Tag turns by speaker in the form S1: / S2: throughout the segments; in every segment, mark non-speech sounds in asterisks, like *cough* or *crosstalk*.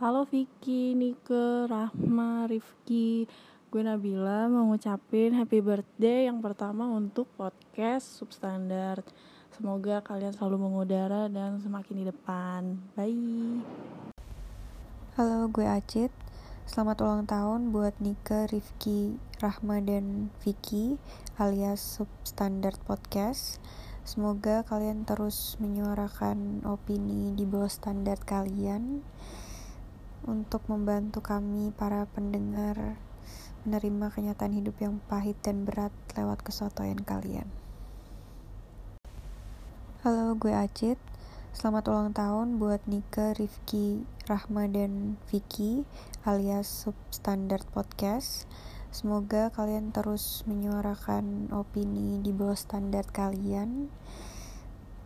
S1: Halo Vicky, Nike, Rahma, Rifki Gue Nabila mau ngucapin happy birthday yang pertama untuk podcast Substandard Semoga kalian selalu mengudara dan semakin di depan Bye
S2: Halo, gue Acit. Selamat ulang tahun buat Nika, Rifki, Rahma, dan Vicky alias Substandard Podcast. Semoga kalian terus menyuarakan opini di bawah standar kalian untuk membantu kami para pendengar menerima kenyataan hidup yang pahit dan berat lewat kesotoyan kalian. Halo, gue Acit. Selamat ulang tahun buat Nika, Rifki, Rahma, dan Vicky alias Substandard Podcast. Semoga kalian terus menyuarakan opini di bawah standar kalian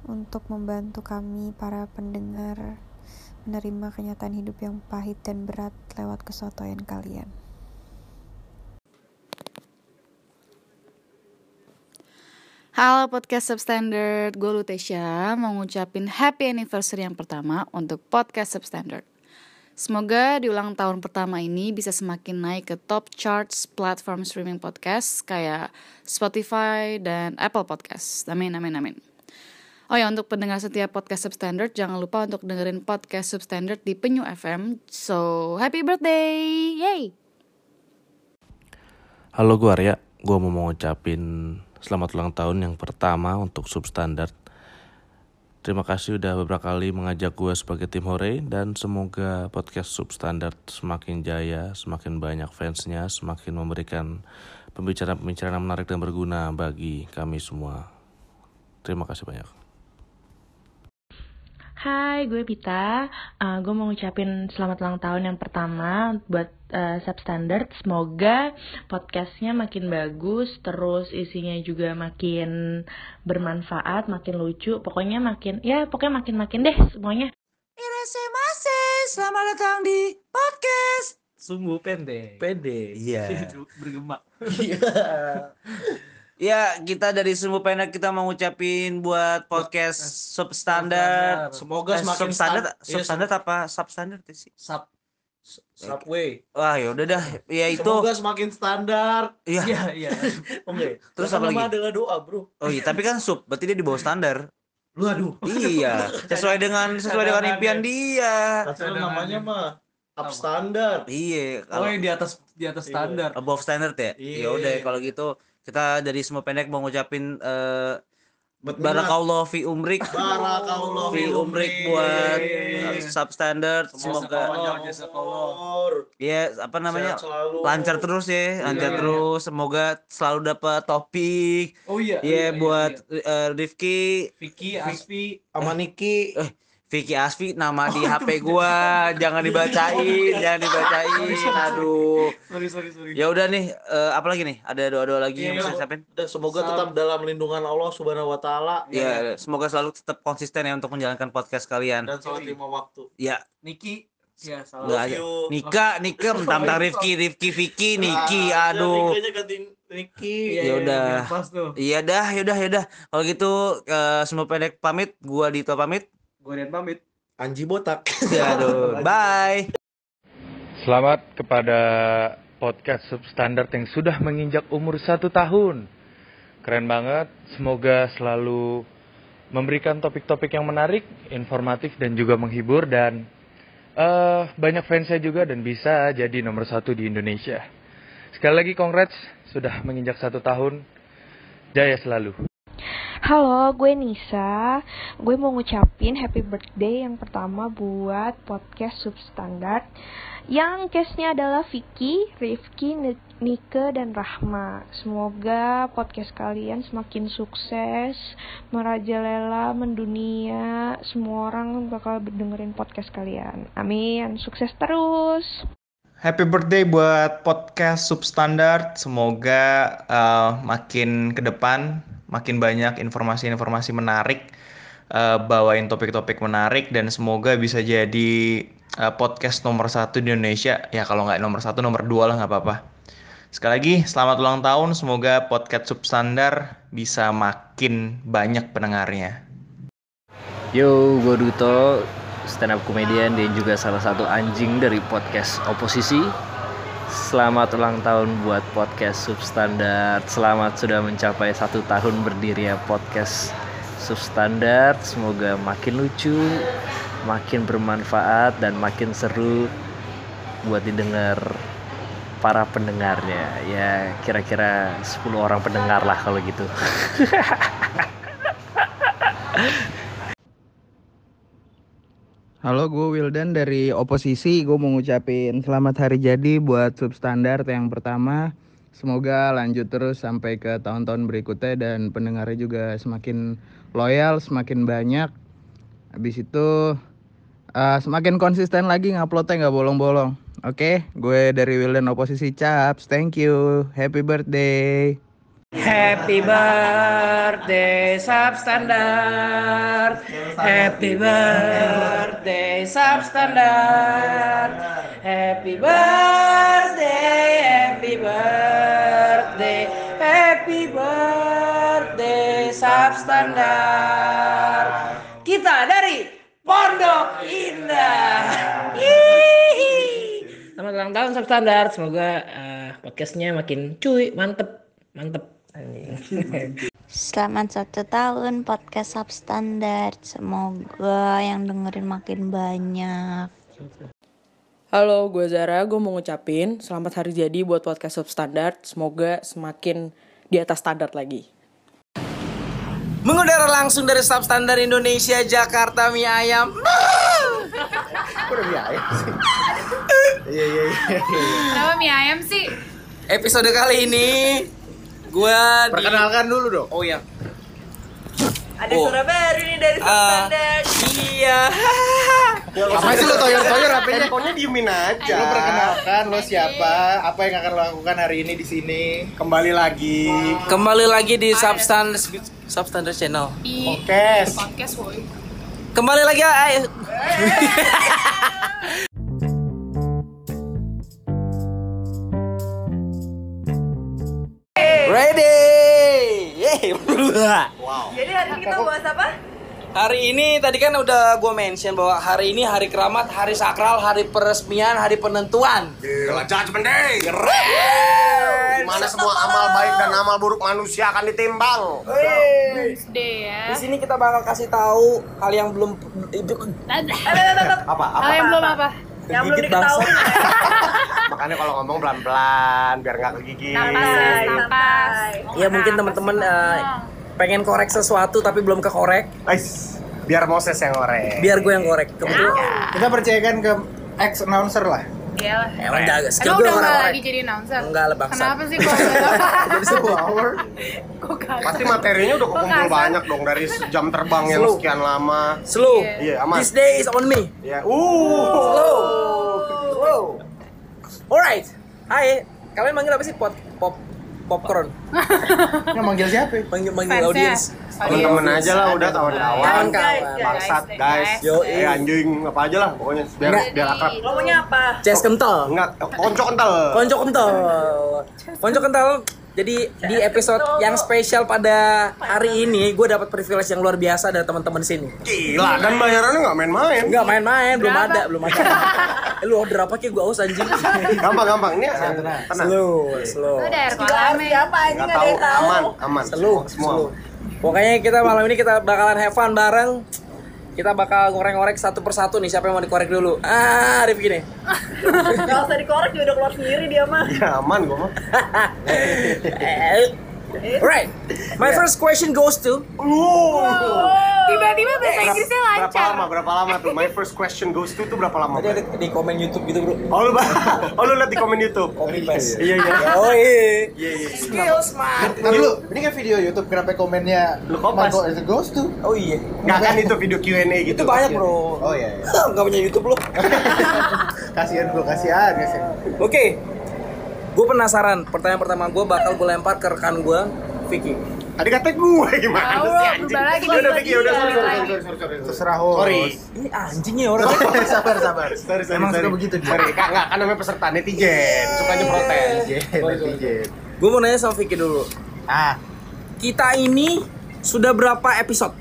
S2: untuk membantu kami para pendengar menerima kenyataan hidup yang pahit dan berat lewat kesotoyan kalian.
S3: Halo podcast substandard, gue Lutesya mau ngucapin happy anniversary yang pertama untuk podcast substandard. Semoga di ulang tahun pertama ini bisa semakin naik ke top charts platform streaming podcast kayak Spotify dan Apple Podcast. Amin, amin, amin. Oh ya, untuk pendengar setiap podcast substandard, jangan lupa untuk dengerin podcast substandard di Penyu FM. So, happy birthday! Yay!
S4: Halo gue Arya, gue mau ngucapin selamat ulang tahun yang pertama untuk Substandard. Terima kasih udah beberapa kali mengajak gue sebagai tim Hore dan semoga podcast Substandard semakin jaya, semakin banyak fansnya, semakin memberikan pembicaraan-pembicaraan yang menarik dan berguna bagi kami semua. Terima kasih banyak.
S5: Hai, gue Pita. Uh, gue mau ngucapin selamat ulang tahun yang pertama buat uh, Substandard. Semoga podcastnya makin bagus, terus isinya juga makin bermanfaat, makin lucu. Pokoknya makin, ya pokoknya makin-makin deh semuanya.
S6: Irasemase, selamat datang di podcast.
S7: Sumbu pendek.
S6: Pede.
S7: *laughs*
S6: Iya.
S7: Itu bergema.
S6: Ya, kita dari Sumbu Pendek kita mau ngucapin buat podcast
S7: Eh,
S6: substandard.
S7: Semoga
S6: Eh,
S7: semakin
S6: substandard,
S7: stan- iya,
S6: substandard apa substandard sih?
S7: sub su- subway.
S6: Wah, ya udah dah. Ya itu.
S7: Semoga semakin standar.
S6: Iya.
S7: Iya, iya.
S6: *laughs*
S7: Oke.
S6: Terus
S7: Bahkan
S6: apa lagi?
S7: nama adalah doa, Bro.
S6: Oh iya, tapi kan sub, berarti dia di bawah standar.
S7: Lu aduh.
S6: iya, sesuai dengan sesuai dengan impian dia.
S7: Kata lu namanya mah up standar.
S6: Iya,
S7: Oh,
S6: kalau
S7: yang di atas di atas
S6: Iya.
S7: standar.
S6: above standard ya.
S7: Iya.
S6: Ya udah kalau gitu kita dari Sumbu Pendek mau ngucapin eh
S7: Bet
S6: barakallah fi umrik.
S7: Barakallah
S6: fi umrik buat
S7: Iya,
S6: eh, substandard. Semoga
S7: semoga jasa kolor.
S6: ya apa namanya?
S7: Sehat selalu.
S6: lancar terus ya, lancar
S7: Iya.
S6: terus. Semoga selalu dapat topik.
S7: Oh iya.
S6: Ya buat eh, Rifki,
S7: Vicky, Aspi,
S6: sama Niki. Eh, Vicky Asfi nama di HP gua,
S7: Oh,
S6: jangan
S7: iya.
S6: dibacain, jangan dibacain. Aduh.
S7: sorry sorry sorry.
S6: Ya udah nih, eh, apa lagi nih? Ada doa-doa lagi
S7: Iya,
S6: yang bisa
S7: iya.
S6: disampaikan?
S7: Dan semoga
S6: Sab-
S7: tetap dalam lindungan Allah Subhanahu wa taala
S6: Ya, semoga selalu tetap konsisten ya untuk menjalankan podcast kalian.
S7: dan sholat lima waktu.
S6: Ya,
S7: Niki ya salah.
S6: enggak ada. Nika, Nika mentang-mentang Rifki, Rifki, Vicky, Niki,
S7: Iya,
S6: aduh.
S7: Nikanya ganti Niki.
S6: Ya udah.
S7: iya, Pas tuh.
S6: Iya dah, yaudah, yaudah. Kalau gitu eh, semua pendek pamit, gua Dito pamit.
S7: Gue dan pamit.
S8: Anji botak.
S6: Ya,
S8: *laughs*
S6: aduh, bye.
S9: Selamat kepada podcast substandard yang sudah menginjak umur satu tahun. Keren banget. Semoga selalu memberikan topik-topik yang menarik, informatif dan juga menghibur dan eh banyak fansnya juga dan bisa jadi nomor satu di Indonesia. Sekali lagi congrats sudah menginjak satu tahun. Jaya selalu.
S10: Halo, gue Nisa. Gue mau ngucapin happy birthday yang pertama buat podcast Substandard. Yang case-nya adalah Vicky, Rifki, Ni- Nike, dan Rahma. Semoga podcast kalian semakin sukses, merajalela, mendunia. Semua orang bakal dengerin podcast kalian. Amin. Sukses terus.
S11: Happy birthday buat podcast Substandard. Semoga eh, makin ke depan makin banyak informasi-informasi menarik, eh, bawain topik-topik menarik dan semoga bisa jadi eh, podcast nomor satu di Indonesia. Ya kalau nggak nomor satu, nomor dua lah nggak apa-apa. Sekali lagi selamat ulang tahun. Semoga podcast Substandard bisa makin banyak pendengarnya.
S12: Yo, gue Duto.
S13: stand up comedian dan juga salah satu anjing dari podcast oposisi. Selamat ulang tahun buat podcast substandard. Selamat sudah mencapai satu tahun berdiri ya podcast substandard. Semoga makin lucu, makin bermanfaat dan makin seru buat didengar para pendengarnya. Ya kira-kira 10 orang pendengar lah kalau gitu. *laughs*
S14: Halo, gue Wildan dari oposisi. Gue mau ngucapin selamat hari jadi buat substandar yang pertama. Semoga lanjut terus sampai ke tahun-tahun berikutnya dan pendengarnya juga semakin loyal, semakin banyak. Habis itu eh, semakin konsisten lagi nguploadnya nggak bolong-bolong. Oke, gue dari Wildan oposisi Caps. Thank you. Happy birthday.
S5: Happy birthday substandard. Happy birthday substandard. Happy birthday, happy birthday, happy birthday substandard. Kita dari Pondok Indah. Hihi. Selamat ulang tahun substandard. Semoga eh, podcastnya makin cuy, mantep, mantep.
S2: Selamat satu tahun podcast substandard. Semoga yang dengerin makin banyak.
S15: Halo, gue Zara. Gue mau ngucapin selamat hari jadi buat podcast substandard. Semoga semakin di atas standar lagi.
S16: Mengudara langsung dari Substandar Indonesia Jakarta mie ayam.
S17: udah biaya
S16: *laughs*
S17: sih? Iya iya iya.
S18: Kenapa mie ayam sih?
S16: Episode kali ini gua di-
S17: Perkenalkan dulu dong.
S16: Oh iya.
S18: Ada
S16: Oh.
S18: suara baru nih dari
S16: Ah,
S18: Substandard.
S16: iya.
S17: Apa sih lo toyor-toyor apanya?
S16: Handphonenya
S17: diemin aja. Lo perkenalkan lo siapa, apa yang akan lo lakukan hari ini di sini? Kembali lagi.
S16: Kembali lagi di Substandar Substandar Channel.
S18: Podcast. Podcast woi.
S16: Kembali lagi ah, ay- Ready. Yeay. *laughs*
S18: Jadi hari kita bahas apa?
S16: Hari ini tadi kan udah gue mention bahwa hari ini hari keramat, hari sakral, hari peresmian, hari penentuan.
S17: Gila judgment day.
S16: Keren.
S17: Mana semua amal baik dan amal buruk manusia akan ditimbang.
S18: Wednesday ya.
S16: Di sini kita bakal kasih tahu hal yang belum
S17: Apa?
S18: Apa yang belum apa? Yang belum
S17: Gigit
S18: diketahui. *laughs*
S17: Makanya kalau ngomong pelan-pelan biar nggak kegigit.
S18: Napas, Iya, napas. Iya.
S16: Ya mungkin teman-teman eh, pengen korek sesuatu tapi belum kekorek.
S17: Ais, biar Moses yang ngorek.
S16: Biar gue yang korek.
S18: Iya.
S16: Kebetulan
S17: Kita percayakan ke ex announcer lah.
S18: Iyalah.
S16: Emang
S14: *laughs*
S16: jaga skill
S18: Emang Iya
S16: gue
S18: udah nggak lagi
S16: korek-korek.
S18: jadi announcer?
S16: Enggak lah, bangsa.
S18: Kenapa sih kok? Jadi
S17: follower.
S18: Kok kasar?
S17: Pasti materinya udah kekumpul
S18: Kok kasar?
S17: banyak dong dari jam terbang yang
S16: Slow.
S17: sekian lama.
S16: Slow.
S17: Iya, aman.
S16: This day is on me.
S17: Iya. Uh.
S16: Slow. Slow. Alright. Hai, kalian manggil apa sih pop pop popcorn?
S17: Yang manggil siapa?
S16: Manggil manggil
S18: Fansnya.
S16: audiens.
S17: Temen-temen aja lah udah kawan-kawan.
S18: Kawan-kawan.
S17: Bangsat guys.
S16: Yo,
S17: Eh anjing apa aja lah pokoknya biar
S16: Nggak.
S17: biar akrab.
S18: Ngomongnya apa?
S16: Jazz kental.
S17: Enggak, konco kental.
S16: Konco kental. Konco kental. Jadi di episode yang spesial pada hari ini, gue dapat privilege yang luar biasa dari teman-teman di sini.
S17: Gila, dan bayarannya nggak main-main.
S16: Enggak main-main, belum ada, belum ada. Eh, Lu order apa ki? Gue haus anjing.
S17: Gampang-gampang ini ya. asal tenang.
S16: Slow, slow.
S18: Udah air kolam ya. Apa aja
S17: Nggak tahu,
S19: *laughs*
S17: aman, aman.
S16: Slow, slow. Pokoknya kita malam ini kita bakalan have fun bareng. Kita bakal ngorek-ngorek satu persatu nih siapa yang mau dikorek dulu. Ah, Rifki nih.
S18: Gak usah dikorek juga udah keluar sendiri dia mah.
S17: Ya aman gue mah.
S16: Eh, Right. My
S17: Iya.
S16: first question goes to
S18: *laughs* Tiba-tiba bahasa Inggrisnya
S17: Berapa
S18: lancar.
S17: lama? Berapa lama tuh? My first question goes to itu berapa lama?
S16: Tadi ada di komen YouTube gitu, Bro.
S17: Oh lu, *laughs* oh, lu liat di komen YouTube.
S16: Copy paste.
S17: Iya iya.
S16: Oh iya.
S17: Iya iya.
S16: Skills man.
S20: Ntar dulu, ini kan video YouTube kenapa komennya
S17: Lu kopas.
S20: Marco is a ghost tuh?
S16: Oh iya.
S17: Nggak kan itu video Q&A
S16: Itu
S17: gitu.
S16: banyak, Bro.
S20: Oh iya, iya.
S16: Enggak punya YouTube lu.
S20: kasihan gua kasihan guys.
S16: Oke. Gue penasaran. Pertanyaan pertama gue bakal gue lempar ke rekan gue, Vicky.
S17: Tadi kata gue *laughs* gimana
S18: Tahu,
S17: sih
S18: berubah lagi,
S17: anjing. Udah udah
S18: berubah
S17: Vicky,
S18: lagi.
S17: udah sorry sorry
S18: Lagi.
S17: sorry, sorry sorry. sorry.
S20: Terserah host.
S17: Sorry.
S16: Ini anjingnya orang.
S20: sabar sabar.
S17: Sorry, sorry,
S20: Emang
S17: sorry.
S20: suka begitu dia.
S17: Sorry, kak, nggak, kan namanya peserta netizen, sukanya
S18: Iya.
S17: protes.
S20: Netizen, netizen.
S16: Gue mau nanya sama Vicky dulu.
S20: Ah,
S16: Kita ini sudah berapa episode?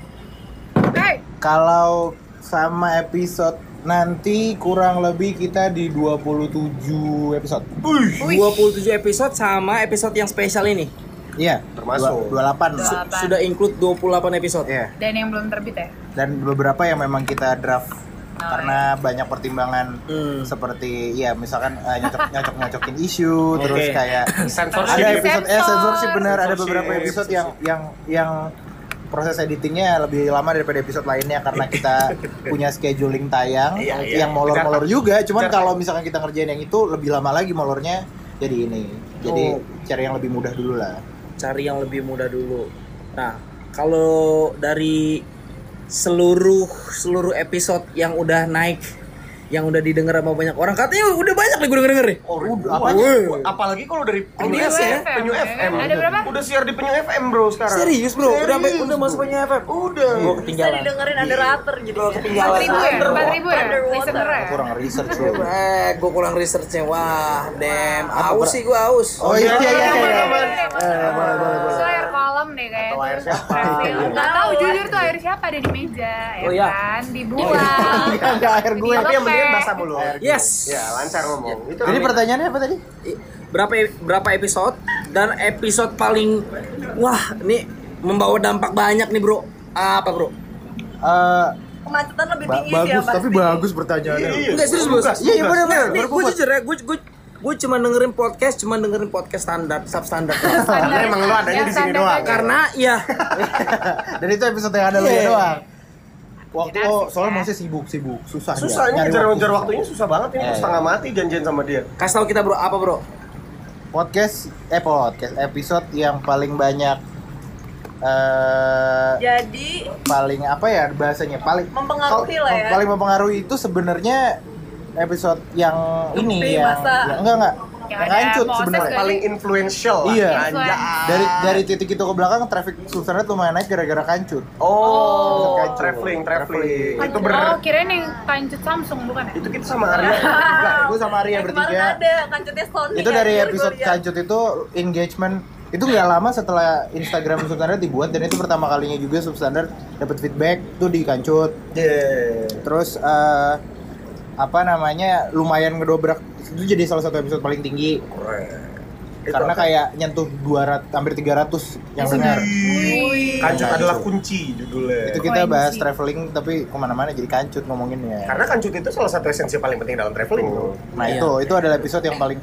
S18: Hei,
S20: kalau
S14: sama episode nanti kurang lebih kita di 27 episode.
S16: Wih, 27 episode sama episode yang spesial ini.
S14: Iya, termasuk 28.
S16: Su- Sudah include 28 episode.
S14: Iya.
S18: Dan yang belum terbit ya?
S14: Dan beberapa yang memang kita draft karena banyak pertimbangan seperti ya misalkan nyocok *laughs* nyocok nyocokin isu
S17: Oke.
S14: terus kayak
S17: Censorship.
S14: ada episode eh
S17: Sensor.
S14: censorship benar ada beberapa
S17: Censorship.
S14: episode yang yang yang proses editingnya lebih lama daripada episode lainnya karena kita punya scheduling tayang
S17: Iya, iya.
S14: yang molor-molor
S17: Bentar.
S14: juga cuman
S17: Bentar.
S14: kalau misalkan kita ngerjain yang itu lebih lama lagi molornya jadi ini jadi
S16: Oh.
S14: cari yang lebih mudah dulu lah
S16: Cari yang lebih mudah dulu. Nah, kalau dari seluruh seluruh episode yang udah naik yang udah didengar sama banyak orang katanya udah banyak nih gue denger denger nih
S17: Apanya? apalagi kalau dari penyu
S16: Biasa ya.
S17: penyu FM.
S16: Ada berapa?
S17: Udah siar di penyu FM bro sekarang.
S16: Serius, bro? Udah sampai- udah
S17: masuk penyu FM. Udah.
S16: Gue ketinggalan.
S18: Dengerin
S17: Iya.
S18: underwater
S19: gitu.
S18: jadi.
S16: ketinggalan.
S18: 4.000 ya? 4.000 ya?
S16: Underwater.
S18: Listener ya?
S14: kurang research
S16: Eh, gue kurang researchnya. Wah, damn. Aus sih gue aus.
S14: Oh, iya, iya, iya, iya.
S16: Eh,
S18: Itu air kolam deh kayaknya. Atau air siapa? Gak tau jujur tuh air siapa ada di meja. Ya
S16: Iya. Oh, iya.
S18: kan? Dibuang.
S14: Enggak air gue.
S18: Tapi yang penting basah
S14: mulu.
S16: Yes. Iya.
S14: Ya, lancar ngomong.
S16: Itu
S14: Jadi
S16: namanya-
S14: pertanyaannya apa tadi?
S16: berapa e- berapa episode dan episode paling wah ini membawa dampak banyak nih bro apa bro
S14: Eh,
S18: Kemacetan lebih
S14: Ba-
S18: tinggi sih ya
S14: bagus tapi
S18: pasti.
S14: bagus pertanyaannya.
S16: Enggak serius bos.
S14: Iya, iya benar benar.
S16: Nih, gue jujur ya, gue gue gue cuma dengerin podcast, cuma dengerin podcast standar,
S14: *laughs*
S16: substandar.
S14: Karena emang lu adanya Yang di sini standar doang. aja.
S16: Karena ya
S14: *laughs* Dan itu episode yang ada lu ya
S16: Iya.
S14: doang. Waktu oh, soalnya masih sibuk sibuk susah. dia.
S17: Susah ini
S14: Nyari waktu
S17: ngejar-ngejar
S14: susah.
S17: waktunya susah banget ini
S14: Iya,
S17: gua
S14: iya.
S17: setengah mati janjian sama dia.
S16: Kasih tahu kita bro apa bro?
S14: Podcast eh podcast episode yang paling banyak eh
S18: Jadi
S14: paling apa ya bahasanya paling
S18: Mempengaruhi lah ya.
S14: paling mempengaruhi itu sebenarnya episode yang ini
S18: Lebih
S14: yang,
S18: masa.
S14: yang enggak enggak
S18: Yang
S14: yang
S18: ada
S14: hancut
S18: Moses
S14: sebenarnya
S18: kan? Paling
S14: influential
S18: lah.
S14: iya
S18: Influence.
S14: dari dari titik itu ke belakang traffic substansial lumayan naik gara-gara kancut
S17: Oh, traveling, traveling. Itu ber
S18: Oh, kirain yang kancut Samsung bukan ya? Itu kita
S17: sama Arya.
S18: *laughs*
S17: Enggak,
S14: gue sama Arya
S18: Kemarin
S14: bertiga.
S18: ada kancutnya Sony.
S17: Iya,
S14: itu dari
S18: anjir, gua
S14: episode
S18: liat.
S14: kancut itu engagement itu nggak lama setelah Instagram substandard dibuat dan itu pertama kalinya juga substandard dapat feedback tuh di kancut terus eh, apa namanya lumayan ngedobrak itu jadi salah satu episode paling tinggi karena
S17: apa? Iya,
S14: kayak nyentuh 200 hampir 300 yang dengar
S17: Kancut adalah kunci judulnya.
S14: itu kita bahas traveling tapi kemana-mana jadi kancut ngomonginnya
S17: Karena kancut itu salah satu esensi paling penting dalam traveling. bro. Iya.
S14: Nah itu itu adalah episode yang paling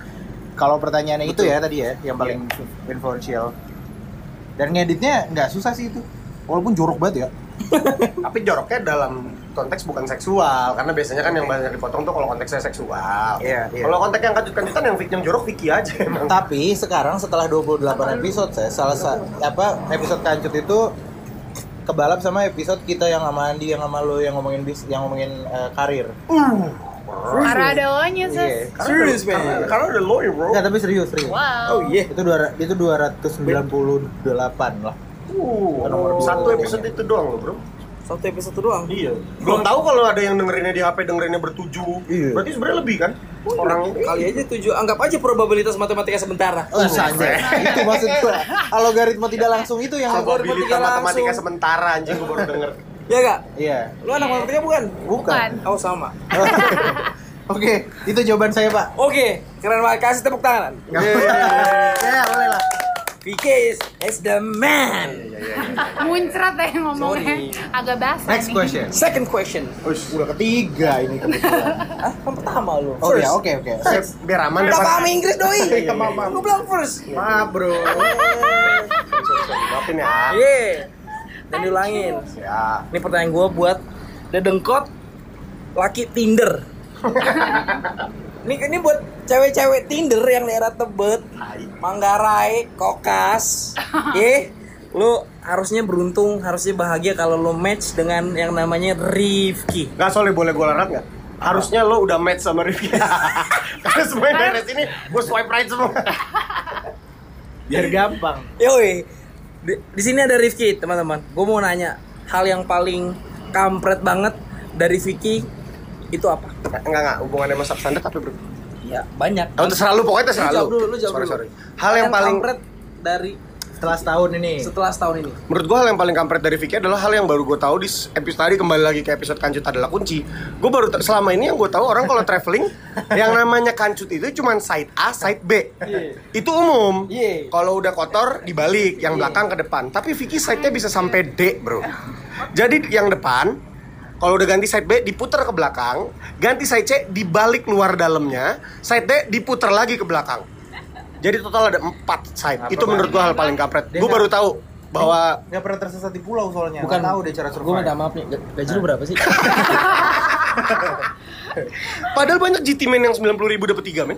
S14: kalau pertanyaannya itu ya tadi ya yang
S17: Iya.
S14: paling influential. Dan ngeditnya nggak susah sih itu. Walaupun jorok banget ya.
S17: Tapi joroknya dalam konteks bukan seksual karena biasanya kan yang banyak dipotong tuh kalau konteksnya seksual.
S14: Iya, iya.
S17: Kalau konteks yang uh, kancut-kancutan yang yang jorok Vicky aja emang.
S14: Tapi sekarang setelah 28 episode saya salah sa- apa episode kancut itu kebalap sama episode kita yang sama Andi yang sama lo yang ngomongin bis yang ngomongin eh, karir.
S18: Karena ada ohnya, Sus.
S14: Iya, karena-
S16: Serius, man.
S14: karena-
S17: Karena udah lawyer bro.
S14: Nggak, tapi serius, serius.
S18: Wow. Oh,
S16: iya.
S14: Itu dua itu 298 lah.
S17: Uh,
S14: Nomor dua.
S17: satu episode itu doang loh bro.
S16: Satu episode doang.
S17: Iya. Belum tahu kalau ada yang dengerinnya di HP dengerinnya bertujuh.
S14: Iya.
S17: Berarti sebenarnya lebih kan?
S16: Orang Oh, iya, kali aja tujuh, anggap aja probabilitas matematika sementara.
S14: Oh, sanjay. itu maksud gua. Algoritma tidak
S18: Iya.
S14: langsung itu yang
S16: Probabilitas
S14: algoritma tidak langsung.
S17: matematika sementara anjing gue baru denger.
S16: Iya gak?
S14: Iya.
S16: Lu anak matematika bukan?
S14: Bukan.
S16: Oh sama.
S14: Oke, itu jawaban saya, Pak.
S17: Oh,
S16: Oke, keren banget kasih tepuk tangan.
S14: Iya, Ya, boleh lah.
S16: VK is, is the man.
S18: *laughs* Muncrat ya ngomongnya. Agak basah nih.
S16: Second question.
S14: udah ketiga ini kebetulan.
S16: Hah? Kan pertama lu.
S14: Oh iya, oke oke.
S16: First.
S17: Biar aman
S16: Gak
S17: depan-
S16: paham Inggris doi.
S17: Iya, iya, iya.
S16: Gua bilang first.
S17: Maaf, Bro. Maafin ya.
S16: Iya. Dan diulangin.
S17: Ya.
S16: Ini pertanyaan gue buat dedengkot laki
S14: *laughs*
S16: Tinder. ini ini buat cewek-cewek Tinder yang daerah Tebet, Manggarai, *laughs* Kokas. Ye, lu harusnya beruntung, harusnya bahagia kalau lu match dengan yang namanya Rifki.
S17: Gak soalnya boleh gue larang gak? Harusnya lo udah match sama
S16: *laughs*
S17: Rifki Karena *laughs* semuanya dari sini gue swipe right semua
S14: Biar gampang.
S16: Yoi. Di, di sini ada Rifki, teman-teman. Gue mau nanya hal yang paling kampret banget dari Vicky itu apa?
S17: Enggak enggak hubungannya sama substandard tapi bro.
S16: Ya, banyak.
S17: Oh, terserah lu, pokoknya terserah
S16: Jawab
S17: lu.
S16: dulu, lu jawab
S17: Sorry,
S16: dulu.
S17: sorry. Hal yang paling-
S16: kampret dari
S14: Setelah setahun ini.
S16: Setelah setahun ini.
S17: Menurut gue hal yang paling kampret dari Vicky adalah hal yang baru gue tahu di episode tadi kembali lagi ke episode kancut adalah kunci. Gue baru ta- selama ini yang gue tahu orang kalau
S16: *laughs*
S17: traveling yang namanya kancut itu cuman side A, side B.
S16: Iya.
S17: Itu umum. Kalau udah kotor dibalik,
S16: Iya.
S17: yang belakang ke depan. Tapi Vicky side-nya bisa sampai D, Bro. Jadi yang depan kalau udah ganti side B diputar ke belakang, ganti side C dibalik luar dalamnya, side D diputar lagi ke belakang. Jadi total ada empat side. Itu menurut gua hal paling kampret.
S14: Dia
S17: Gua
S14: nggak-
S17: baru tahu bahwa
S14: nggak pernah tersesat di pulau soalnya.
S17: Bukan.
S14: Nggak tahu deh cara survive. Nah.
S17: Gua minta
S14: maaf nih.
S16: Gaji lu berapa sih?
S17: *laughs* Padahal banyak GT men yang 90 ribu dapat 3 men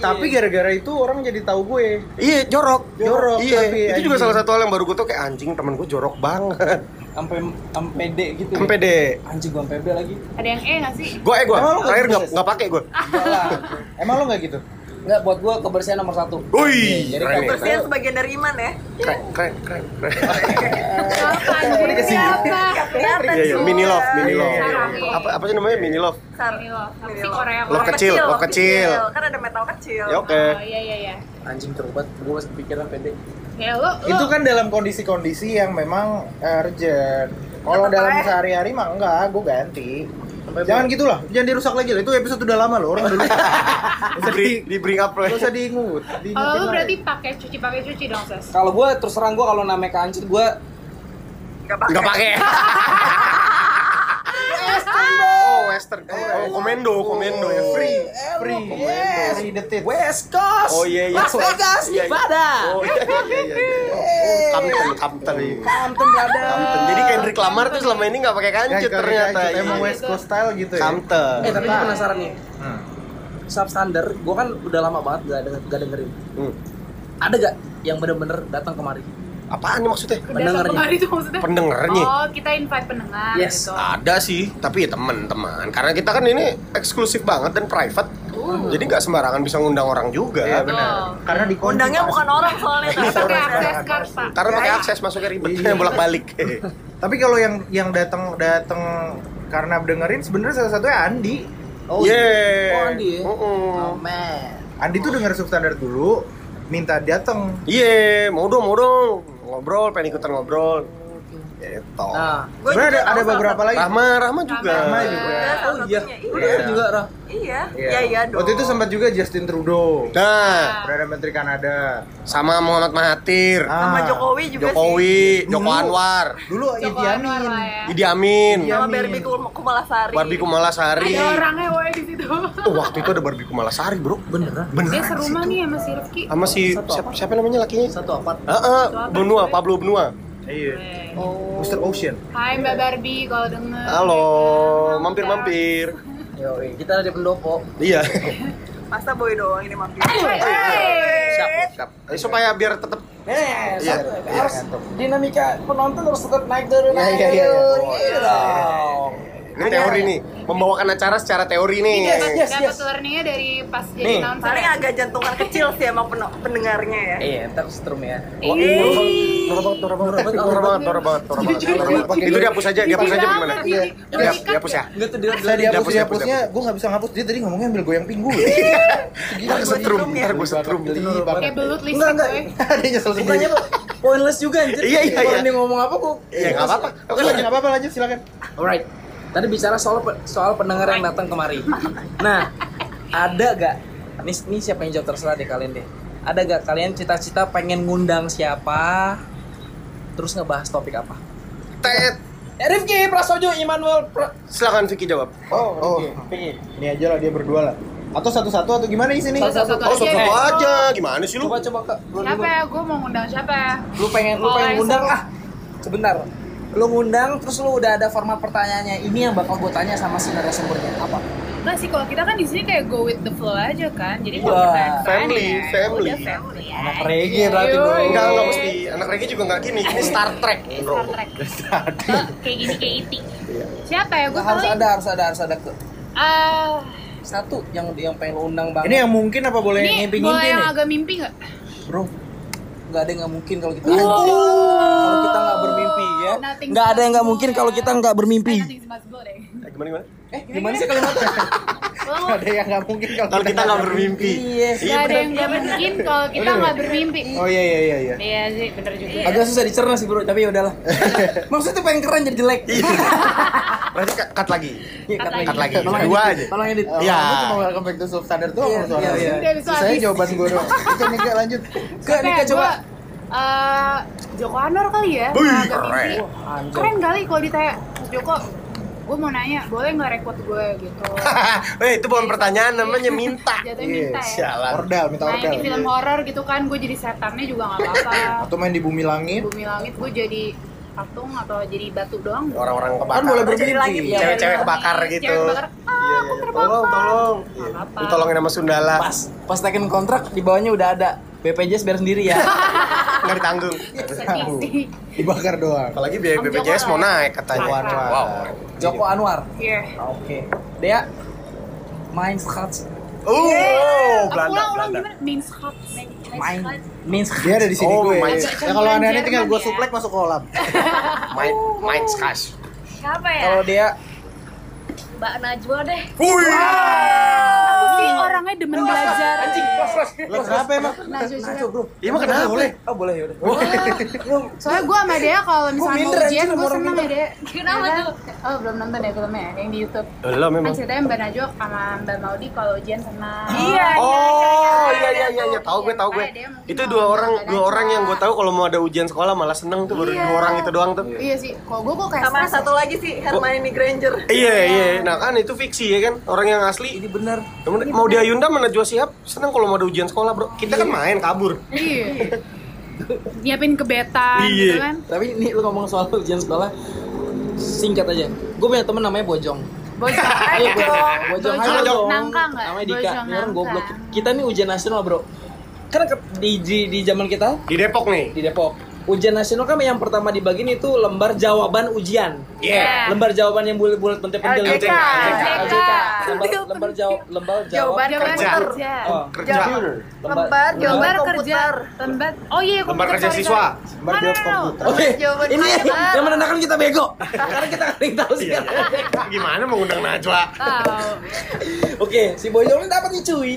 S14: Tapi gara-gara itu orang jadi tahu gue.
S17: Iya jorok
S14: Jorok,
S17: Iya
S14: tapi
S17: itu juga
S14: anjing.
S17: salah satu hal yang baru gue tuh kayak anjing temen gue jorok banget
S16: Sampai sampai D gitu. ya?
S17: Sampai D.
S16: Anjing gua sampai D lagi.
S18: Ada yang E gak sih?
S17: Gue eh gue
S16: Emang lu nggak gitu,
S17: Terakhir gak,
S16: sukses?
S17: nggak pakai gue
S14: Emang lo nggak gitu?
S16: Enggak, buat gua kebersihan nomor satu.
S17: Wih
S16: Jadi
S17: keren,
S16: kalau-
S19: Kebersihan sebagian dari iman ya.
S17: keren keren keren keren
S19: Ini Kelihatan
S17: Iya iya
S19: semua.
S17: mini love mini
S19: Iya,
S17: love
S19: iya, iya.
S17: Apa apa sih namanya mini love
S19: Sar.
S18: Si Korea
S17: Love kecil, love kecil.
S19: Kan ada metal kecil.
S17: Ya, oke.
S18: Oh, iya iya iya.
S16: Anjing terobat, gua masih kepikiran PD.
S18: Ya lu, lu
S14: Itu kan dalam kondisi-kondisi yang memang eh, urgent. Kalau dalam sehari-hari mah enggak, gue ganti. jangan gitulah, jangan dirusak lagi lah. Itu episode udah lama loh, orang dulu.
S17: *laughs* Di bring- Di bring up lah
S14: Gak usah diingut.
S18: Kalau lu Oh, berarti pakai cuci pakai cuci dong, Ses.
S16: Kalau gua terus terang gua kalau namanya kancut gua
S17: Gak pakai
S18: Western,
S17: Oh western Oh komendo komendo ya. Free
S14: Free.
S16: Yes.
S14: Free the tits.
S16: West Coast.
S17: Oh, iya, iya.
S16: Las Vegas,
S17: Iya, iya.
S16: Nevada.
S17: *laughs* Oh, iya, iya, iya,
S16: Yeay.
S17: Kamten Kamten
S16: Compton, brother.
S17: Kamten Jadi Kendrick Lamar tuh selama ini gak pakai kancut ternyata
S14: Emang
S17: Iya.
S14: West Coast style gitu ya.
S17: Kamten
S16: Eh, tapi gue penasaran nih.
S17: Hmm.
S16: Substandard, gue kan udah lama banget gak, denger, gak dengerin.
S17: Hmm.
S16: Ada gak yang bener-bener datang kemari?
S17: Apaan nih maksudnya?
S18: Pendengar
S16: Pendengarnya.
S18: itu maksudnya?
S17: Pendengarnya.
S18: Oh, kita invite pendengar
S17: Yes,
S18: gitu.
S17: ada sih, tapi ya teman-teman. Karena kita kan ini eksklusif banget dan private. Jadi nggak sembarangan bisa ngundang orang juga.
S14: Iya, benar. Karena di
S19: Undangnya bukan orang soalnya.
S17: Iya,
S18: Kita pakai akses
S17: kan,
S19: kan.
S18: card, Pak.
S17: Karena pakai akses masuknya ribet
S14: Iya.
S17: bolak-balik.
S14: Tapi kalau yang yang datang datang karena dengerin sebenarnya salah satunya Andi.
S17: Oh, Yeay.
S14: Oh,
S16: Andi ya?
S17: Oh,
S16: man.
S14: Andi tuh denger substandard dulu, *laughs* minta datang.
S17: Iya, mau dong, mau dong. Ngobrol, pengen ikutan ngobrol. Gitu.
S16: Nah,
S19: Gua
S14: Sebenarnya ada, ada beberapa lagi.
S17: Rahma, Rahma juga.
S14: Rahma juga.
S19: Oh iya.
S16: Lu denger juga, Rah?
S19: Iya. Iya iya dong.
S14: Waktu itu sempat juga Justin Trudeau.
S17: Nah,
S14: Perdana Menteri Kanada. Ah.
S17: sama Muhammad Mahathir.
S19: Sama Jokowi juga
S17: Jokowi,
S14: Hmm.
S19: sih.
S17: Joko Anwar,
S14: Dulu ya Idi Amin.
S18: ya.
S17: Idi Amin,
S19: Sama Barbie Kum- Kumalasari.
S17: Barbie Kumalasari.
S18: Ada orangnya woy di situ.
S17: Oh, waktu itu ada Barbie Kumalasari, bro. Beneran?
S18: Dia
S17: Beneran.
S18: serumah nih sama si Rifki.
S17: Sama si, siapa, siapa namanya lakinya?
S16: Satu apart.
S17: Heeh, benua, Pablo Benua.
S14: Iya.
S18: Oh.
S14: Mr. Ocean.
S18: Hai Mbak Barbie kalau denger.
S17: Halo, mampir-mampir.
S16: Yo, kita ada di pendopo.
S17: Iya. *laughs*
S19: Masa boy doang ini mampir.
S17: siap, siap. Eh, supaya biar tetap
S16: Eh,
S17: Iya,
S16: satu.
S17: iya,
S16: harus dinamika penonton harus tetap naik turun.
S14: Iya,
S16: naik
S14: iya, iya.
S16: turun.
S14: Oh,
S16: Gitu
S14: iya,
S16: dong.
S17: ini teori nih, membawakan acara secara teori nih.
S18: Dapat
S16: yes,
S18: dapat learningnya dari pas jadi
S17: Nih.
S18: announcer.
S19: Paling agak jantungan kecil sih emang pen- pendengarnya ya.
S16: Iya, ntar setrum ya.
S19: Wah,
S17: Norak Iya. banget, norak banget, norak banget, norak banget, norak banget, norak banget. Itu dihapus aja, dihapus aja gimana?
S18: Iya.
S17: Dihapus, dihapus ya.
S16: Enggak tuh
S14: Saya dihapus,
S17: Dihapus,
S14: dihapusnya,
S17: dihapus,
S14: gue nggak bisa ngapus dia tadi ngomongnya ambil goyang pinggu.
S17: Ntar gue setrum, ntar gue setrum.
S18: Kayak belut listrik
S16: Enggak, enggak.
S18: woy.
S14: Dia nyesel
S16: Bukannya pointless juga anjir.
S17: Iya, iya,
S16: Orang
S17: iya.
S16: dia ngomong apa kok.
S17: Iya, nggak apa-apa. Oke,
S14: Lanjut
S17: lanjut.
S14: nggak apa-apa lanjut silakan.
S16: Alright. Tadi bicara soal pe- soal pendengar yang datang kemari. Nah, ada gak? Nih, nih siapa yang jawab terserah deh kalian deh. Ada gak kalian cita-cita pengen ngundang siapa? Terus ngebahas topik apa?
S17: Tet.
S16: Eh, Rifki Prasojo, Immanuel Pra-
S17: Silakan Vicky jawab.
S14: Oh, oh, pingin. Ini aja lah dia berdua lah. Atau satu-satu atau gimana di sini?
S18: Satu-satu
S17: Oh, satu
S18: Eh.
S17: aja. Gimana sih lu?
S16: Coba coba kak. Lu,
S18: Siapa ya? Gue mau ngundang siapa ya?
S16: lu pengen lu
S18: Oh,
S16: pengen
S18: yang
S16: ngundang
S18: seru.
S16: ah. Sebentar. Lu ngundang terus lu udah ada format pertanyaannya. Ini yang bakal gue tanya sama si narasumbernya apa?
S18: Enggak sih, kalau kita kan di sini kayak go with the flow aja kan. Jadi kalau
S16: Wah,
S18: kita excited,
S17: family,
S18: ya,
S17: family.
S18: udah family ya.
S14: Anak reggae berarti bro.
S17: Enggak, enggak mesti. Anak reggae juga enggak gini. Ini Star Trek, bro. Iya.
S18: Star Trek. Eh, kayak gini kayak itik. Siapa ya? Gue
S16: harus
S18: paling
S16: ada harus ada harus ada ke
S18: ah
S16: satu yang yang pengen lu undang banget.
S14: Ini yang mungkin apa boleh
S18: ini
S14: ngimpi
S18: boleh
S14: ngimpi
S18: yang
S14: nih?
S18: agak mimpi nggak?
S16: bro nggak ada yang nggak mungkin kalau kita Gitu kalau kita nggak bermimpi ya
S18: Nothing
S16: nggak ada yang nggak mungkin kalau kita nggak bermimpi
S18: Nothing is possible deh.
S17: Eh, Gimana gimana?
S16: eh gimana sih kalimatnya
S18: Lo-
S14: ada yang nggak mungkin kalau
S17: Kalau kita nggak bermimpi.
S14: Iya.
S18: Gak ada yang gak mungkin
S16: *laughs*
S18: kalau kita
S14: Bener.
S18: nggak bermimpi.
S14: Oh iya iya iya. iya.
S18: Iya sih, bener juga.
S16: Agak susah dicerna sih bro, tapi ya
S14: *laughs*
S16: udahlah. Maksudnya pengen keren jadi jelek.
S14: Iya,
S17: Berarti cut cut lagi.
S16: Cut
S17: lagi. Cut lagi.
S16: Tolong
S17: Dua
S16: edit.
S17: aja.
S16: Tolong edit.
S17: Iya.
S14: Aku cuma welcome back to substandard tuh
S16: Iya,
S14: sama suara.
S16: iya, iya.
S18: Dari suara
S14: Saya
S18: habis.
S14: jawaban gue doang. Oke,
S18: *laughs*
S14: Nika lanjut.
S18: Oke, ya? gua, eh, Joko Anwar kali ya.
S14: Wih,
S18: Nah, agak
S14: keren.
S18: mimpi.
S14: Wah, anjir.
S18: Keren kali kalau ditanya, Mas Joko, gue mau nanya, boleh nggak rekrut gue gitu?
S17: Weh, Eh, itu bukan pertanyaan namanya minta. Iya,
S18: Jatuhnya minta ya.
S17: Sialan.
S14: Ordal, minta
S18: Main
S14: ordal.
S18: di film horor gitu kan, gue jadi setannya juga nggak apa-apa.
S14: Atau main di bumi langit.
S18: Bumi langit gue jadi patung atau jadi batu doang.
S17: Orang-orang kebakar.
S14: Kan boleh bermimpi.
S17: Cewek-cewek kebakar gitu.
S18: Cewek bakar, ah, aku
S17: Tolong, tolong. Lu tolongin sama Sundala.
S16: Pas pas tekan kontrak di bawahnya udah ada BPJS biar sendiri
S14: *laughs*
S16: ya.
S17: Enggak
S16: *laughs*
S17: ditanggung.
S18: sedih sih.
S14: Dibakar Iya, doang.
S17: Apalagi biaya
S18: Om Joko
S17: BPJS mau
S18: lah ya.
S17: naik katanya.
S16: Joko Anwar. Joko Anwar.
S18: Iya.
S16: Oke. Dea main Schatz.
S17: Oh,
S18: Eh, Ulang,
S16: Belanda,
S18: ulang
S16: Belanda.
S18: gimana? Main skat, main
S16: Main.
S18: skat.
S16: Main
S14: Dia ada di sini
S17: Oh,
S14: gue.
S17: main-
S14: Ya kalau aneh-aneh tinggal gue suplek masuk kolam.
S17: Main main skas.
S18: Siapa ya?
S16: Kalau Dea
S18: Mbak Najwa deh.
S17: Wih.
S18: Aku sih orangnya demen belajar.
S16: Anjing,
S14: Lah kenapa emang?
S21: Nah,
S18: Najwa juga.
S16: bro.
S17: Iya mah kenapa? Boleh.
S16: Oh boleh ya udah. *laughs*
S18: Soalnya gue sama dia kalau misalnya mau
S16: minder,
S18: ujian
S16: anjing,
S18: gue
S16: orang
S18: seneng ya
S16: minder.
S18: dia. Kenapa tuh? Oh belum nonton ya filmnya ya, yang di YouTube.
S17: Belum
S18: Kan
S17: memang.
S18: ceritanya Mbak Najwa sama Mbak Maudi kalau ujian senang.
S17: Oh, iya iya iya iya tahu gue tahu gue.
S18: Makanya dia mungkin
S17: Itu
S18: mau
S17: dua orang
S18: nonton
S17: dua
S18: aja.
S17: orang yang gue tahu kalau mau ada ujian sekolah malah seneng tuh baru
S18: Iya.
S17: dua orang itu doang tuh.
S18: Iya sih, kalau gue kok kayak
S19: Sama
S18: stres
S19: satu
S18: ya.
S19: lagi sih Hermione Granger.
S17: Iya iya, nah kan itu fiksi ya kan orang yang asli. Ini
S16: benar.
S17: Mau di Ayunda mana Najwa Sihab seneng kalau mau ada ujian sekolah bro. Kita kan main kabur.
S18: Iya. Nyiapin kebetan
S16: Iya.
S18: gitu kan.
S16: Tapi ini lu ngomong soal ujian sekolah singkat aja. Gue punya temen namanya Bojong.
S18: Bojong.
S16: Ayo, Bojong.
S18: Bojong.
S16: Halo, Bojong.
S18: Nangka nggak?
S16: Namanya Dika.
S18: Bojong
S16: Ini orang
S18: nangka.
S16: goblok. Kita nih ujian nasional, Bro. Karena ke- di, di di zaman kita
S17: di Depok nih.
S16: Di Depok. Ujian nasional kan yang pertama dibagiin itu lembar jawaban ujian.
S17: Iya.
S16: Lembar jawaban yang bulat-bulat pentil-pentil.
S17: LJK.
S16: LJK. Lembar lembar jawab lembar
S18: Jawaban
S16: jawaban
S18: kerja.
S16: Oh,
S17: Kerja.
S18: Lembar, jawaban
S16: lembar
S18: kerja. Lembar. Oh iya,
S17: Lembar
S18: komputer,
S17: kerja
S18: sorry,
S17: siswa.
S18: sorry. Oh,
S14: Lembar jawab komputer.
S16: Oke,
S18: Jawaban
S16: ini
S18: lembar.
S16: yang menandakan kita
S18: *laughs*
S16: bego. Karena kita nggak tahu sih.
S17: Iya. Gimana mengundang Najwa?
S18: Tahu.
S16: Oke, si Bojong ini dapat nih cuy.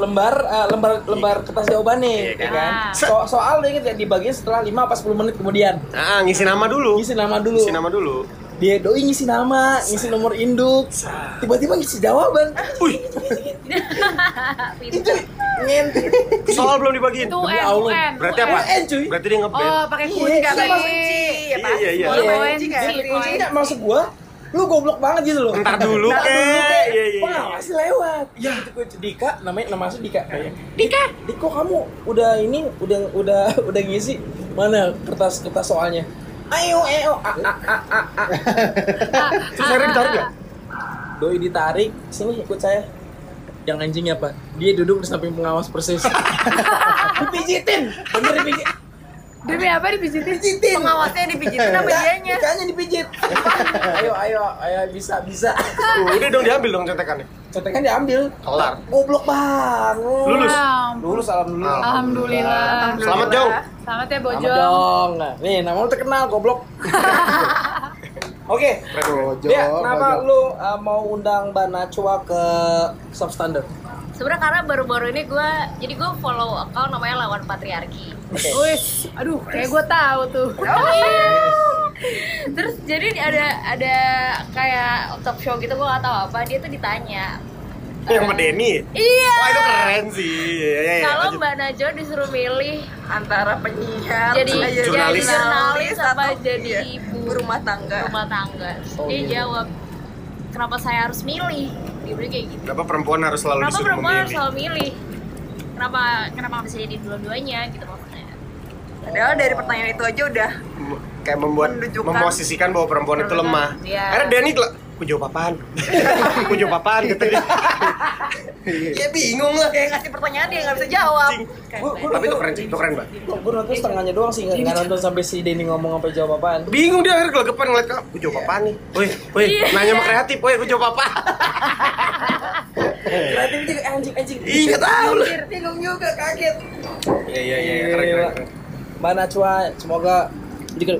S16: Lembar eh, lembar
S17: Iya.
S16: lembar kertas jawabannya, ya kan? So, soal dia inget ya dibagiin setelah 5 apa 10 menit kemudian.
S17: Ah, ngisi nama dulu.
S16: Ngisi nama dulu.
S17: Ngisi nama dulu.
S16: Dia doi ngisi nama, ngisi nomor induk. Tiba-tiba ngisi jawaban.
S17: Wih,
S18: Pinter.
S19: Iya,
S16: Ngentit.
S17: soal belum dibagiin.
S18: Itu
S17: Demi
S18: UN,
S17: Allah.
S18: UN,
S17: Berarti apa?
S16: UN, cuy.
S17: Berarti dia ngeband.
S18: Oh, pakai kunci
S16: Iya,
S18: kali.
S16: iya,
S18: Iya, pasti.
S17: iya, iya.
S18: Boleh
S16: Iya.
S18: bawain
S16: Kunci
S18: sih.
S16: Kunci nggak maksud gua. Lu goblok banget gitu loh.
S17: Ntar dulu,
S16: Ntar
S17: kek.
S16: dulu,
S17: Iya, iya, iya.
S16: Pengawas lewat. Ya, itu gue Dika namanya nama asli Dika kayaknya. Dika, Diko kamu udah ini udah udah udah ngisi mana kertas kertas soalnya? Ayo, ayo, Ah, a, a, a, a, a. ah.
S4: *laughs*
S17: Terus akhirnya ditarik nggak?
S16: Doi ditarik, sini ikut saya. Yang anjingnya apa? Dia duduk di samping pengawas persis. dipijitin, bener dipijit.
S18: Demi apa dipijitin?
S16: Pijitin.
S19: Pengawasnya dipijitin apa dianya?
S16: Ikannya
S19: *laughs*
S16: dipijit. ayo, ayo, ayo, bisa, bisa.
S17: Uh, udah dong diambil dong contekannya.
S16: Contekan diambil.
S17: Kelar.
S16: Goblok banget.
S17: Lulus.
S16: Lulus alhamdulillah.
S18: Ya Alhamdulillah.
S17: Selamat dong.
S18: Selamat ya
S16: Selamat
S18: Bojong.
S16: dong. Nah, Nih, nama lu terkenal
S18: *laughs*
S16: goblok. Oke.
S14: Bojong.
S16: Dea, kenapa
S14: Bojong.
S16: lu uh, mau undang Mbak Nachwa ke substandard?
S21: sebenarnya karena baru-baru ini gue jadi gue follow account namanya lawan patriarki
S18: Wis, aduh, kayak gue tahu tuh.
S21: terus jadi ada ada kayak talk show gitu gue gak tahu apa dia tuh ditanya
S17: Yang sama Denny.
S21: iya
S17: Wah, itu keren sih. Iya, iya, iya.
S21: kalau
S17: Lanjut.
S21: mbak Najwa disuruh milih
S19: Antara penyiar,
S21: jadi
S19: aja
S21: jadi
S17: Jurnalis.
S21: jurnalis apa
S19: atau
S21: jadi
S19: iya,
S21: ibu
S19: rumah tangga.
S21: rumah tangga Terus
S17: Oh,
S21: dia
S17: iya.
S21: jawab kenapa saya harus milih dia bilang kayak gitu
S17: Kenapa perempuan harus selalu
S21: kenapa
S17: disuruh
S21: perempuan harus
S17: memilih?
S21: selalu milih kenapa kenapa nggak bisa jadi dua-duanya gitu maksudnya
S19: Padahal dari pertanyaan itu aja udah
S17: M- Kayak membuat memposisikan bahwa perempuan itu lemah.
S21: Iya.
S17: Karena Denny kela- ku jawab apaan? *laughs* ku jawab apaan gitu. kata dia.
S16: Iya,
S17: Ya bingung lah
S19: kayak ngasih pertanyaan dia nggak bisa jawab.
S17: Tapi itu keren sih, itu keren banget.
S16: Gue nonton setengahnya doang sih, nggak nggak nonton sampai si Denny ngomong apa jawab apaan.
S17: Bingung dia akhirnya gelagapan ngeliat kamu. Ku jawab apaan nih? Woi, woi,
S16: Iya.
S17: nanya sama kreatif, woi ku jawab apa?
S16: *laughs* Kreatif juga anjing anjing.
S17: Ih, nggak tahu lah.
S16: Anjir, Bingung juga kaget.
S17: Iya, iya, iya, keren, keren, keren.
S16: Mbak Nachwa, semoga jadi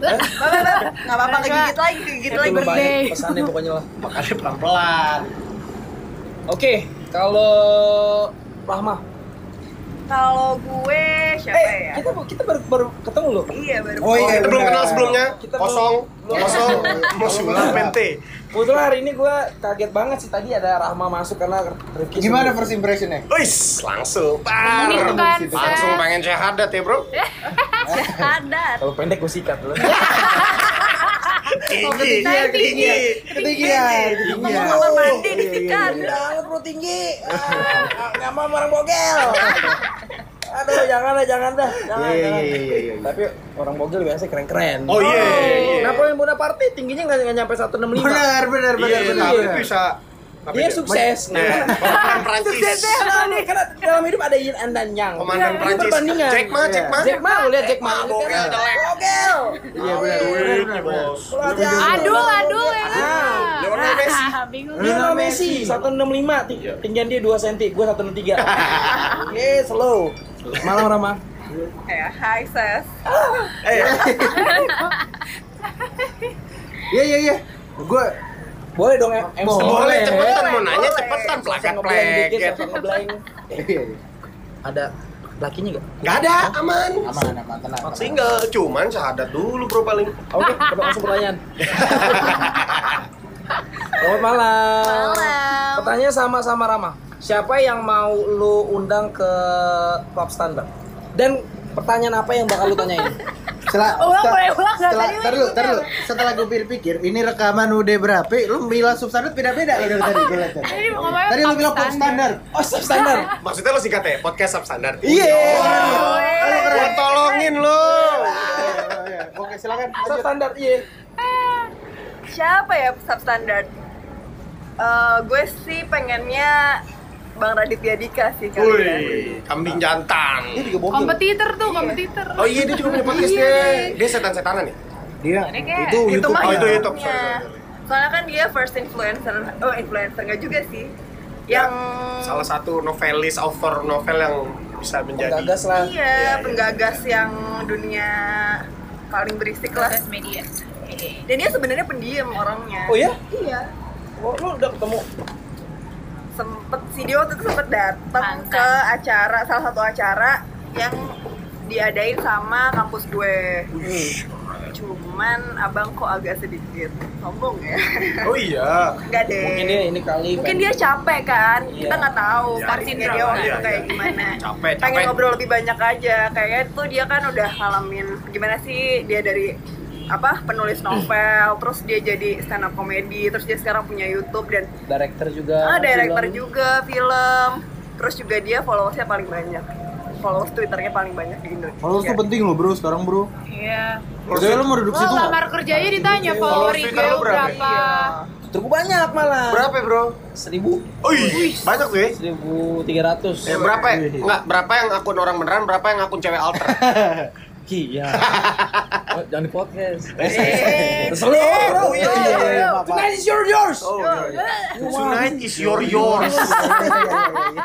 S19: Nggak apa-apa kegigit lagi, kegigit lagi.
S17: *laughs*
S16: Pesannya pokoknya lah.
S17: Makanya pelan-pelan.
S16: Oke, kalau Rahma. Eh,
S19: Kalau gue siapa ya?
S16: Kita kita baru, baru ketemu loh.
S19: Iya baru.
S17: Oh iya, kita belum kenal sebelumnya.
S16: Kita
S17: Kosong,
S16: belum- *laughs*
S17: kosong, mau
S16: Belum
S17: sulap,
S16: kenal.
S17: mente.
S16: Kebetulan hari ini gue kaget banget sih tadi ada Rahma masuk karena Rifki
S14: Gimana
S16: sebelum-
S14: first impressionnya?
S17: Wis, langsung. Par.
S19: Gitu
S16: Ini kan. bukan
S19: kan,
S17: Langsung
S16: set.
S17: pengen syahadat ya, Bro.
S19: Syahadat.
S16: Kalau pendek gue sikat
S14: *laughs*
S16: dulu.
S17: iya, Tinggi,
S14: Iya,
S19: Saya tinggi.
S17: tinggi. iya.
S16: Ketinggian.
S19: Mau
S14: Oh,
S19: kamar
S14: iya,
S19: mandi disikat.
S16: Jangan perlu tinggi. Ah, Nggak mau orang bogel. Aduh, jangan dah, jangan dah. Jangan,
S14: Iya,
S16: jangan.
S14: iya, iya, iya.
S16: Tapi orang bogel biasanya keren-keren.
S17: Oh, iya, iya, iya.
S16: Napoleon Bonaparte tingginya nggak nggak nyampe 165.
S14: Benar, benar, benar,
S16: Iya,
S14: benar,
S16: iya.
S14: benar.
S17: Bisa
S16: Dia sukses. Nah,
S17: Iya. Komandan Prancis.
S16: Suksesnya apa nih? Karena dalam hidup ada yin and dan yang.
S17: Komandan
S16: Ini
S17: Prancis.
S16: perbandingan. Iya.
S17: Jack Ma, Jack Ma. Ah,
S16: Jack Ma, lu lihat Jack Ma.
S17: Bogel, jelek.
S16: Bogel.
S14: Iya benar, benar, benar, benar.
S18: Aduh, aduh, ya.
S16: Lionel Messi.
S18: Ah, *laughs* Bingung.
S16: Lionel Messi 165, ti-
S17: Iya.
S16: tinggian dia 2 cm, gue 163.
S17: *laughs*
S16: Yes, slow. Malam Rama.
S19: Ya, hai ses.
S16: Ah.
S14: Iya, iya, iya. Gue
S16: boleh dong em- MC.
S17: Boleh, cepetan mau
S16: Boleh.
S17: nanya cepetan
S16: Bisa
S17: pelakak
S16: ngeblank
S17: plek.
S16: dikit, bisa ngeblank. Ada lakinya nggak?
S17: Gak ada, aman.
S14: Aman, aman, tenang. tenang.
S17: Single, cuman syahadat dulu bro paling.
S16: Oke, kita langsung
S17: *laughs*
S16: pertanyaan. Selamat malam.
S19: Malam.
S16: Pertanyaan sama sama Rama. Siapa yang mau lu undang ke klub standar? Dan pertanyaan apa yang bakal lu
S19: *laughs*
S16: tanyain?
S14: Setelah,
S19: Oh,
S18: Ulang,
S14: setelah-
S18: boleh ulang, nggak
S14: setelah,
S18: tadi
S14: ntar
S18: udah
S14: dulu, ntar dulu. Setelah gue pikir-pikir, ini rekaman udah berapa? Lu bilang substandard beda-beda lo dari tadi gue liat tadi.
S18: Tadi mau ngomongin
S14: Tadi lu bilang
S18: substandard.
S14: substandard.
S16: Oh, substandard.
S17: *laughs* Maksudnya lo singkat ya, podcast substandard.
S14: Iya.
S17: Gua tolongin lo.
S14: iya, Oke, silakan.
S16: Substandard, iya.
S19: Siapa ya substandard? Eh, gue sih pengennya Bang Raditya Dika sih kali ya.
S17: Wih, kambing jantan. Dia juga
S18: Kompetitor tuh, kompetitor.
S17: Oh iya, dia juga punya podcast
S18: Iya.
S17: dia. Dia setan-setanan ya?
S14: Dia
S18: Ini kayak-
S14: itu
S17: Itu
S14: YouTube.
S17: mah
S14: ya.
S17: itu YouTube.
S19: Iya. Soalnya kan dia first influencer, oh influencer nggak juga sih. Yang
S17: Salah satu novelis author novel yang bisa menjadi
S16: Penggagas lah.
S19: Iya, penggagas yang dunia paling berisik lah. media. Dan dia sebenarnya pendiam orangnya.
S16: Oh ya?
S19: Iya.
S16: Oh, lu udah ketemu?
S19: Sempet sih dia waktu itu sempet datang ke acara salah satu acara yang diadain sama kampus gue. Cuman abang kok agak sedikit sombong ya.
S17: Oh iya.
S19: Enggak deh.
S16: Mungkin dia ini kali.
S19: Mungkin dia capek kan, kita nggak tahu
S17: Iya.
S19: pastinya dia waktu itu
S17: Iya,
S19: kayak
S17: iya.
S19: gimana.
S17: Capek,
S19: Pengen
S17: capek.
S19: ngobrol lebih banyak aja, kayaknya tuh dia kan udah ngalamin gimana sih dia dari apa penulis novel, terus dia jadi stand up comedy, terus dia sekarang punya YouTube dan
S16: Director juga.
S19: ah director
S16: film.
S19: juga film, terus juga dia followersnya paling banyak, followers twitternya paling banyak di Indonesia.
S14: Followers tuh penting lo bro sekarang bro.
S18: Iya.
S14: Maksudnya lu mau duduk
S18: Lo
S14: situ nggak?
S18: lamar kerjanya ditanya
S14: Followers
S18: favorit
S14: Twitter
S18: gue
S14: lu berapa?
S18: berapa?
S16: Cukup banyak malah.
S17: Berapa ya, bro?
S16: Seribu.
S17: Ui, banyak tuh ya.
S16: 1300.
S17: Ya, berapa ya? Enggak, berapa yang akun orang beneran, berapa yang akun cewek *laughs* alter? *laughs*
S16: Iya. Oh, jangan di podcast.
S17: Eh.
S16: Terserah lu, bro.
S17: Oh, iya, iya, iya, maaf, maaf.
S16: Tonight is your yours.
S17: Oh, iya, iya. Tonight is your yours.
S18: Tonight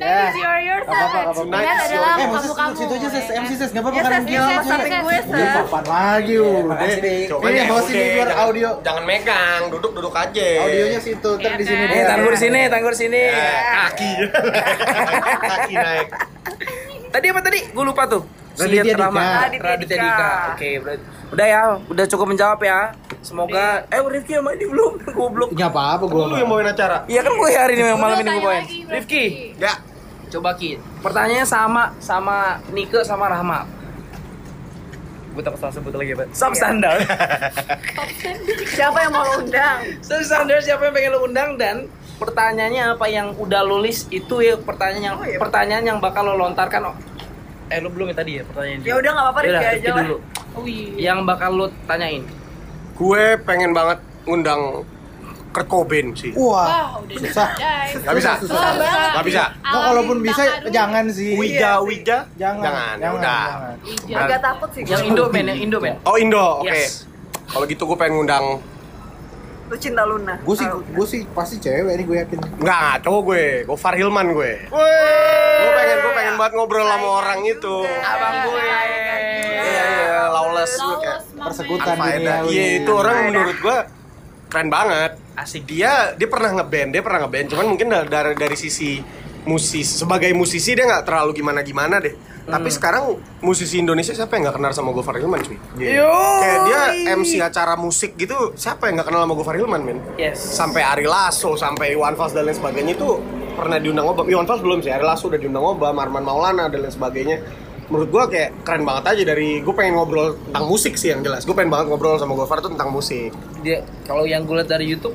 S18: is your yours.
S14: Gak apa-apa, gak apa-apa.
S18: Tonight adalah
S14: Eh,
S18: kamu
S14: Moses,
S18: kamu.
S14: duduk situ aja, Ses. MC, Ses. Gak apa-apa,
S19: Ya,
S14: kan
S19: Ses,
S14: mungkin
S19: ya,
S14: dia
S19: Ses, sampai gue,
S14: Udah,
S19: Ses.
S14: papan lagi, udah.
S16: makasih, Dik.
S17: Iya, Coba
S14: Ini
S17: deh,
S14: bawa sini
S17: udah,
S14: biar
S17: jangan-
S14: audio.
S17: Jangan megang, duduk-duduk aja.
S14: Audionya situ, ntar di sini.
S16: Eh,
S14: dulu.
S16: tanggur sini, tanggur sini.
S17: Kaki. Eh. Kaki naik.
S16: Tadi apa tadi? Gue lupa tuh.
S14: Raditya
S16: Siat
S14: Dika.
S16: Rama.
S19: Raditya
S16: Raditya
S19: Dika.
S16: Dika. Oke, berarti- udah ya, udah cukup menjawab ya. Semoga eh Rifki sama ini belum goblok.
S14: Nggak apa-apa, gue.
S17: Lu yang bawain acara.
S16: Iya kan gue hari ini yang malam ini
S18: Tanya
S16: gue bawain.
S18: lagi, Rifki.
S16: Rifki,
S17: Ya.
S16: coba Ki. Pertanyaannya sama sama Nike sama Rahma. Gue takut salah sebut lagi,
S19: Iya.
S16: Pak. Substandard.
S19: Siapa yang mau lo undang?
S16: Substandard siapa yang pengen lo undang dan pertanyaannya apa yang udah lo list itu ya pertanyaan
S19: Oh,
S16: yang
S19: iya.
S16: pertanyaan yang bakal lo lontarkan. Eh lo belum ya tadi ya pertanyaan.
S19: Ya udah nggak apa-apa
S16: Yaudah,
S19: Rifki aja
S16: Rifki
S19: lah.
S16: dulu.
S18: Oh iya.
S16: Yang bakal lo tanyain.
S17: Gue pengen banget ngundang Kurt Cobain sih.
S14: Wah,
S18: Wah, udah
S14: Susah.
S18: jadi.
S17: Gak bisa.
S14: Susah
S18: banget.
S17: Gak bisa.
S14: Nah, kalaupun bisa, jangan sih.
S17: Wija, Wija.
S14: Jangan,
S17: Jangan, ya
S14: jangan,
S17: udah.
S14: jangan.
S19: Agak takut sih.
S16: Yang Indo men, yang Indo men.
S17: Oh Indo, oke.
S16: Yes.
S17: Kalau gitu gue pengen ngundang
S19: Lu cinta Luna.
S14: Gue sih,
S19: Tahu.
S14: gue sih pasti cewek nih gue yakin.
S17: Enggak, enggak, cowok gue, Gofar Hilman gue.
S19: Eh.
S17: Gue pengen, gue pengen banget ngobrol sama orang itu.
S19: Abang gue.
S17: Iya, iya, lawless gue kayak
S18: Lolos, Mama.
S14: Persekutan
S17: unfaedah.
S14: dunia.
S17: Iya, itu orang Iya, menurut gue keren banget. Asik. Dia dia pernah ngeband, dia pernah ngeband. Cuman mungkin dari dari, dari sisi musisi sebagai musisi dia nggak terlalu gimana gimana deh. Tapi sekarang musisi Indonesia siapa yang nggak kenal sama Gofar Hilman cuy? Kayak dia MC acara musik gitu, siapa yang nggak kenal sama Gofar Hilman men?
S21: Yes.
S17: Sampai Ari Lasso, sampai Iwan Fals dan lain sebagainya itu pernah diundang Obam. Iwan Fals belum sih, Ari Lasso udah diundang Obam, Arman Maulana dan lain sebagainya. Menurut gua kayak keren banget aja dari gue pengen ngobrol tentang musik sih yang jelas. Gue pengen banget ngobrol sama Gofar tuh tentang musik.
S16: dia kalau yang gue lihat dari YouTube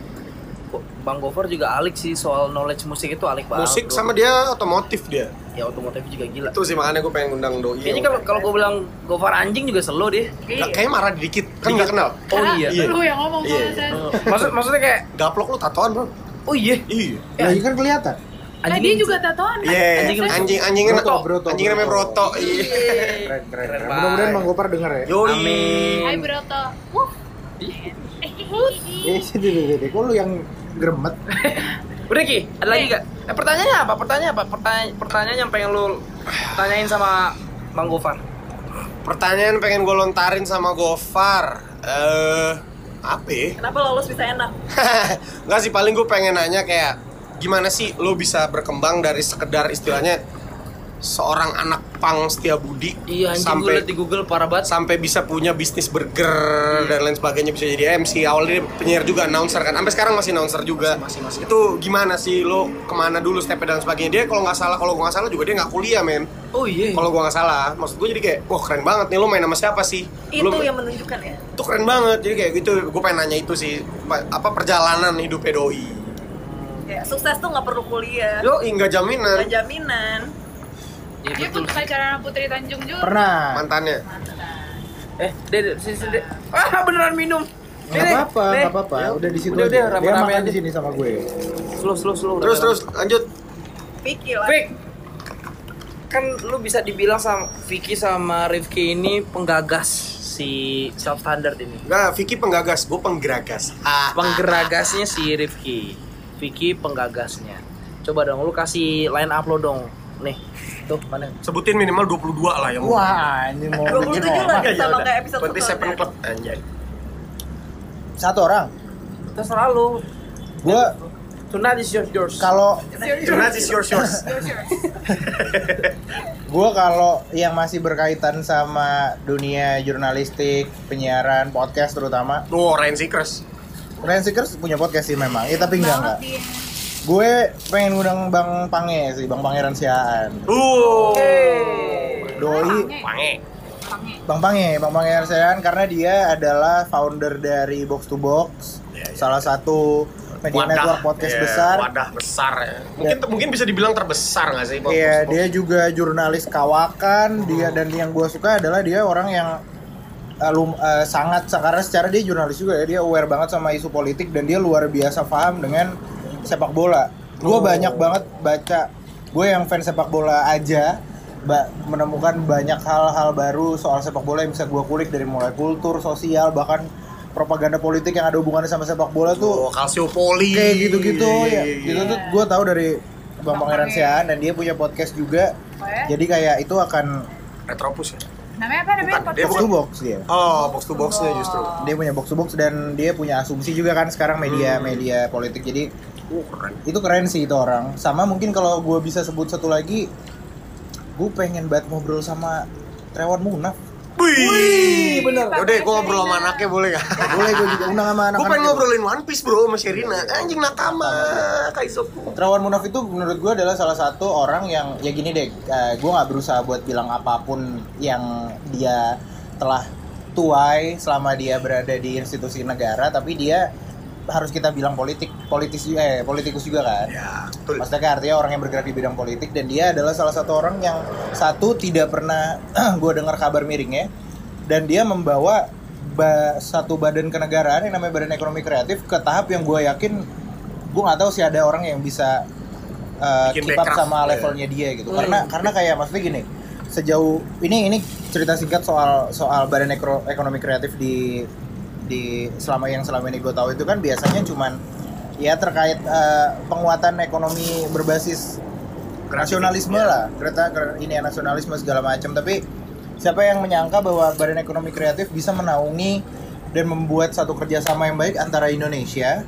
S16: Bang Gofar juga alik sih soal knowledge musik itu alik banget.
S17: musik
S16: bro.
S17: sama dia otomotif dia.
S16: ya otomotif juga gila.
S17: Itu sih makanya gue pengen ngundang doi.
S16: Kayaknya kalau kalau gue bilang Gofar anjing juga selo deh.
S19: Iya.
S17: Nggak, kayaknya marah dikit kan nggak kenal.
S16: Oh iya.
S18: Lu yang ngomong
S17: Iya.
S18: soalnya Sen.
S16: Maksud maksudnya kayak
S17: gaplok lu tatoan bro.
S16: Oh iya.
S17: Iya.
S14: Lagi kan kelihatan.
S18: Nah, dia juga tatoan. kan?
S17: Iya, anjing anjing anjing
S14: Broto, Broto,
S17: anjing namanya Broto. Iya.
S14: Keren, keren. keren. Mudah-mudahan Bang Gopar denger ya.
S17: Yoi.
S18: Hai Broto. Wuh.
S14: Eh, sih, deh, deh, kok lu yang gremet?
S16: Udah Ki, ada
S19: Iya.
S16: lagi gak? Eh, pertanyaannya apa? Pertanyaan apa? Pertanyaan pertanyaan yang pengen lu tanyain sama Bang Gofar.
S17: Pertanyaan pengen gue lontarin sama Gofar. Eh, apa ya?
S19: Kenapa lolos bisa enak?
S17: *laughs* Enggak sih paling gue pengen nanya kayak gimana sih lo bisa berkembang dari sekedar istilahnya seorang anak pang setia budi
S16: Iya, anjing gue liat di Google parah banget Iya.
S17: sampai bisa punya bisnis burger dan lain sebagainya bisa jadi MC awalnya dia penyiar juga announcer kan sampai sekarang masih announcer juga itu gimana sih lo kemana dulu stepnya dan sebagainya dia kalau nggak salah kalau gue nggak salah juga dia nggak kuliah men
S16: oh iya
S17: kalau gue nggak salah maksud gue jadi kayak wah keren banget nih lo main sama siapa sih
S19: Itu
S17: Lo-
S19: yang menunjukkan ya.
S17: itu keren banget jadi kayak gitu gue pengen nanya itu sih pa- apa perjalanan hidupnya doi
S19: Ya, sukses tuh nggak perlu kuliah.
S17: Yo, enggak jaminan.
S19: Nggak jaminan.
S14: Iya,
S19: Iya,
S18: Dia pun pacaran sama Putri Tanjung juga.
S17: mantannya
S16: Eh, Dede, sini sini. Dede. Ah, beneran minum.
S14: Gak apa-apa, gak apa-apa. Udah di situ.
S16: Ya, Udah,
S14: aja.
S16: udah,
S14: Dia
S16: rame-rame
S14: makan
S16: aja.
S14: di sini sama gue.
S16: Slow, slow, slow.
S17: Terus, terus, lanjut.
S19: Vicky lah.
S16: Vick. Kan lu bisa dibilang sama Vicky sama Rifki ini penggagas si self standard ini.
S17: Enggak, Vicky penggagas, gue penggeragas. ah.
S16: Penggeragasnya si Rifki. Vicky penggagasnya. Coba dong lu kasih line up lo dong. Nih. Tuh, mana?
S17: Sebutin minimal 22 lah yang
S14: Wah, ini mau bikin orang.
S17: Berarti saya penuh anjay.
S14: Satu orang.
S16: Terserah lu.
S14: Gue
S16: Tonight is yours, yours.
S14: Kalau
S17: Tonight is yours,
S14: *laughs*
S17: yours.
S14: gue kalau yang masih berkaitan sama dunia jurnalistik, penyiaran, podcast terutama.
S17: Oh, Ryan Seekers.
S14: Ryan Seekers punya podcast sih memang. Ya, tapi enggak enggak. Gue pengen ngundang Bang Pange sih, Bang Pangeran Siaan.
S17: Uh.
S14: Doi
S17: Pange.
S14: Bang Pange, Bang Pange Arsean karena dia adalah founder dari Box to Box,
S17: Iya,
S14: salah satu media network podcast
S17: ya,
S14: besar.
S17: Wadah besar ya. Mungkin mungkin bisa dibilang terbesar nggak sih? podcast
S14: Iya,
S17: box?
S14: dia juga jurnalis kawakan. Dia dan yang gue suka adalah dia orang yang uh, lum- uh, sangat karena secara dia jurnalis juga ya. Dia aware banget sama isu politik dan dia luar biasa paham dengan sepak bola.
S17: Oh.
S14: Gue banyak banget baca. Gue yang fans sepak bola aja ba- menemukan banyak hal-hal baru soal sepak bola yang bisa gue kulik dari mulai kultur, sosial, bahkan propaganda politik yang ada hubungannya sama sepak bola tuh
S17: Oh, Kalsiopoli.
S14: kayak gitu-gitu
S17: Iya,
S14: ya gitu tuh gue tahu dari bang pangeran Siaan dan dia punya podcast juga
S18: Oh ya?
S14: jadi kayak itu akan
S17: Retropus ya
S18: Namanya apa namanya?
S14: box to box dia
S17: oh box to boxnya justru
S14: dia punya box to box dan dia punya asumsi juga kan sekarang media
S17: Hmm.
S14: media politik jadi
S17: Oh,
S14: itu keren sih itu orang sama mungkin kalau gue bisa sebut satu lagi gue pengen banget ngobrol sama Trevor Munaf
S17: Wih, bener. Yaudah, gue ngobrol sama anaknya boleh gak?
S14: Boleh, gue
S17: *laughs*
S14: juga undang sama anak-anak
S17: Gue pengen
S14: juga.
S17: ngobrolin One Piece bro sama Sherina. Anjing nakama, Kaizoku.
S14: Terawan Munaf itu menurut gue adalah salah satu orang yang ya gini deh, gue nggak berusaha buat bilang apapun yang dia telah tuai selama dia berada di institusi negara, tapi dia harus kita bilang politik, politis juga, eh, politikus juga kan. Maksudnya kan artinya orang yang bergerak di bidang politik dan dia adalah salah satu orang yang satu tidak pernah *clears throat* gue dengar kabar miringnya dan dia membawa ba- satu badan kenegaraan yang namanya Badan Ekonomi Kreatif ke tahap yang gue yakin gue nggak tahu sih ada orang yang bisa uh,
S17: Bikin
S14: keep up
S17: backcraft,
S14: sama
S17: ya.
S14: levelnya dia gitu
S17: Hmm.
S14: karena karena kayak maksudnya gini sejauh ini ini cerita singkat soal soal Badan Ekro- Ekonomi Kreatif di di selama yang selama ini gue tahu itu kan biasanya cuman ya terkait eh, penguatan ekonomi berbasis nasionalisme lah kereta kere- ini ya, nasionalisme segala macam tapi siapa yang menyangka bahwa badan ekonomi kreatif bisa menaungi dan membuat satu kerjasama yang baik antara Indonesia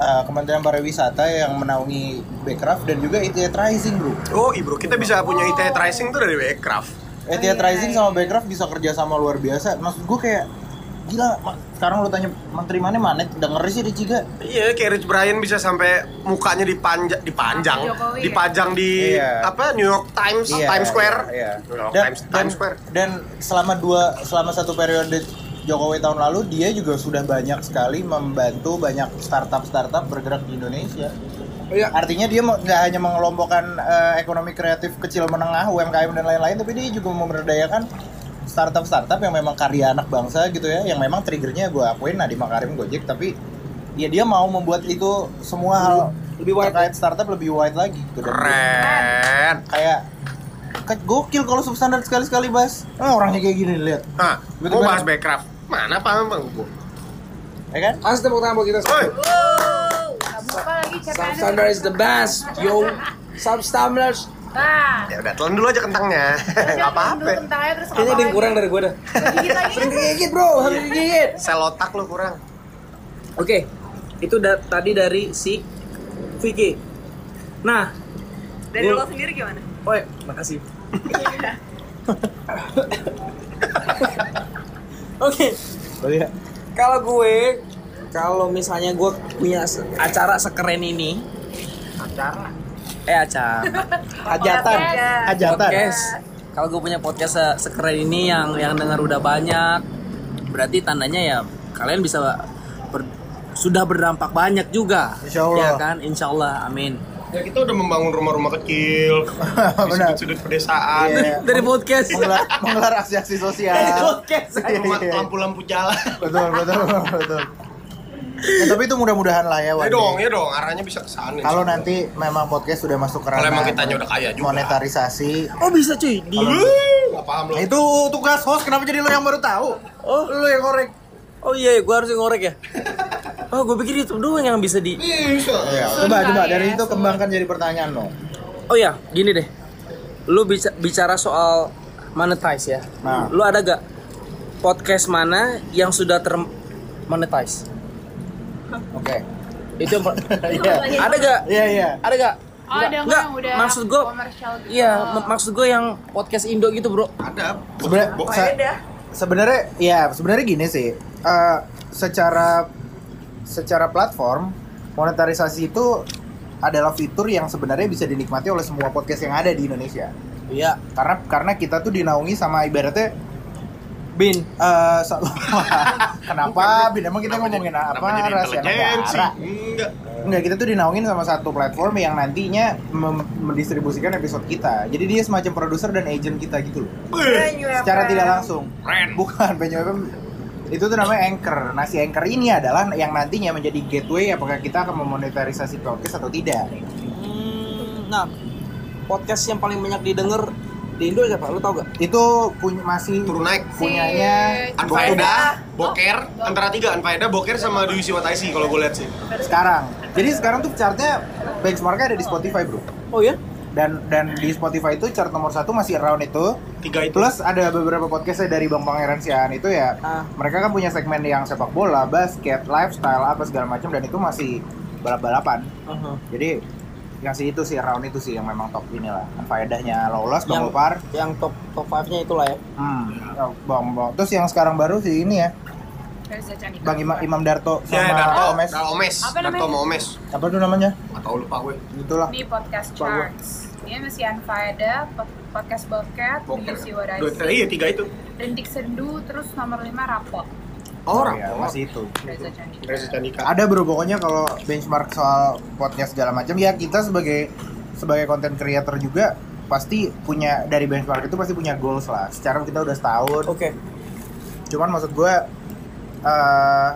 S14: eh, Kementerian Pariwisata yang menaungi Backcraft dan juga ITE Rising bro.
S17: Oh, iya bro, kita bisa punya ITE Rising tuh dari Backcraft.
S14: ETH Rising sama Backcraft bisa kerjasama luar biasa. Maksud gue kayak gila. ma- Sekarang lu tanya menteri mana mana denger sih Ricci gak?
S17: Iya, kayak Rich Brian bisa sampai mukanya dipanja, dipanjang,
S14: Jokowi ya?
S17: dipajang di
S14: Iya.
S17: apa New York Times,
S14: Iya,
S17: Times Square.
S14: iya.
S17: New York
S14: Dan,
S17: Times,
S14: dan,
S17: Times Square.
S14: dan selama dua selama satu periode Jokowi tahun lalu dia juga sudah banyak sekali membantu banyak startup startup bergerak di Indonesia.
S17: Iya.
S14: Artinya dia me- nggak hanya mengelompokkan eh, ekonomi kreatif kecil menengah UMKM dan lain-lain, tapi dia juga memberdayakan startup-startup yang memang karya anak bangsa gitu ya, yang memang triggernya gue akuin Nadiem Makarim Gojek, tapi ya dia mau membuat itu semua hal lebih wide terkait startup lebih wide lagi gitu. Dan
S17: Keren.
S14: Kayak ke- gokil kalau substandard sekali-sekali bas. Ah, orangnya kayak gini lihat.
S17: Hah, mau Ah, bahas Backcraft. Mana paham bang gue?
S14: Ya kan?
S16: Harus tepuk tangan buat kita semua.
S18: Buka lagi
S16: Sub
S18: catatannya.
S16: standard is the best, yo. Sub standard.
S18: Nah,
S17: Ya udah telan dulu aja kentangnya. *laughs* Enggak apa-apa.
S18: tentang aja ya, terus
S16: ya? Kayaknya ada yang kurang dari gue dah. Sering kegigit bro, harus digigit.
S17: Sel otak lu kurang.
S16: Oke, itu da- tadi dari si Vicky. Nah,
S19: Dari
S16: gua-
S19: lo sendiri gimana?
S16: Oh ya,
S17: *laughs*
S16: makasih. Oke. Kalau gue, kalau misalnya gue punya se- acara sekeren ini, acara, eh acara, hajatan,
S19: Podcast.
S14: Hajatan.
S16: Podcast. Kalau gue punya podcast se- sekeren ini yang yang dengar udah banyak, berarti tandanya ya kalian bisa ber- sudah berdampak banyak juga. Insya
S17: Allah.
S16: Ya kan, Insya Allah, amin.
S17: Ya kita udah membangun rumah-rumah kecil
S14: *laughs*
S17: di sudut-sudut pedesaan. Iya
S14: Iya.
S16: Dari podcast.
S14: Menggelar, menggelar aksi-aksi sosial.
S16: Eh,
S17: Dari podcast. Rumah
S14: Iya.
S17: lampu-lampu jalan.
S14: betul, betul, betul. Ya, tapi itu mudah-mudahan lah ya.
S17: Ya
S14: Wan.
S17: dong, ya dong, arahnya bisa ke sana.
S14: Kalau nanti memang podcast sudah masuk ke
S17: Kalau
S14: ranah
S17: emang kitanya udah kaya juga.
S14: monetarisasi. Nah,
S16: Oh bisa cuy. Di...
S17: Gak paham lo.
S14: Itu tugas host kenapa jadi lo yang baru tahu?
S16: Oh,
S14: lo yang korek.
S16: Oh iya, gue harus ngorek
S14: *laughs*
S16: ya. Oh, gue pikir itu doang yang bisa di.
S14: Iya,
S17: Ya,
S14: coba coba dari itu kembangkan jadi pertanyaan lo.
S16: Oh ya, gini deh. Lu bisa bicara soal monetize ya.
S14: Nah.
S16: Lu ada gak podcast mana yang sudah ter monetize?
S14: Oke.
S16: Itu yang per-
S14: Iya.
S16: Ada gak?
S14: Iya, iya.
S16: Ada gak?
S18: Oh, ada yang
S16: Nggak,
S18: orang udah
S16: maksud gue
S18: komersial gitu.
S16: Iya, ma- maksud gue yang podcast Indo gitu, Bro.
S17: Ada.
S14: Sebenarnya se- sebenarnya ya sebenarnya gini sih. Eh, secara secara platform monetarisasi itu adalah fitur yang sebenarnya bisa dinikmati oleh semua podcast yang ada di Indonesia.
S16: Iya.
S14: Karena karena kita tuh dinaungi sama ibaratnya bin *laughs* kenapa bin emang kita ngomongin apa rahasia negara
S17: Enggak.
S14: Enggak, kita tuh dinaungin sama satu platform yang nantinya mem- mendistribusikan episode kita. Jadi dia semacam produser dan agent kita gitu loh. Secara tidak langsung. Bukan Benyo FM. Itu tuh namanya anchor. Nah, si anchor ini adalah yang nantinya menjadi gateway apakah kita akan memonetarisasi podcast atau tidak.
S16: Nah, podcast yang paling banyak didengar di Indo siapa? Lu tau gak?
S14: Itu punya masih
S17: turun naik
S14: punyanya
S18: Oh,
S17: Anfaeda, Boker, antara tiga Anfaeda, Kan Boker sama Dwi Siwataisi kalau gue lihat sih.
S14: sekarang. Jadi sekarang tuh chartnya benchmarknya ada di Spotify, Bro.
S16: Oh ya?
S14: Dan dan di Spotify itu chart nomor satu masih around itu.
S17: Tiga itu.
S14: Plus ada beberapa podcastnya dari Bang Pangeran Sian itu ya.
S16: Ah.
S14: Mereka kan punya segmen yang sepak bola, basket, lifestyle, apa segala macam dan itu masih balap-balapan.
S16: Uh-huh.
S14: Jadi yang si itu sih round itu sih yang memang top inilah. Faedahnya lolos Bang
S16: Yang-
S14: Gopar.
S16: Yang top top 5-nya itulah ya.
S14: Hmm. Bang, bang. Terus yang sekarang baru sih ini ya, Bang Imam, Imam Darto sama
S17: Ya, Darto,
S14: Omes.
S17: Darto Omes,
S18: Apa namanya?
S17: Darto sama Omes.
S14: Apa tuh namanya?
S17: Atau lupa gue.
S14: Itulah.
S18: Di podcast
S17: Lupa gue.
S18: charts. Ini masih Anfaeda, pod- podcast Bobcat,
S17: Boker.
S18: Dwi
S17: Dua,
S18: Siwadaisi,
S17: iya tiga itu.
S18: Rintik Sendu, terus nomor 5 Rapot.
S17: Orang.
S14: ya, masih itu.
S18: Reza Candika.
S17: Oh, Reza Candika.
S14: Ada bro pokoknya kalau benchmark soal podcast segala macam ya kita sebagai sebagai content creator juga pasti punya dari benchmark itu pasti punya goals lah. Secara kita udah setahun.
S16: Oke.
S14: Cuman maksud gue eh,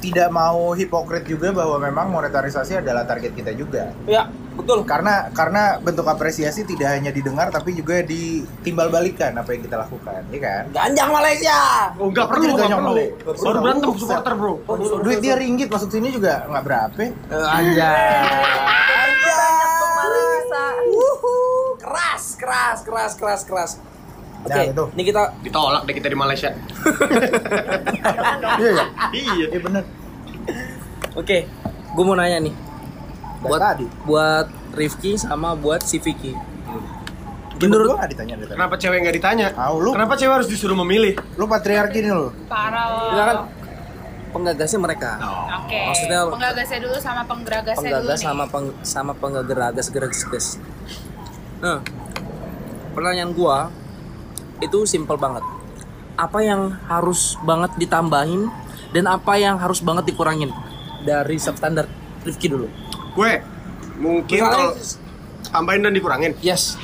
S14: tidak mau hipokrit juga bahwa memang monetarisasi adalah target kita juga.
S16: Ya, betul.
S14: Karena karena bentuk apresiasi tidak hanya didengar tapi juga ditimbal balikan apa yang kita lakukan, ya kan?
S16: Ganjang Malaysia.
S17: Oh, nggak perlu, nggak perlu. Baru berantem supporter, bro.
S14: Duit dia ringgit masuk sini juga
S16: Eh,
S14: nggak berapa.
S16: Anjay. Keras, keras, keras, keras, keras. Oke, ini kita
S17: Nah, gitu. ditolak deh kita di Malaysia.
S16: Iya ya? Iya. bener. Oke, gue mau nanya nih. Buat buat Rifki sama buat si Vicky.
S17: Hmm.
S16: Menurut
S14: gua ditanya dari
S17: Kenapa cewek nggak ditanya?
S14: lu.
S17: Kenapa cewek harus disuruh memilih?
S14: Lu patriarki nih lu.
S18: Parah lo.
S16: Enggak kan penggagasnya mereka.
S17: Oh.
S18: Oke.
S16: Maksudnya
S18: penggagasnya dulu sama penggeragasnya dulu
S16: penggagas
S18: nih.
S16: sama peng, sama penggeragas geragas gas. Nah, pertanyaan gua itu simple banget. Apa yang harus banget ditambahin dan apa yang harus banget dikurangin dari substandard Rifki dulu.
S17: Gue mungkin
S16: Misalnya-
S17: kalau tambahin dan dikurangin.
S16: Yes.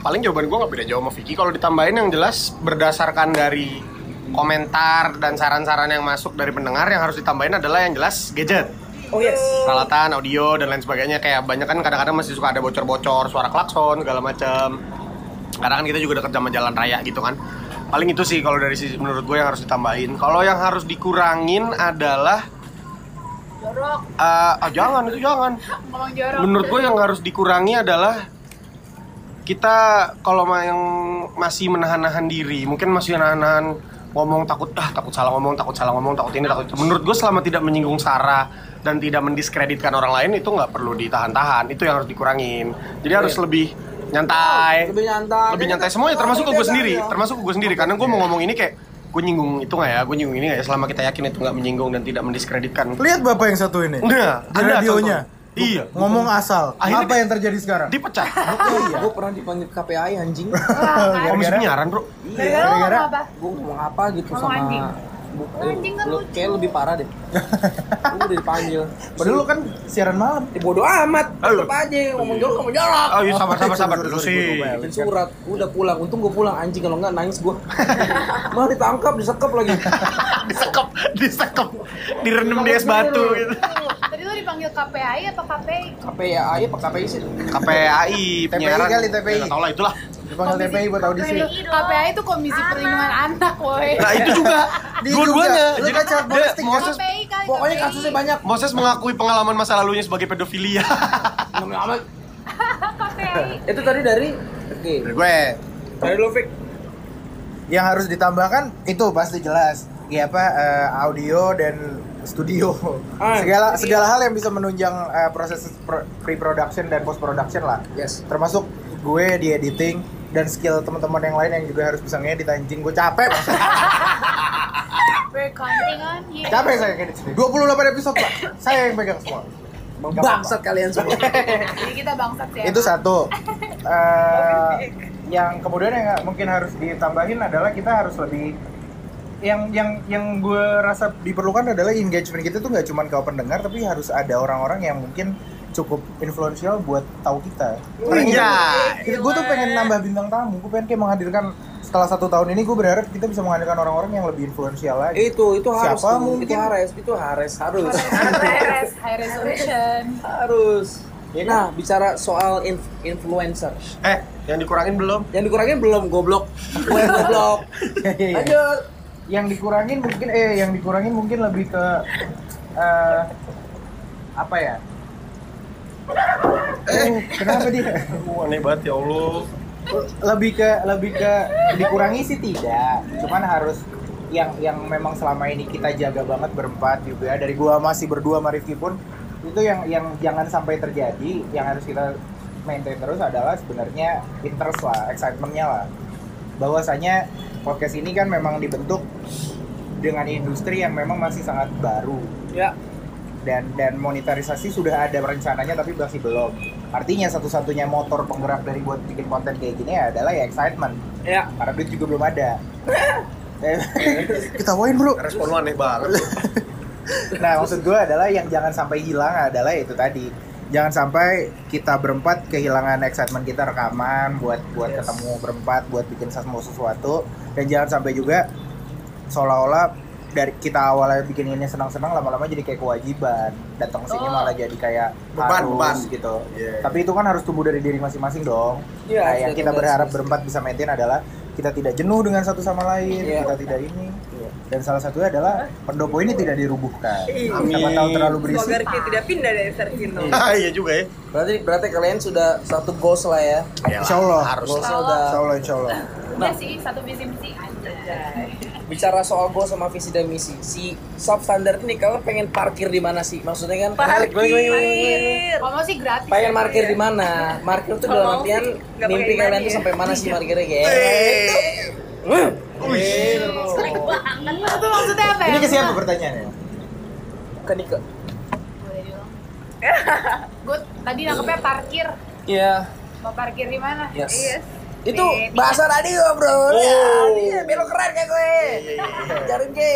S17: Paling jawaban gue nggak beda jauh sama Vicky. Kalau ditambahin yang jelas berdasarkan dari komentar dan saran-saran yang masuk dari pendengar yang harus ditambahin adalah yang jelas gadget.
S16: Oh yes.
S17: Peralatan, audio dan lain sebagainya kayak banyak kan kadang-kadang masih suka ada bocor-bocor, suara klakson segala macam. Kadang kan kita juga dekat sama jalan raya gitu kan. Paling itu sih kalau dari sisi menurut gue yang harus ditambahin. Kalau yang harus dikurangin adalah
S18: Jorok.
S17: eh, ah, jangan itu jangan.
S18: Ngomong jorok.
S17: Menurut gue yang harus dikurangi adalah kita kalau ma- yang masih menahan-nahan diri, mungkin masih nahan-nahan ngomong takut ah takut salah ngomong, takut salah ngomong, takut ini takut. itu." Menurut gue selama tidak menyinggung Sarah dan tidak mendiskreditkan orang lain itu nggak perlu ditahan-tahan. Itu yang harus dikurangin. Jadi harus lebih nyantai.
S16: Lebih nyantai.
S17: Lebih nyantai semuanya termasuk ke gue sendiri, termasuk ke gue sendiri karena gue mau ngomong ini kayak gue nyinggung itu nggak ya, gue nyinggung ini nggak ya selama kita yakin itu nggak menyinggung dan tidak mendiskreditkan.
S14: Lihat bapak yang satu ini.
S17: Nah,
S14: Di
S17: ada
S14: radionya.
S17: contoh. Iya.
S14: Ngomong asal.
S17: Akhirnya
S14: apa
S17: di-
S14: yang terjadi sekarang?
S17: Dipecah.
S16: Gue pernah dipanggil KPI anjing. Oh,
S17: Komisi penyiaran, Bro.
S16: Iya,
S18: Gara-gara lo
S16: gara-gara
S18: ngomong apa?
S16: gue ngomong apa gitu
S18: Ngomong
S16: sama
S18: anjing.
S16: Bu-
S18: Lo anjing kan
S16: lu
S18: lucu.
S16: kayak lebih parah
S18: *laughs*
S16: deh. Gue udah dipanggil.
S14: Padahal lu kan siaran malam.
S16: Eh, bodo amat.
S14: Ayo.
S16: Tetep aja ngomong jorok ngomong jorok.
S14: Ayo, Oh, iya, sabar, sabar, sabar dulu
S16: Sorry,
S14: sih.
S16: sorry, gua Bikin surat. Gua udah pulang. Untung gue pulang anjing kalau enggak nangis
S14: *laughs*
S16: gue. Malah ditangkap, disekap lagi.
S17: disekap, disekap, direndam di es batu gitu.
S18: Tadi lo dipanggil KPI apa KPI?
S16: KPI apa KPI sih? *laughs*
S17: KPI penyiaran. Ya,
S14: kali, TPI.
S17: Nggak tahu lah itulah.
S14: Dipanggil TPI buat audisi.
S18: KPI itu Komisi Perlindungan Anak, woi.
S17: Nah itu juga.
S14: Dia
S17: Dua-duanya.
S14: juga. Lu
S17: Jadi
S14: kan cara
S17: dia-
S14: domestik, kan?
S17: Moses,
S18: KPI kali.
S16: Pokoknya
S18: KPI.
S16: kasusnya banyak.
S17: Moses mengakui pengalaman masa lalunya sebagai
S16: *laughs*
S17: pedofilia.
S18: *laughs*
S16: Amat.
S18: KPI.
S16: Itu tadi dari Oke.
S14: Gue.
S16: Dari lu Fik.
S14: Yang harus ditambahkan itu pasti jelas. Ya apa eh, audio dan studio.
S16: Ah,
S14: segala
S16: studio.
S14: segala hal yang bisa menunjang eh, proses pro- pre-production dan post-production lah.
S16: Yes.
S14: Termasuk gue di editing dan skill teman-teman yang lain yang juga harus bisa ngedit anjing gue capek
S16: *laughs*
S14: Mas.
S18: We're counting on you.
S14: capek saya ngedit sendiri. 28 episode Pak. saya yang pegang semua
S16: Bangsat kalian semua.
S14: *laughs*
S18: Jadi kita bangsat ya.
S14: itu satu Eh, yang kemudian yang mungkin harus ditambahin adalah kita harus lebih yang yang yang gue rasa diperlukan adalah engagement kita tuh nggak cuma ke pendengar tapi harus ada orang-orang yang mungkin cukup influential buat tahu kita.
S17: Iya.
S14: Gue tuh pengen nambah bintang tamu. Gue pengen kayak menghadirkan setelah satu tahun ini gue berharap kita bisa menghadirkan orang-orang yang lebih influential lagi.
S16: Itu itu harus
S14: Siapa
S16: tuh.
S14: mungkin?
S16: itu harus itu harus harus
S18: High res- high resolution.
S16: harus. Nah, bicara soal inf- influencer.
S17: Iya kan? Eh, yang dikurangin belum?
S16: Yang dikurangin belum goblok. Gue goblok. Iya,
S17: Iya.
S16: Lanjut.
S14: yang dikurangin mungkin eh yang dikurangin mungkin lebih ke eh, apa ya eh kenapa dia
S17: aneh banget ya Allah.
S14: lebih ke lebih ke dikurangi sih tidak cuman harus yang yang memang selama ini kita jaga banget berempat juga ya. dari gua masih berdua sama Rifki pun itu yang yang jangan sampai terjadi yang harus kita maintain terus adalah sebenarnya interest lah excitementnya lah bahwasanya podcast ini kan memang dibentuk dengan industri yang memang masih sangat baru
S16: Ya.
S14: dan dan monetarisasi sudah ada rencananya tapi masih belum. Artinya satu-satunya motor penggerak dari buat bikin konten kayak gini adalah ya excitement.
S16: Ya.
S14: Karena duit juga belum ada. *laughs* Ketawain bro.
S17: Respon lu aneh
S16: *laughs*
S17: banget.
S14: Nah maksud gue adalah yang jangan sampai hilang adalah itu tadi. Jangan sampai kita berempat kehilangan excitement kita rekaman buat buat
S16: Yes.
S14: ketemu berempat buat bikin sesuatu sesuatu dan jangan sampai juga seolah-olah dari kita awalnya bikin ini senang-senang lama-lama jadi kayak kewajiban datang ke
S16: Oh.
S14: sini malah jadi kayak
S16: Beban,
S14: harus
S16: beban.
S14: gitu
S17: Iya.
S14: tapi itu kan harus tumbuh dari diri masing-masing dong
S16: Iya,
S14: Nah,
S16: harus
S14: yang
S16: dari
S14: kita
S16: diri
S14: berharap
S16: masing-masing.
S14: berempat bisa maintain adalah kita tidak jenuh dengan satu sama lain
S16: Iya.
S14: kita tidak ini dan salah satunya adalah pendopo ini tidak dirubuhkan
S16: Iya.
S14: siapa tahu terlalu
S19: Semoga
S14: berisik
S19: Rifki tidak pindah dari Sarjino.
S17: iya juga ya. Iya,
S16: Berarti berarti kalian sudah satu goals lah ya.
S14: Insya Allah
S16: Goalsnya udah Nah.
S14: Insya Allah Insya Allah
S18: Udah Iya sih, satu visi misi aja.
S16: bicara soal goal sama visi dan misi si substandard ini kalian pengen parkir di mana sih maksudnya kan
S18: Parkir.
S16: Gimana, gimana, gimana, gimana?
S18: Kalau sih gratis.
S16: pengen
S18: ya,
S16: parkir
S18: Bang,
S16: di
S18: ya.
S16: mana parkir tuh
S18: Kalau
S16: dalam
S18: mau
S16: artian
S18: sih, nggak
S16: mimpi
S18: pakai
S16: kalian
S18: berani
S16: tuh
S18: ya.
S16: sampai mana sih parkirnya ya
S18: Eh.
S16: Wih.
S18: Serik banget. Itu maksudnya apa ya?
S14: Ini ke siapa pertanyaannya?
S16: Ke Nike.
S18: Gue tadi nangkepnya parkir.
S16: Iya.
S18: Mau parkir di mana? Iya.
S16: Yes.
S18: Yes.
S16: Itu
S18: Di-
S16: bahasa tadi gue bro.
S18: Oh.
S16: Ya, ini belok keren kayak gue. Jarin Ki.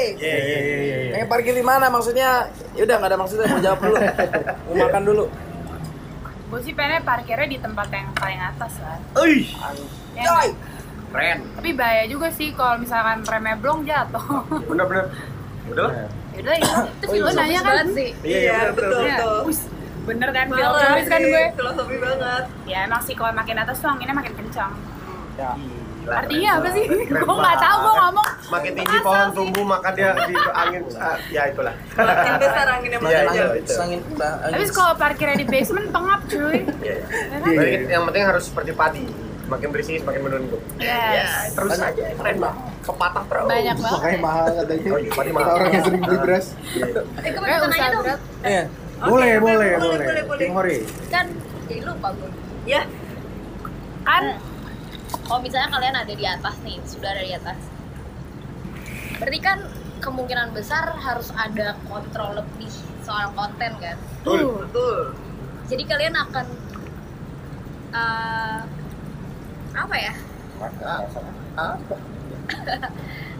S16: Pengen parkir di mana maksudnya? Ya udah nggak ada maksudnya mau jawab dulu. mau makan dulu.
S18: Gue sih pengennya parkirnya di tempat yang paling atas lah.
S16: Oi.
S18: Ya nggak?
S17: Keren.
S18: Tapi bahaya juga sih kalau misalkan remnya blong jatuh.
S17: *laughs* Bener-bener. Udah lah.
S18: Yaudah itu, itu
S17: Oh,
S18: sih
S17: iya,
S18: lo nanya
S17: filosofis
S18: kan
S17: banget sih. Iya,
S18: Iya,
S17: iya, betul,
S18: Iya.
S17: betul.
S18: Wis, Bener kan,
S19: Parah
S18: filosofis kan
S19: sih,
S18: gue
S19: filosofi banget.
S18: Ya emang sih kalau makin atas tuh anginnya makin kencang
S16: Ya.
S18: Artinya apa sih? *laughs*
S17: Keren
S18: Gue ya, nggak tahu, gue
S17: banget.
S18: ngomong
S17: Makin tinggi pohon tumbuh maka dia
S18: *laughs*
S17: di angin ah, ya itulah.
S18: Makin besar anginnya,
S17: Iya,
S18: makin
S17: iya,
S18: jauh.
S17: itu.
S16: Angin
S18: Habis Iya, kalau parkirnya di basement pengap cuy
S17: Iya, Berarti yang penting harus seperti padi. Makin berisi semakin menunduk.
S18: Yes
S17: Terus aja keren banget. Kepatah bro.
S18: Iya.
S17: Oh, iya,
S18: Banyak banget.
S14: Makanya mahal katanya.
S17: padi
S14: Kita
S17: mahal. Iya.
S14: orang yang sering beli beras.
S18: Itu
S21: Eh,
S18: kan nanya dong
S16: Iya.
S14: Boleh, boleh,
S18: boleh,
S14: boleh.
S18: boleh, boleh.
S14: King Hori.
S21: Kan jadi lupa gue.
S18: Ya Kan
S21: Kalau misalnya kalian ada di atas nih, sudah ada di atas. Berarti kan kemungkinan besar harus ada kontrol lebih soal konten kan?
S18: Betul Betul
S21: Jadi kalian akan eh, apa ya?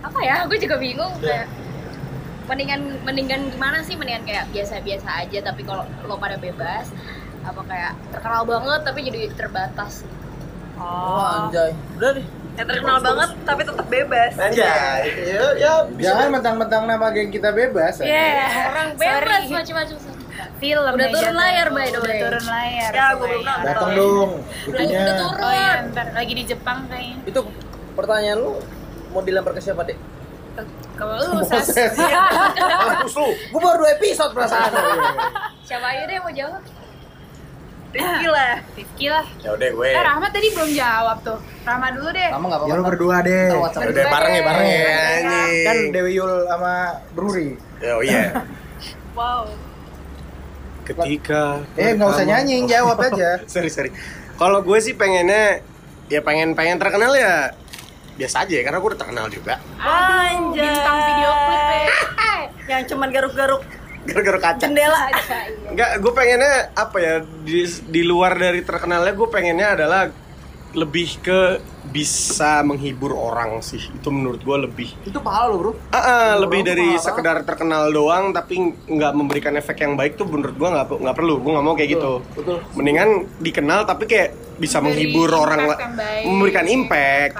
S21: apa ya gue juga bingung kayak mendingan mendingan gimana sih mendingan kayak biasa-biasa aja tapi kalau lo pada bebas apa kayak terkenal banget tapi jadi terbatas gitu.
S16: Oh, anjay. Udah deh.
S19: Yang terkenal banget tapi tetap bebas.
S14: Anjay.
S19: Iya.
S14: Jangan mentang-mentang nama geng kita bebas.
S21: Iya, orang bebas macam-macam
S18: Film
S21: udah
S18: ya,
S21: turun
S18: jatuh.
S21: layar by the
S18: Udah
S21: way
S18: turun layar
S21: Ya,
S18: gue belum
S14: Datang dong. Itunya.
S16: Udah turun.
S18: Oh iya, ntar lagi di Jepang kayaknya
S16: Itu pertanyaan lu mau dilempar ke siapa, Dek?
S18: Kalau lu,
S16: *laughs*
S18: Sas
S16: Proses. Mampus lu. Gua baru dua episode perasaan.
S21: siapa aja deh yang mau jawab
S18: Rifki lah Rifki lah
S17: Ya udah gue.
S18: Eh Rahmat tadi belum jawab tuh Rahmat dulu deh
S14: Ya lu berdua deh.
S17: Ya udah bareng ya bareng ya. anjing.
S14: Kan Dewi Yul sama Bruri.
S17: Oh iya.
S18: Wow
S17: Ketika
S14: Eh, nggak usah
S17: pertama- Oh,
S14: nyanyi, jawab aja.
S17: *laughs* sorry sorry. Kalau gue sih pengennya ya pengen pengen terkenal ya biasa aja ya, karena gue udah terkenal juga. *laughs*
S18: Aduh, bintang video klip ya.
S19: *laughs* Yang cuman garuk-garuk
S17: Gara-gara kaca.
S19: jendela.
S17: Enggak, gue pengennya apa ya di, di luar dari terkenalnya gue pengennya adalah lebih ke bisa menghibur orang sih itu menurut gue lebih
S16: Itu pahala lo, Bro.
S17: Ah, ah, lebih
S16: Orang tuh
S17: dari
S16: mahal
S17: sekedar terkenal doang tapi nggak memberikan efek yang baik tuh menurut gue nggak nggak perlu gue nggak mau kayak gitu
S16: Betul.
S17: mendingan dikenal tapi kayak bisa
S16: Memberi
S17: menghibur
S16: impact
S17: orang la-
S16: yang baik.
S17: memberikan impact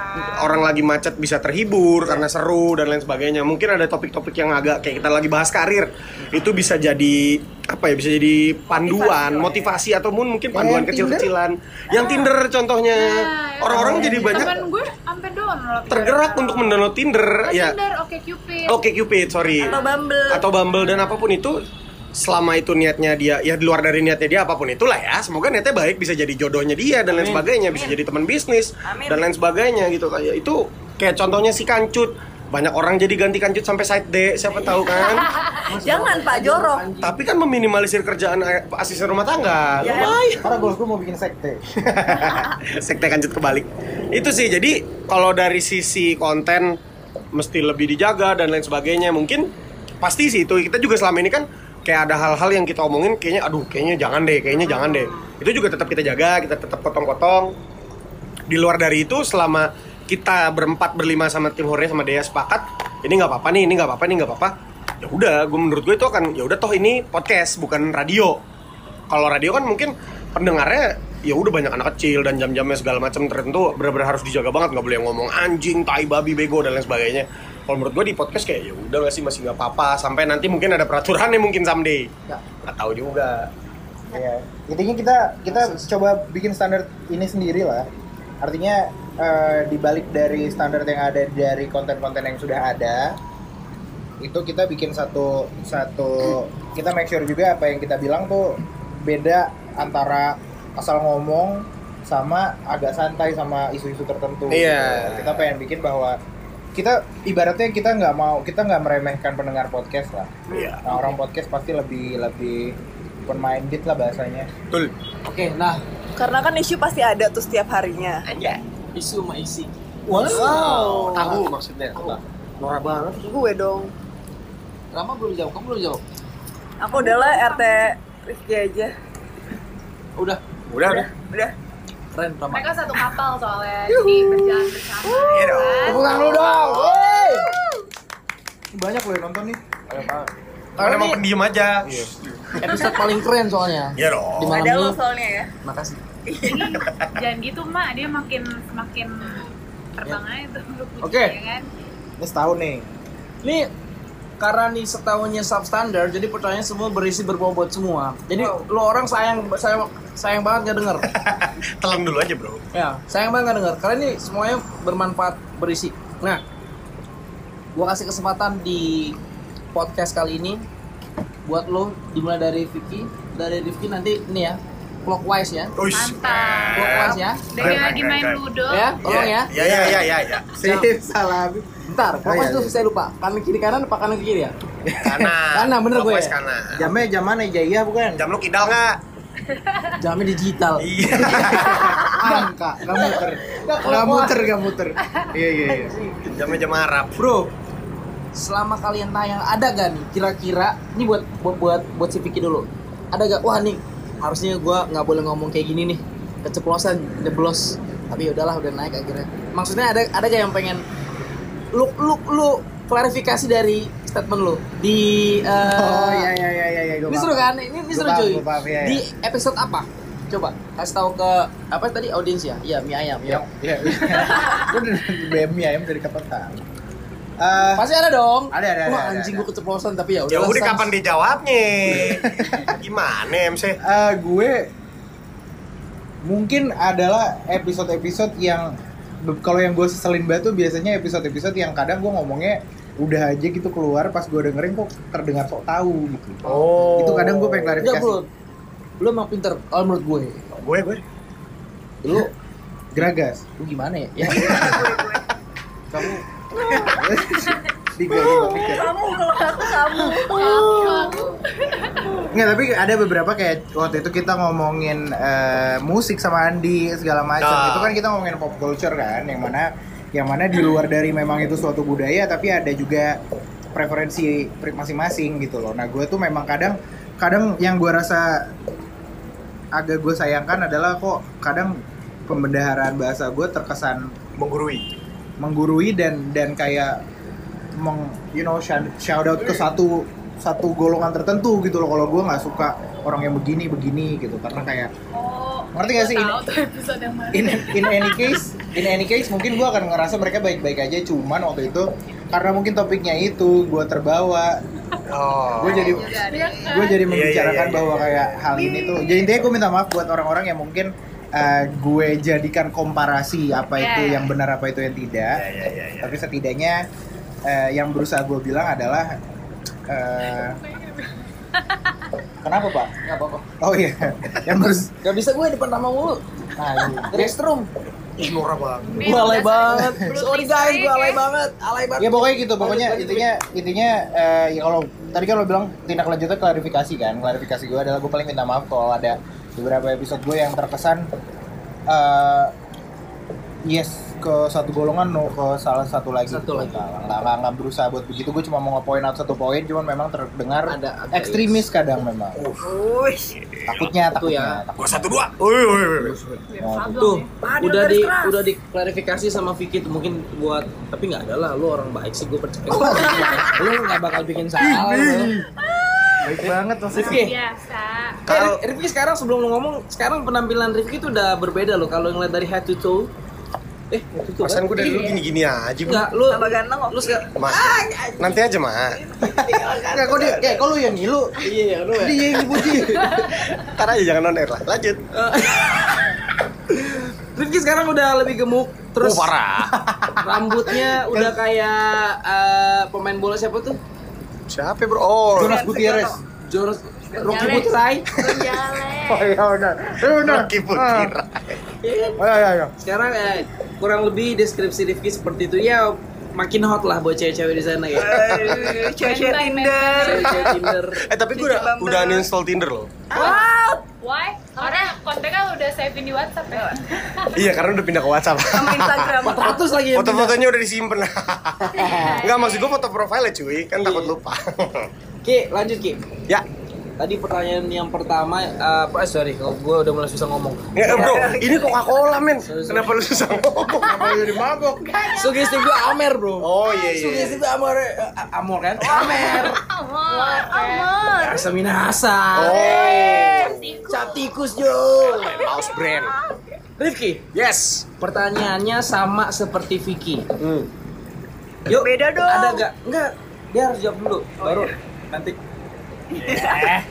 S17: orang lagi macet bisa terhibur karena seru dan lain sebagainya mungkin ada topik-topik yang agak kayak kita lagi bahas karir itu bisa jadi apa ya bisa jadi panduan motivasi, ataupun mungkin panduan
S16: yang
S17: kecil-kecilan yang Tinder contohnya Eh, orang-orang jadi banyak
S18: Nah, ya iya. Temen gue sampai download
S17: tergerak untuk mendownload Tinder
S18: Oh,
S17: ya
S18: Tinder, Oke Cupid.
S17: Oke Cupid, sorry.
S18: Atau Bumble.
S17: Atau Bumble dan apapun itu selama itu niatnya dia ya di luar dari niatnya dia apapun itulah ya semoga niatnya baik bisa jadi jodohnya dia dan lain
S16: Amin.
S17: sebagainya bisa jadi teman bisnis dan lain sebagainya gitu kayak itu kayak contohnya si kancut banyak orang jadi ganti kancut sampai side D siapa tahu kan
S19: *laughs* Jangan Pak *laughs* Jorok.
S17: tapi kan meminimalisir kerjaan a- asisten rumah tangga
S19: Ya.
S17: lumayan
S14: Karena goals gue mau bikin sekte.
S17: sekte kancut kebalik itu sih jadi kalau dari sisi konten mesti lebih dijaga dan lain sebagainya mungkin pasti sih itu kita juga selama ini kan kayak ada hal-hal yang kita omongin kayaknya aduh kayaknya jangan deh kayaknya jangan deh itu juga tetap kita jaga kita tetap potong-potong di luar dari itu selama kita berempat berlima sama tim Hore sama Dea sepakat ini nggak apa-apa nih ini nggak apa-apa ini nggak apa-apa ya udah gue menurut gue itu akan ya udah toh ini podcast bukan radio kalau radio kan mungkin pendengarnya ya udah banyak anak kecil dan jam-jamnya segala macam tertentu benar-benar harus dijaga banget nggak boleh yang ngomong anjing tai babi bego dan lain sebagainya kalau menurut gue di podcast kayak ya udah nggak sih masih nggak apa-apa sampai nanti mungkin ada peraturan nih mungkin someday
S14: Ya.
S17: nggak tahu juga
S14: Iya. Intinya kita kita coba bikin standar ini sendiri lah. Artinya eh, dibalik dari standar yang ada dari konten-konten yang sudah ada itu kita bikin satu satu kita make sure juga apa yang kita bilang tuh beda antara asal ngomong sama agak santai sama isu-isu tertentu.
S11: Iya.
S14: Kita pengen bikin bahwa kita ibaratnya kita nggak mau kita nggak meremehkan pendengar podcast lah.
S16: Iya.
S14: Nah, orang podcast pasti lebih lebih open minded lah bahasanya.
S17: Betul.
S16: Oke, nah
S19: Karena kan isu pasti ada tuh setiap harinya.
S16: Iya. Isu sama isi.
S19: Wow.
S16: Tahu maksudnya. Nora banget.
S19: Gue dong.
S16: Lama belum jawab, kamu belum jawab.
S19: Aku udahlah RT Rizky aja.
S16: Udah.
S17: Udah, udah.
S19: Udah.
S16: Keren Rama.
S18: Mereka satu kapal soalnya, jadi berjalan bersama.
S16: Iya
S18: ya kan?
S14: Woi. Banyak loh yang nonton nih. Iya.
S17: Karena emang pendiam aja.
S16: Episode paling keren soalnya.
S17: Iya dong.
S16: Di malam
S18: Ada
S16: ini.
S18: lo soalnya
S19: ya.
S16: Makasih.
S18: Jadi jangan gitu mak, dia makin semakin terbang aja tuh.
S16: Oke.
S18: ya kan?
S14: Ini setahun nih.
S16: Ini karena nih setahunnya substandard, jadi pertanyaan semua berisi berbobot semua. Jadi lo orang sayang sayang sayang banget gak denger.
S17: Telan dulu aja bro.
S16: Ya, sayang banget gak denger. Karena ini semuanya bermanfaat berisi. Nah, gua kasih kesempatan di podcast kali ini buat lo dimulai dari Vicky, dari Rifki nanti ini ya clockwise ya.
S18: Mantap.
S16: Clockwise ya.
S18: Dan yang lagi main ludo.
S16: Ya,
S14: Iya,
S16: tolong ya.
S17: Ya, ya, ya, ya, ya.
S16: Sip, salah. Bentar, clockwise
S14: iya,
S16: tuh
S14: iya.
S16: saya lupa. Kanan kiri kanan apa kanan
S18: *laughs*
S16: kiri ya? *laughs*
S17: Kanan.
S16: Kanan bener gue.
S17: Clockwise kanan.
S14: Jamnya jam mana Jaya bukan?
S17: Jam lu kidal nggak?
S16: Jamnya digital.
S17: Iya.
S16: Angka, enggak muter.
S14: Gak muter, gak muter. Iya, iya, iya.
S17: Jamnya jam Arab.
S16: Bro, selama kalian tayang ada gak nih kira-kira ini buat buat buat, buat si Vicky dulu. Ada gak wah nih harusnya gua nggak boleh ngomong kayak gini nih. Keceplosan, jeblos. Tapi ya udahlah udah naik akhirnya. Maksudnya ada ada gak yang pengen lu lu lu klarifikasi dari statement lu di eh,
S14: Oh, iya, iya, iya, iya, iya. Gua
S16: ini
S14: paham.
S16: seru kan? Ini, ini
S14: Gua
S16: seru
S14: paham,
S16: cuy.
S14: gua paham, iya, iya.
S16: Di episode apa? Coba kasih tahu ke apa tadi audiens ya? Iya, mie ayam. Ya.
S14: Iya, iya. *laughs* Lu udah BM ya, dari kapan tahu?
S16: Pasti ada dong.
S14: Eh, Ada, ada,
S16: Wah,
S14: ada, ada,
S16: anjing gue keceplosan tapi ya udah.
S17: Ya udah kapan dijawabnya? *laughs* Gimana MC?
S14: Eh, gue mungkin adalah episode-episode yang kalau yang gue seselin banget tuh biasanya episode-episode yang kadang gue ngomongnya udah aja gitu keluar pas gue dengerin kok terdengar sok tahu gitu.
S17: Oh.
S14: Itu kadang gue pengen klarifikasi.
S16: Enggak, bro. Lu emang pinter kalau menurut gue.
S17: Gue gue.
S16: Lu
S14: Geragas.
S16: lu gimana ya?
S14: *laughs*
S16: ya. Kamu *laughs*
S14: Tiga, tiga, tiga.
S19: Kamu kalau aku kamu.
S14: Nggak, tapi ada beberapa kayak waktu itu kita ngomongin eh, musik sama Andi segala macam.
S17: Nah.
S14: Itu kan kita ngomongin pop culture kan, yang mana yang mana di luar dari memang itu suatu budaya, tapi ada juga preferensi pri- masing-masing gitu loh. Nah, gue tuh memang kadang kadang yang gue rasa agak gue sayangkan adalah kok kadang pembendaharaan bahasa gue terkesan
S17: menggurui
S14: menggurui dan dan kayak meng you know shout, shout out ke satu satu golongan tertentu gitu loh kalau gue nggak suka orang yang begini begini gitu karena kayak
S18: Oh,
S14: Ngerti nggak sih
S18: gua
S14: ini-
S18: tahu tuh episode yang mana.
S14: in in any case in any case mungkin gue akan ngerasa mereka baik baik aja cuman waktu itu karena mungkin topiknya itu gue terbawa
S17: Oh.
S14: gue jadi
S18: Iya kan?
S14: gue jadi
S17: Iya, iya,
S14: membicarakan
S17: iya, iya,
S14: bahwa kayak hal ini tuh jadi intinya gue minta maaf buat orang-orang yang mungkin eh, gue jadikan komparasi apa
S18: Iya,
S14: itu
S18: iya.
S14: yang benar apa itu yang tidak
S16: Iya,
S17: ya ya ya.
S14: tapi setidaknya eh, yang berusaha gue bilang adalah eh, kenapa pak
S16: enggak apa-apa.
S14: oh iya yang Nah, iya. berus
S16: Gak bisa gue depan nama mulu. Restroom.
S17: Ih, norak banget.
S16: Gue alay banget. Sorry ya, guys, gue alay banget. Alay banget.
S14: ya pokoknya gitu pokoknya
S16: Lanjut, lanjut,
S14: intinya intinya eh, ya kalau tadi kan lo bilang tindak lanjutnya klarifikasi kan klarifikasi gue adalah gue paling minta maaf kalau ada beberapa episode gue yang terkesan eh, yes ke satu golongan no ke salah satu lagi
S16: Satu lagi.
S14: Nggak, nggak, nggak, nggak berusaha buat begitu gue cuma mau nge-point out satu poin cuman memang terdengar
S16: Ada- ada
S14: ekstremis kadang memang
S19: Uish.
S14: takutnya
S16: Itu
S14: takutnya
S16: ya.
S14: takutnya.
S17: Gua satu dua. Ui, ui, ui.
S16: tuh
S19: Aduh,
S16: udah
S19: garis
S16: di
S19: keras.
S16: udah diklarifikasi sama Vicky tuh mungkin buat tapi nggak ada lah lu orang baik sih gue
S14: *laughs*
S16: percaya lu nggak bakal bikin salah lu.
S14: baik banget maksudnya
S16: Rifki
S18: Biasa.
S16: kalau Rifki sekarang sebelum lu ngomong sekarang penampilan Rifki tuh udah berbeda loh kalau ngeliat dari head to toe eh head to toe Iya.
S17: Perasaan gue dari dulu gini-gini aja. Bro.
S16: Enggak, lu
S19: Tambah ganteng kok.
S16: lu Ah, sekarang
S17: Mas. Nanti aja, mah.
S14: Nggak, kok dia kayak kok lu yang ngilu
S16: iya lu ya.
S14: dia yang dipuji
S17: Ntar aja jangan on air lah. Lanjut.
S16: Rifki sekarang udah lebih gemuk terus
S17: oh,
S18: *laughs*
S17: parah.
S16: rambutnya udah
S17: Kan-
S16: kayak eh, pemain bola siapa tuh
S17: Siapa, Bro? Oh.
S14: Jonas Gutierrez
S16: Jonas Rocky Putrai
S14: oh iya benar Eh, benar
S17: Rocky Putira. Ah. Oh, ya, ya.
S16: Sekarang eh, kurang lebih deskripsi Rifki seperti itu ya makin hot lah buat cewek-cewek di sana ya.
S19: Cewek Tinder.
S16: Cewek-cewek Tinder. *laughs*
S17: Eh tapi gue udah, udah uninstall Tinder loh.
S18: Wow. Why? Karena kontennya udah savein di WhatsApp *laughs* ya.
S17: Iya karena udah pindah ke WhatsApp.
S18: Sama
S17: *laughs*
S18: Instagram. 400
S16: lagi yang
S17: Foto-fotonya udah
S18: *laughs*
S17: disimpan. Enggak maksud gue foto profilnya cuy, kan
S18: Iya.
S17: takut lupa. *laughs*
S16: Ki, lanjut Ki.
S17: Ya.
S16: Tadi pertanyaan yang pertama, eh eh, sorry, kalau gue udah mulai susah ngomong.
S17: Ya, bro, ini Coca-Cola men. Kenapa lu susah ngomong? Kenapa lu jadi Oh, iya, mabok?
S16: Sugesti gue Amer bro.
S17: Oh iya iya.
S16: Sugesti gue Amer, eh, Amor kan? Amer.
S18: Amor. Amor.
S16: Bahasa Minahasa. Cap tikus Jo.
S17: House Oh. brand.
S16: Rifki.
S17: Yes. Hmm.
S16: Pertanyaannya sama seperti Vicky. Yuk. Beda dong. Oh, iya. Ada gak? Enggak. Dia harus jawab dulu. Baru nanti.
S17: Eh.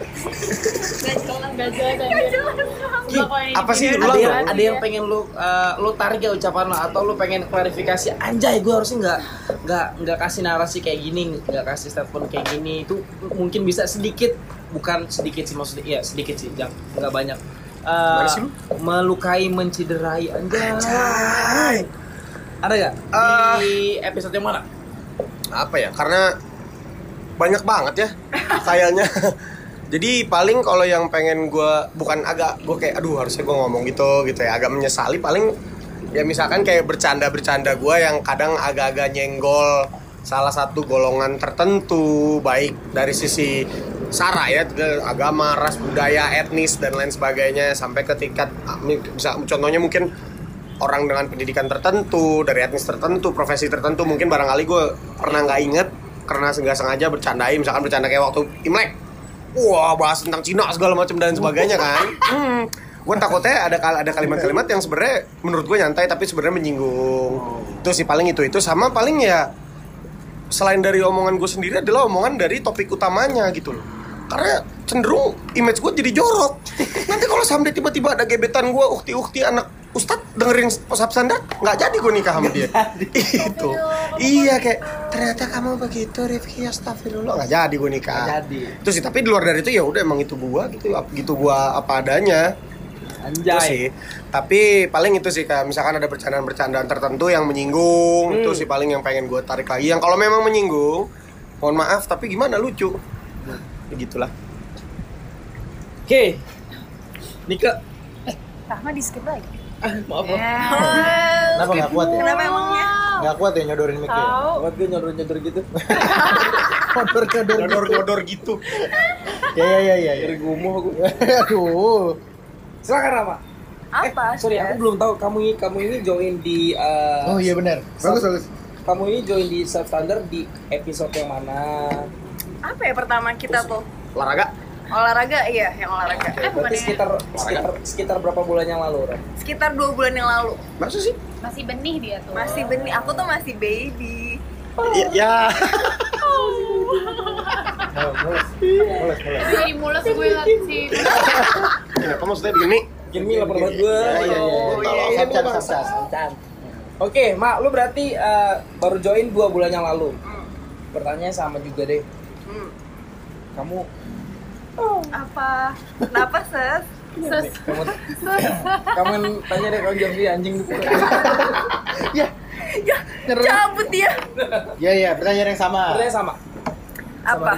S18: Gak jelas, gak jelas. Gak jelas.
S16: Ki,
S18: Apa sih?
S16: Ada, yang, ada yang pengen lu eh, lu tarik ya ucapan lo atau lu pengen klarifikasi anjay gue harusnya nggak nggak nggak kasih narasi kayak gini nggak kasih statement kayak gini itu m- mungkin bisa sedikit bukan sedikit sih maksudnya ya sedikit sih jangan nggak banyak Eh,
S17: Gimana sih lu?
S16: melukai menciderai anjay, ada nggak di episode yang mana
S17: apa ya karena banyak banget ya kayaknya jadi paling kalau yang pengen gue bukan agak gue kayak aduh harusnya gue ngomong gitu gitu ya agak menyesali paling ya misalkan kayak bercanda bercanda gue yang kadang agak-agak nyenggol salah satu golongan tertentu baik dari sisi sara ya ke agama ras budaya etnis dan lain sebagainya sampai ke tingkat ah, bisa contohnya mungkin orang dengan pendidikan tertentu, dari etnis tertentu, profesi tertentu, mungkin barangkali gue pernah nggak inget karena nggak sengaja bercandain, misalkan bercanda kayak waktu Imlek, wah bahas tentang Cina segala macam dan sebagainya kan. Hmm. Gue takutnya ada kal- ada kalimat-kalimat yang sebenarnya menurut gue nyantai tapi sebenarnya menyinggung. Itu sih paling itu itu sama paling ya selain dari omongan gue sendiri adalah omongan dari topik utamanya gitu loh karena cenderung image gue jadi jorok nanti kalau sampai tiba-tiba ada gebetan gue ukti-ukti anak ustadz dengerin posap standar nggak jadi gue nikah sama dia *laughs* itu iya kayak ternyata kamu begitu Rifki astagfirullah nggak jadi gue nikah
S16: Nggak jadi.
S17: terus sih tapi di luar dari itu ya udah emang itu gue gitu ap- gitu gue apa adanya
S16: Anjay.
S17: Itu sih. Tapi paling itu sih kayak misalkan ada bercandaan-bercandaan tertentu yang menyinggung,
S16: Hmm.
S17: itu sih paling yang pengen gue tarik lagi. Yang kalau memang menyinggung, mohon maaf tapi gimana lucu. Begitulah.
S16: Oke. Nika.
S18: Rahma di skip lagi.
S16: Maaf.
S14: Kenapa nggak kuat ya?
S18: Kenapa emangnya?
S14: Nggak kuat ya nyodorin mic ya?
S18: Tahu.
S16: Buat gue nyodor-nyodor
S14: *laughs*
S16: gitu.
S14: Nyodor nyodor
S17: nyodor nyodor gitu.
S14: Ya ya ya ya. Dari
S16: gumoh aku. *laughs*
S14: Aduh.
S16: Silakan Rama.
S19: Apa?
S16: Sorry, aku belum tahu kamu ini kamu ini join di eh,
S14: Oh iya benar. Bagus bagus.
S16: Kamu ini join di self standard di episode yang mana?
S19: Apa ya pertama kita tuh?
S17: Olahraga.
S19: Olahraga, iya yang olahraga. Eh bukan
S16: Berarti
S19: ya.
S16: sekitar sekitar sekitar berapa bulan yang lalu, Ram?
S19: Sekitar dua bulan yang lalu.
S17: Masa sih?
S19: Masih benih dia tuh. Masih benih. Aku tuh masih baby.
S14: Iya,
S17: Ya. ya.
S19: Oh.
S16: Oh,
S18: Jadi mules gue lagi sih.
S17: Kenapa maksudnya begini?
S16: Gini lapar banget gue.
S17: Oh, iya, iya.
S16: Tolong,
S17: Iya, iya,
S16: santan,
S17: Bang.
S16: santan, santan. Oke, Mak, lu berarti eh, baru join dua bulan yang lalu. Pertanyaan sama juga deh.
S19: Hmm.
S16: Kamu
S19: Apa? Kenapa ses? Ses.
S16: kamu kamu yang tanya deh kalau jadi
S14: *laughs*
S16: anjing gitu.
S19: Ya, Cabut dia.
S17: Iya,
S14: Ya ya pertanyaan yang sama.
S16: Pertanyaan sama.
S19: Apa?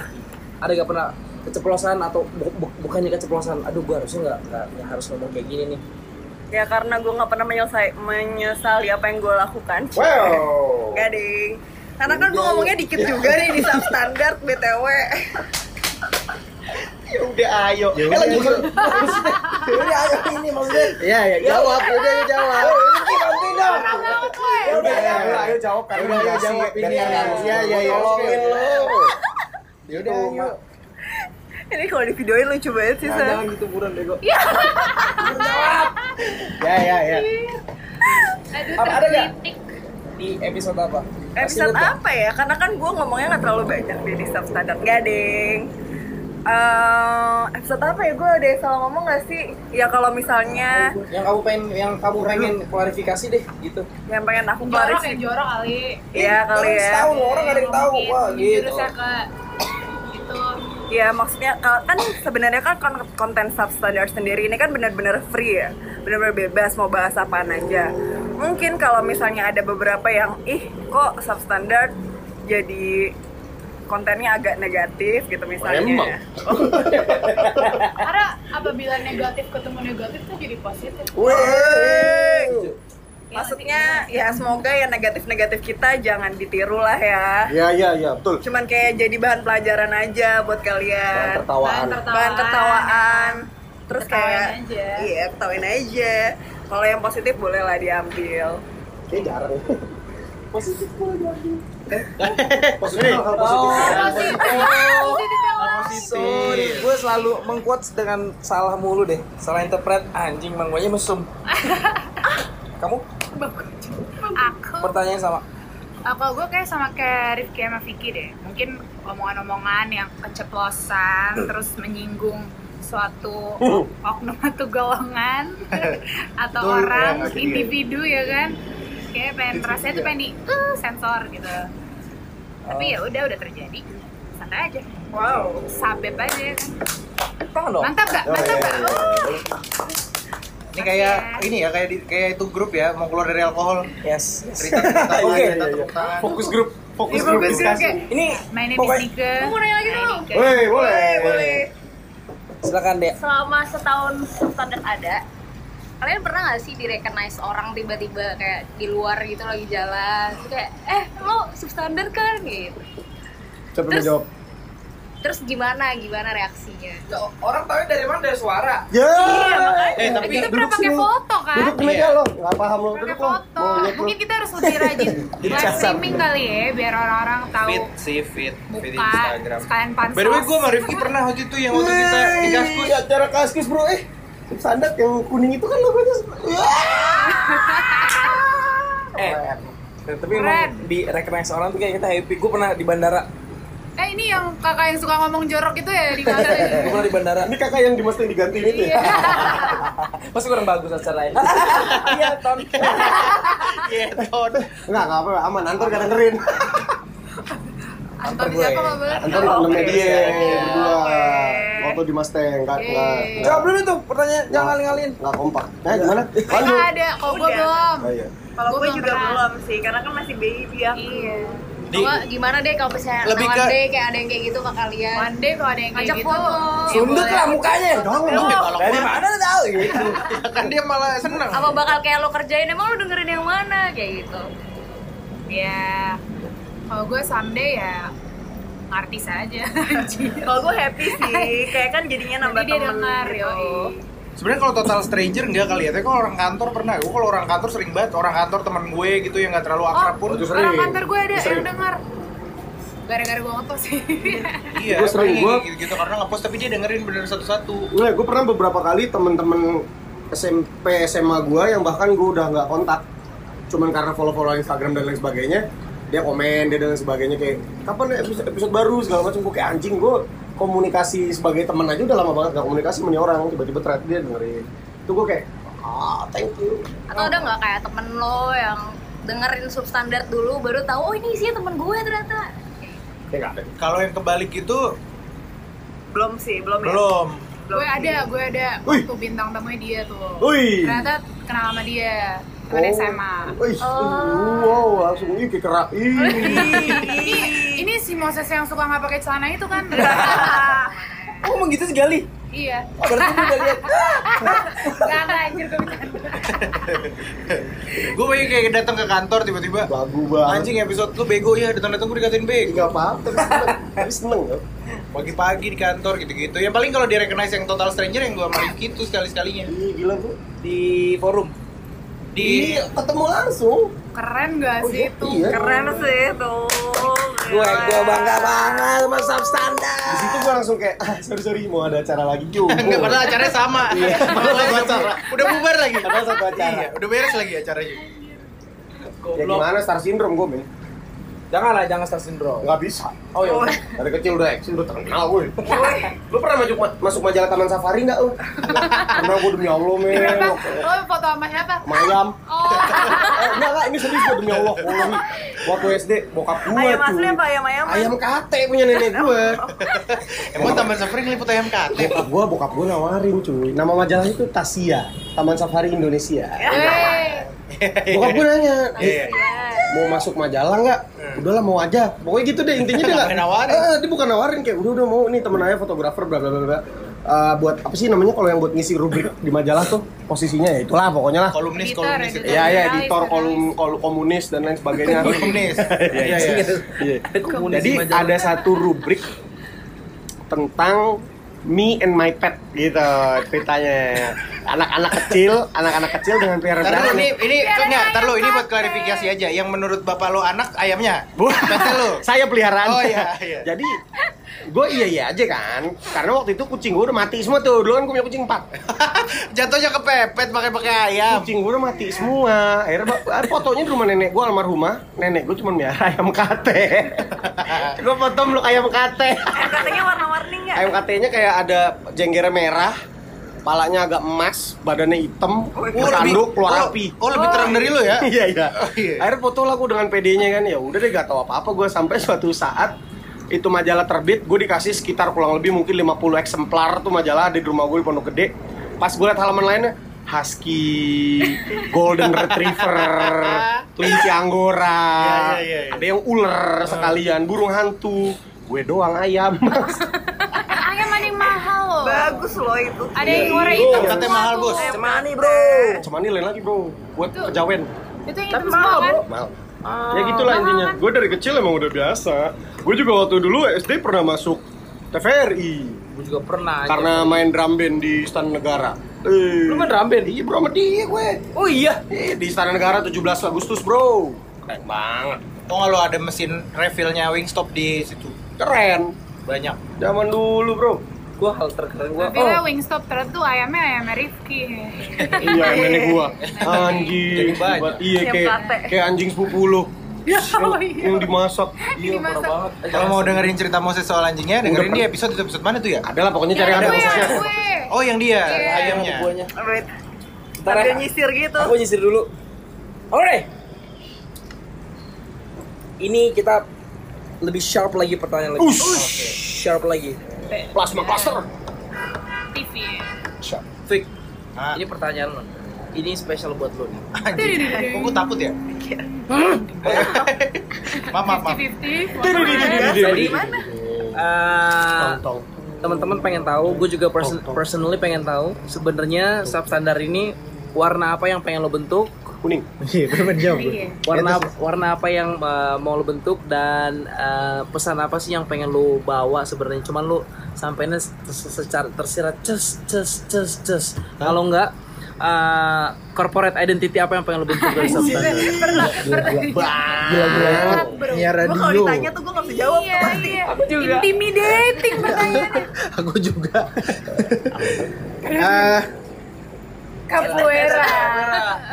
S16: ada gak pernah keceplosan atau bu- bu- bukannya keceplosan aduh gue harusnya nggak nggak- nggak harus ngomong kayak gini nih
S19: *laughs* Ya karena gue nggak pernah menyelesai menyesali apa yang gue lakukan.
S16: Wow. Iya.
S19: Gak deh. Karena kan gue ngomongnya dikit juga nih di substandard btw.
S17: Ya udah ayo.
S14: Ya udah,
S16: lanjut.
S14: ayo.
S16: Ya Udah, ayo ini maksudnya.
S17: Iya,
S14: Ya ya jawab. Udah ya jawab.
S16: Ini bantuin dong.
S14: Ya udah ya.
S4: Eh,
S17: Ayo jawab
S14: Ya
S4: Iya,
S14: udah ayo jawab ini. Ya ya ya.
S16: Tolongin lu.
S14: Ya udah ayo.
S19: Ini kalau di videoin lucu banget sih ses.
S16: Jangan gitu buran bego.
S14: Ya ya ya.
S18: Aduh,
S16: Apa, ada nggak?
S18: terkritik.
S16: Di episode apa? Masih
S19: Episode
S16: ingat nggak?
S19: apa ya? Karena kan gue ngomongnya nggak terlalu banyak deh di substandard. Gak deng. Eh, episode apa ya gue udah salah ngomong gak sih? Ya kalau misalnya
S16: Yang kamu pengen yang kamu pengen klarifikasi deh gitu.
S19: yang pengen aku
S18: Jorok ya,
S19: klarifikasi
S18: jorok kali.
S19: Iya kali ya.
S16: Setahun orang nggak ada yang tahu. Wah, gitu.
S18: Jurusnya ke itu
S19: Ya maksudnya kalau- kan sebenarnya kan kon- konten substandard sendiri ini kan benar-benar free ya, benar-benar bebas mau bahas apaan aja. Mungkin kalau misalnya ada beberapa yang ih kok substandard jadi kontennya agak negatif gitu misalnya.
S17: Emang.
S18: Karena apabila negatif ketemu negatif tuh jadi positif.
S19: Wey. Iya, Maksudnya ya semoga ya negatif-negatif kita jangan ditiru lah ya.
S17: Iya, iya, iya, betul.
S19: Cuman kayak jadi bahan pelajaran aja buat
S18: Eh,
S19: kalian.
S17: Bahan tertawaan.
S19: Bahan
S17: Bahan
S19: tertawaan.
S17: tertawaan.
S19: Terus kayak iya ketawain aja. Kalau yang positif boleh lah diambil.
S7: Kayak jarang ya. Positif boleh diambil.
S16: Positif,
S7: hal positif.
S16: Oh, positif. ya Sorry,
S7: Positif.
S16: gue selalu mengquotes dengan salah mulu deh. Salah interpret Ah, anjing mangganya mesum. Kamu
S18: Aku
S16: pertanyaan sama
S18: Apa gue Ah, kayak sama kayak Rifki sama Vicky deh. Mungkin omongan-omongan yang keceplosan terus menyinggung suatu oknum atau golongan atau
S19: Betul,
S18: orang
S19: orang, akhirnya.
S18: individu ya kan. Kayak pengen rasanya tuh pengen di "Uh, sensor gitu. Tapi ya udah udah terjadi. Santai aja. Wow, sabep aja ya kan. Mantap gak? Mantap
S9: Iya,
S18: Oh. gak?
S14: Ini kayak ini ya kayak di, kayak itu grup ya mau keluar dari alkohol.
S16: Yes.
S14: Cerita tepuk tangan,
S16: *laughs* Oke. Iya,
S14: cerita tepuk tangan.
S16: Fokus grup,
S14: fokus
S18: Iya,
S14: grup diskusi.
S16: Ini
S18: main ini
S16: pokoknya-
S18: Nike. Mau nanya lagi dong.
S16: Eh, Silakan, Dek.
S21: Selama setahun standar ada, kalian pernah nggak sih direcognize orang tiba-tiba kayak di luar gitu lagi jalan, terus kayak eh lo substandard kan gitu.
S17: Siapa yang jawab?
S21: Terus gimana gimana reaksinya?
S16: Orang tahu dari mana dari suara.
S17: Ya.
S21: Iya, makanya.
S17: Eh, tapi
S18: Kita pernah
S17: duduk
S18: pakai
S17: sini.
S18: foto kan?
S17: Duduk dulu
S16: Iya.
S17: aja lo, nggak paham lo, duduk lo. Monyet lo.
S18: Mungkin kita harus lebih rajin
S17: Jadi
S18: live
S17: kasar.
S18: streaming kali ya, biar orang-orang tahu
S16: Fit sih fit, fit
S18: muka sekalian pansos.
S16: By the way, gue sama Rifki pernah waktu itu
S14: Iya,
S9: ya,
S16: yang waktu kita di kaskus.
S17: Iya, acara kaskus bro, eh. Standar yang kuning itu kan logonya.
S16: Eh, tapi emang di recognize orang tuh kayak kita happy. Gue pernah di bandara.
S18: Eh ini yang kakak yang suka ngomong jorok itu ya di mana?
S16: Gue pernah di bandara.
S17: Eh, Ini kakak yang dimas yang digantiin itu
S18: Iya.
S17: ya.
S16: *laughs* Pasti kurang bagus acaranya. Iya, Ton. Iya, Ton.
S17: Enggak, enggak apa-apa, aman. Antar gak dengerin.
S18: Antar
S17: gue. Antar di dalamnya dia berdua. Iya, Waktu di Mustang, kak.
S16: Jawab dulu tuh pertanyaan, jangan Iya. ngaling-ngalin.
S17: Enggak kompak. Eh, gimana? Lanjut.
S18: Kakak ada, kalau gue
S21: Udah.
S18: belum.
S17: Oh, iya.
S19: Kalau
S18: Gua
S19: gue
S18: belum
S19: juga
S18: pernah.
S19: belum sih karena kan masih baby aku. Iya.
S16: Di-
S21: Gua gimana deh kalau misalnya
S16: Lebih
S21: one
S16: ke-
S21: day kayak ada yang kayak gitu ke kalian?
S18: One day kalau ada yang kayak
S21: Ngajak
S18: gitu.
S21: foto.
S16: Sundut lah mukanya. Dari
S21: mana?
S16: mana tahu gitu. Kan dia malah seneng.
S21: Apa bakal kayak lo kerjain emang lo dengerin yang mana kayak gitu?
S18: Ya, kalau gue someday ya artis aja. *laughs*
S19: Kalau gue happy sih, kayak kan jadinya nambah
S18: Jadi dia
S19: temen
S18: dengar,
S19: gitu.
S9: Sebenarnya kalau total stranger enggak kali ya, tapi kalau orang kantor pernah. Gue kalau orang kantor sering banget, orang kantor teman gue gitu yang nggak terlalu akrab pun.
S18: Oh, Orang kantor gue ada
S9: Sering.
S18: yang dengar. Gara-gara gue ngepost sih. *laughs*
S9: Iya,
S17: Gue sering,
S9: gue
S17: gue-
S9: gitu, karena ngepost tapi dia dengerin bener satu-satu.
S17: Gue gue pernah beberapa kali temen-temen SMP SMA gue yang bahkan gue udah nggak kontak cuman karena follow-follow Instagram dan lain sebagainya dia komen dia dan lain sebagainya kayak kapan ya episode, episode baru segala macam gue kayak anjing gue komunikasi sebagai temen aja udah lama banget gak komunikasi sama nih orang tiba-tiba ternyata dia dengerin itu gue kayak ah thank you
S21: Atau ada nggak kayak temen lo yang dengerin substandard dulu baru tahu oh ini isinya temen gue ternyata?
S17: kayak Iya nggak ada
S9: Kalau yang kebalik itu
S19: Belum sih, belum ya.
S9: belum.
S18: gue ada, gue ada waktu bintang tamunya dia tuh.
S17: Wih.
S18: Ternyata kenal sama dia. Teman
S17: Oh.
S18: SMA.
S17: Wih,
S9: Oh.
S17: wow langsung ini kayak kerak
S9: *laughs*
S17: ih
S18: Oh. *laughs* ini ini si Moses yang suka nggak pakai celana itu kan?
S16: Oh, emang gitu segali.
S18: iya.
S16: Oh, berarti lu udah
S18: *laughs*
S16: lihat.
S18: Gak ada anjir gue bercanda.
S9: Gue pengen kayak datang ke kantor tiba-tiba.
S17: Lagu banget.
S9: Anjing episode lu bego ya, datang-datang gue dikatain bego.
S17: Gak apa-apa, tapi seneng ya. loh.
S9: Pagi-pagi di kantor gitu-gitu. Yang paling kalau di recognize yang total stranger yang gue sama Rifki itu sekali-sekalinya.
S17: Iya, gila bro.
S9: Di forum. Di...
S17: Iya, ketemu langsung
S18: Keren gak sih itu?
S17: iya.
S19: Keren sih itu.
S16: Gue gue bangga banget sama substandard.
S17: di situ gue langsung kayak ah, sorry sorry mau ada acara lagi yuk
S9: *laughs* Enggak, padahal acaranya sama.
S17: *laughs* Iya.
S9: *laughs* Padahal satu acara. Udah bubar lagi.
S17: Padahal satu acara.
S9: Iya, udah beres lagi acaranya.
S17: ya gimana star syndrome gue men
S16: Jangan lah, jangan star syndrome.
S17: Gak bisa.
S16: Oh iya.
S17: Dari kecil udah action, udah terkenal gue.
S9: Oh.
S17: Lu pernah masuk, masuk majalah Taman Safari nggak
S9: *laughs*
S17: lu? Pernah gue demi Allah, men.
S18: Lo Oh, foto sama siapa?
S17: Sama ayam. *laughs*
S18: Oh.
S17: Eh, enggak, enggak, ini serius gue demi Allah. Wallahi. Waktu SD, bokap gue
S19: Ayam
S17: tuh.
S19: asli apa ayam ayam? Oh.
S17: Ayam kate punya
S19: *laughs*
S17: nenek gue.
S11: Emang Taman Safari ngeliput ayam kate?
S17: Bokap gue, bokap gue nawarin cuy. Nama majalah itu Tasia, Taman Safari Indonesia.
S19: Ya.
S17: Bokap gue nanya,
S11: Iya,
S17: "Dek, mau masuk majalah nggak? Udahlah mau aja. Pokoknya gitu deh intinya dia nggak
S11: Nggak nawarin.
S17: Eh, dia bukan Hmm. nawarin kayak udah udah mau nih temen ayah fotografer bla bla bla bla. Eh, buat apa sih namanya kalau yang buat ngisi rubrik di majalah tuh posisinya ya itulah pokoknya lah
S11: Kolumnis, Editor, kolumnis, editor.
S17: ya ya editor kolum kolum komunis dan lain sebagainya
S11: *laughs* Komunis.
S17: Iya, iya, iya.
S11: *laughs* komunis
S17: jadi
S11: di majalah.
S17: ada satu rubrik tentang me and my pet gitu ceritanya
S11: *laughs*
S17: anak-anak kecil anak-anak kecil dengan peliharaan
S11: Ntar lu,
S17: kucing.
S11: ini, ini, ntar, ntar lu, ini buat klarifikasi aja. Yang menurut bapak lu anak ayamnya? Kata
S17: *laughs*
S11: lu.
S17: saya peliharaan
S11: Oh iya, iya.
S17: *laughs* jadi gue iya iya aja kan karena waktu itu kucing gue udah mati semua tuh dulu kan gue punya kucing empat
S11: *laughs* Jatuhnya kepepet pakai pakai ayam.
S17: kucing gue udah mati semua akhirnya ba- ah, fotonya di rumah nenek gue almarhumah nenek gue cuma miara *laughs* ayam kate gue foto meluk ayam kate
S19: Katanya warna-warni nggak?
S11: Iya.
S17: ayam katenya kayak ada jenggernya merah palanya agak emas, badannya hitam, bertanduk, keluar api.
S11: Oh, lebih terang dari lu ya?
S17: *laughs* Iya, iya. Akhirnya foto lah gue dengan PD-nya kan, ya udah deh gak tahu apa-apa gue sampai suatu saat itu majalah terbit, gue dikasih sekitar kurang lebih mungkin 50 eksemplar tuh majalah ada di rumah gue di Pondok Gede. Pas gue liat halaman lainnya, Husky, Golden Retriever,
S11: *laughs*
S17: kelinci Anggora,
S11: Iya, iya, iya.
S17: ada yang ular sekalian, burung hantu, gue doang
S11: *laughs*
S17: ayam.
S18: Ayam ada yang mahal loh.
S19: Bagus loh itu. Iya.
S18: Ada yang warna
S16: Iya,
S18: hitam. semua Eh, tuh.
S19: Cemani bro.
S17: Cemani lain lagi bro, buat kejawen.
S18: Itu yang hitam semua kan?
S17: Mahal. ya gitulah
S18: Eh,
S17: intinya. Gue dari kecil emang udah biasa. Gue juga waktu dulu SD pernah masuk TVRI. Gue juga pernah. Karena main drum band di Istana Negara. Eh. Lu main drum band? Iya bro, sama dia gue. Oh iya? di Istana Negara *laughs* 17 Agustus bro. Keren banget.
S11: Oh, kalau ada mesin refillnya Wingstop di situ.
S17: Keren.
S11: Banyak.
S17: Zaman dulu, bro.
S11: Gua hal terkeren
S17: Oh.
S11: gua.
S18: Bila Wingstop ternyata tuh ayamnya ayamnya Rifki.
S17: iya, nenek gua. Anjing. hebat. Iya,
S18: Siap
S17: kayak,
S18: latte.
S17: kayak *laughs* anjing sepupu lu.
S18: Ya,
S17: Yang,
S18: oh iya.
S17: yang dimasak.
S18: Iya, parah banget.
S11: Kalau
S17: Iya,
S11: mau dengerin cerita Moses soal anjingnya, dengerin
S17: Udah
S11: di episode itu episode mana tuh ya?
S17: Ada ya. lah pokoknya
S18: Iya,
S17: cari ada Eh, Mosesnya.
S18: Eh,
S11: Oh, yang dia,
S16: Iya.
S11: ayamnya.
S16: Buahnya.
S19: Wait.
S16: Ntar
S19: Sambil
S16: ya.
S19: nyisir gitu.
S16: Aku nyisir dulu. Oke. Ini kita lebih sharp lagi pertanyaan lagi. Oke, Sharp lagi.
S17: Plasma cluster.
S18: TV.
S16: Sharp. Fik. Ini pertanyaan lo. Ini spesial buat lo nih.
S11: Kok gua takut ya? maaf, maaf, maaf.
S18: 50-50.
S16: Jadi, eh, teman-teman pengen tahu, gue juga perso- personally pengen tahu sebenarnya substandar ini warna apa yang pengen lo bentuk?
S17: Kuning.
S16: Iya, benar
S19: jawab gue. Iya.
S16: Warna warna apa yang eh, mau lo bentuk dan eh, pesan apa sih yang pengen lo bawa sebenarnya? Cuman lo sampainya se- se- secara tersirat ces ces ces ces. Kalau enggak eh, corporate identity apa yang pengen lo bentuk
S19: *laughs*
S16: dari substandar?
S19: Iya, Gila, gila, gila.
S16: Nyiar
S19: Gue Iya, kalau ditanya tuh gue nggak bisa jawab tuh pasti.
S18: Aku juga. Iya, Intimidating pertanyaannya.
S14: Aku juga. Eh,
S18: Capoeira.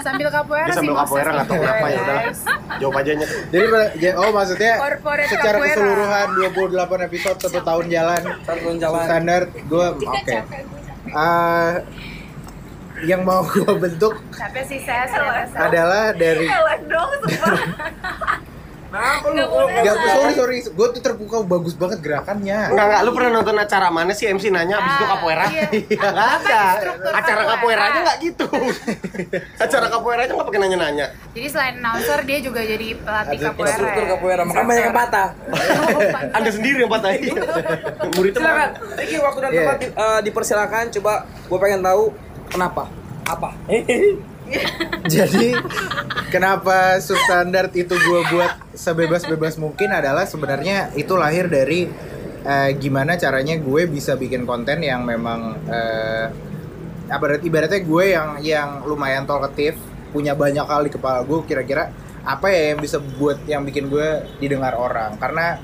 S18: Sambil capoeira
S17: Dia
S18: sih.
S17: sambil capoeira nggak tahu kenapa ya udah. Jawab aja nya.
S14: jadi ber- ja- oh maksudnya
S18: Corporate
S14: secara
S18: capoeira.
S14: keseluruhan 28 episode satu tahun jalan.
S16: tahun jalan.
S14: Standar gue oke. Eh, yang mau gue bentuk
S18: Tapi sih saya salah.
S14: adalah dari
S19: Elek dong sumpah. Kenapa lu?
S14: Gak, sorry sorry, gue tuh terpukau bagus banget gerakannya.
S17: Enggak, enggak. Lu pernah nonton acara mana sih MC nanya abis itu capoeira? Ah, *laughs* Iya. Nggak ada. Acara capoeira aja nggak *laughs* gitu. Acara capoeira aja nggak pakai nanya-nanya.
S18: Jadi selain announcer dia juga jadi pelatih
S17: Ada
S18: capoeira.
S17: instruktur
S18: ya?
S17: capoeira, makanya banyak yang
S16: patah.
S17: *laughs* Anda sendiri yang patah.
S16: *laughs*
S17: Murid
S16: Silakan. Iki waktu dan tempat di- eh, dipersilakan. Coba gue pengen tahu kenapa? Apa?
S14: Jadi kenapa substandard itu gue buat sebebas-bebas mungkin adalah sebenarnya itu lahir dari eh, gimana caranya gue bisa bikin konten yang memang eh, ibarat ibaratnya gue yang yang lumayan talkative punya banyak hal di kepala gue kira-kira apa ya yang bisa buat yang bikin gue didengar orang karena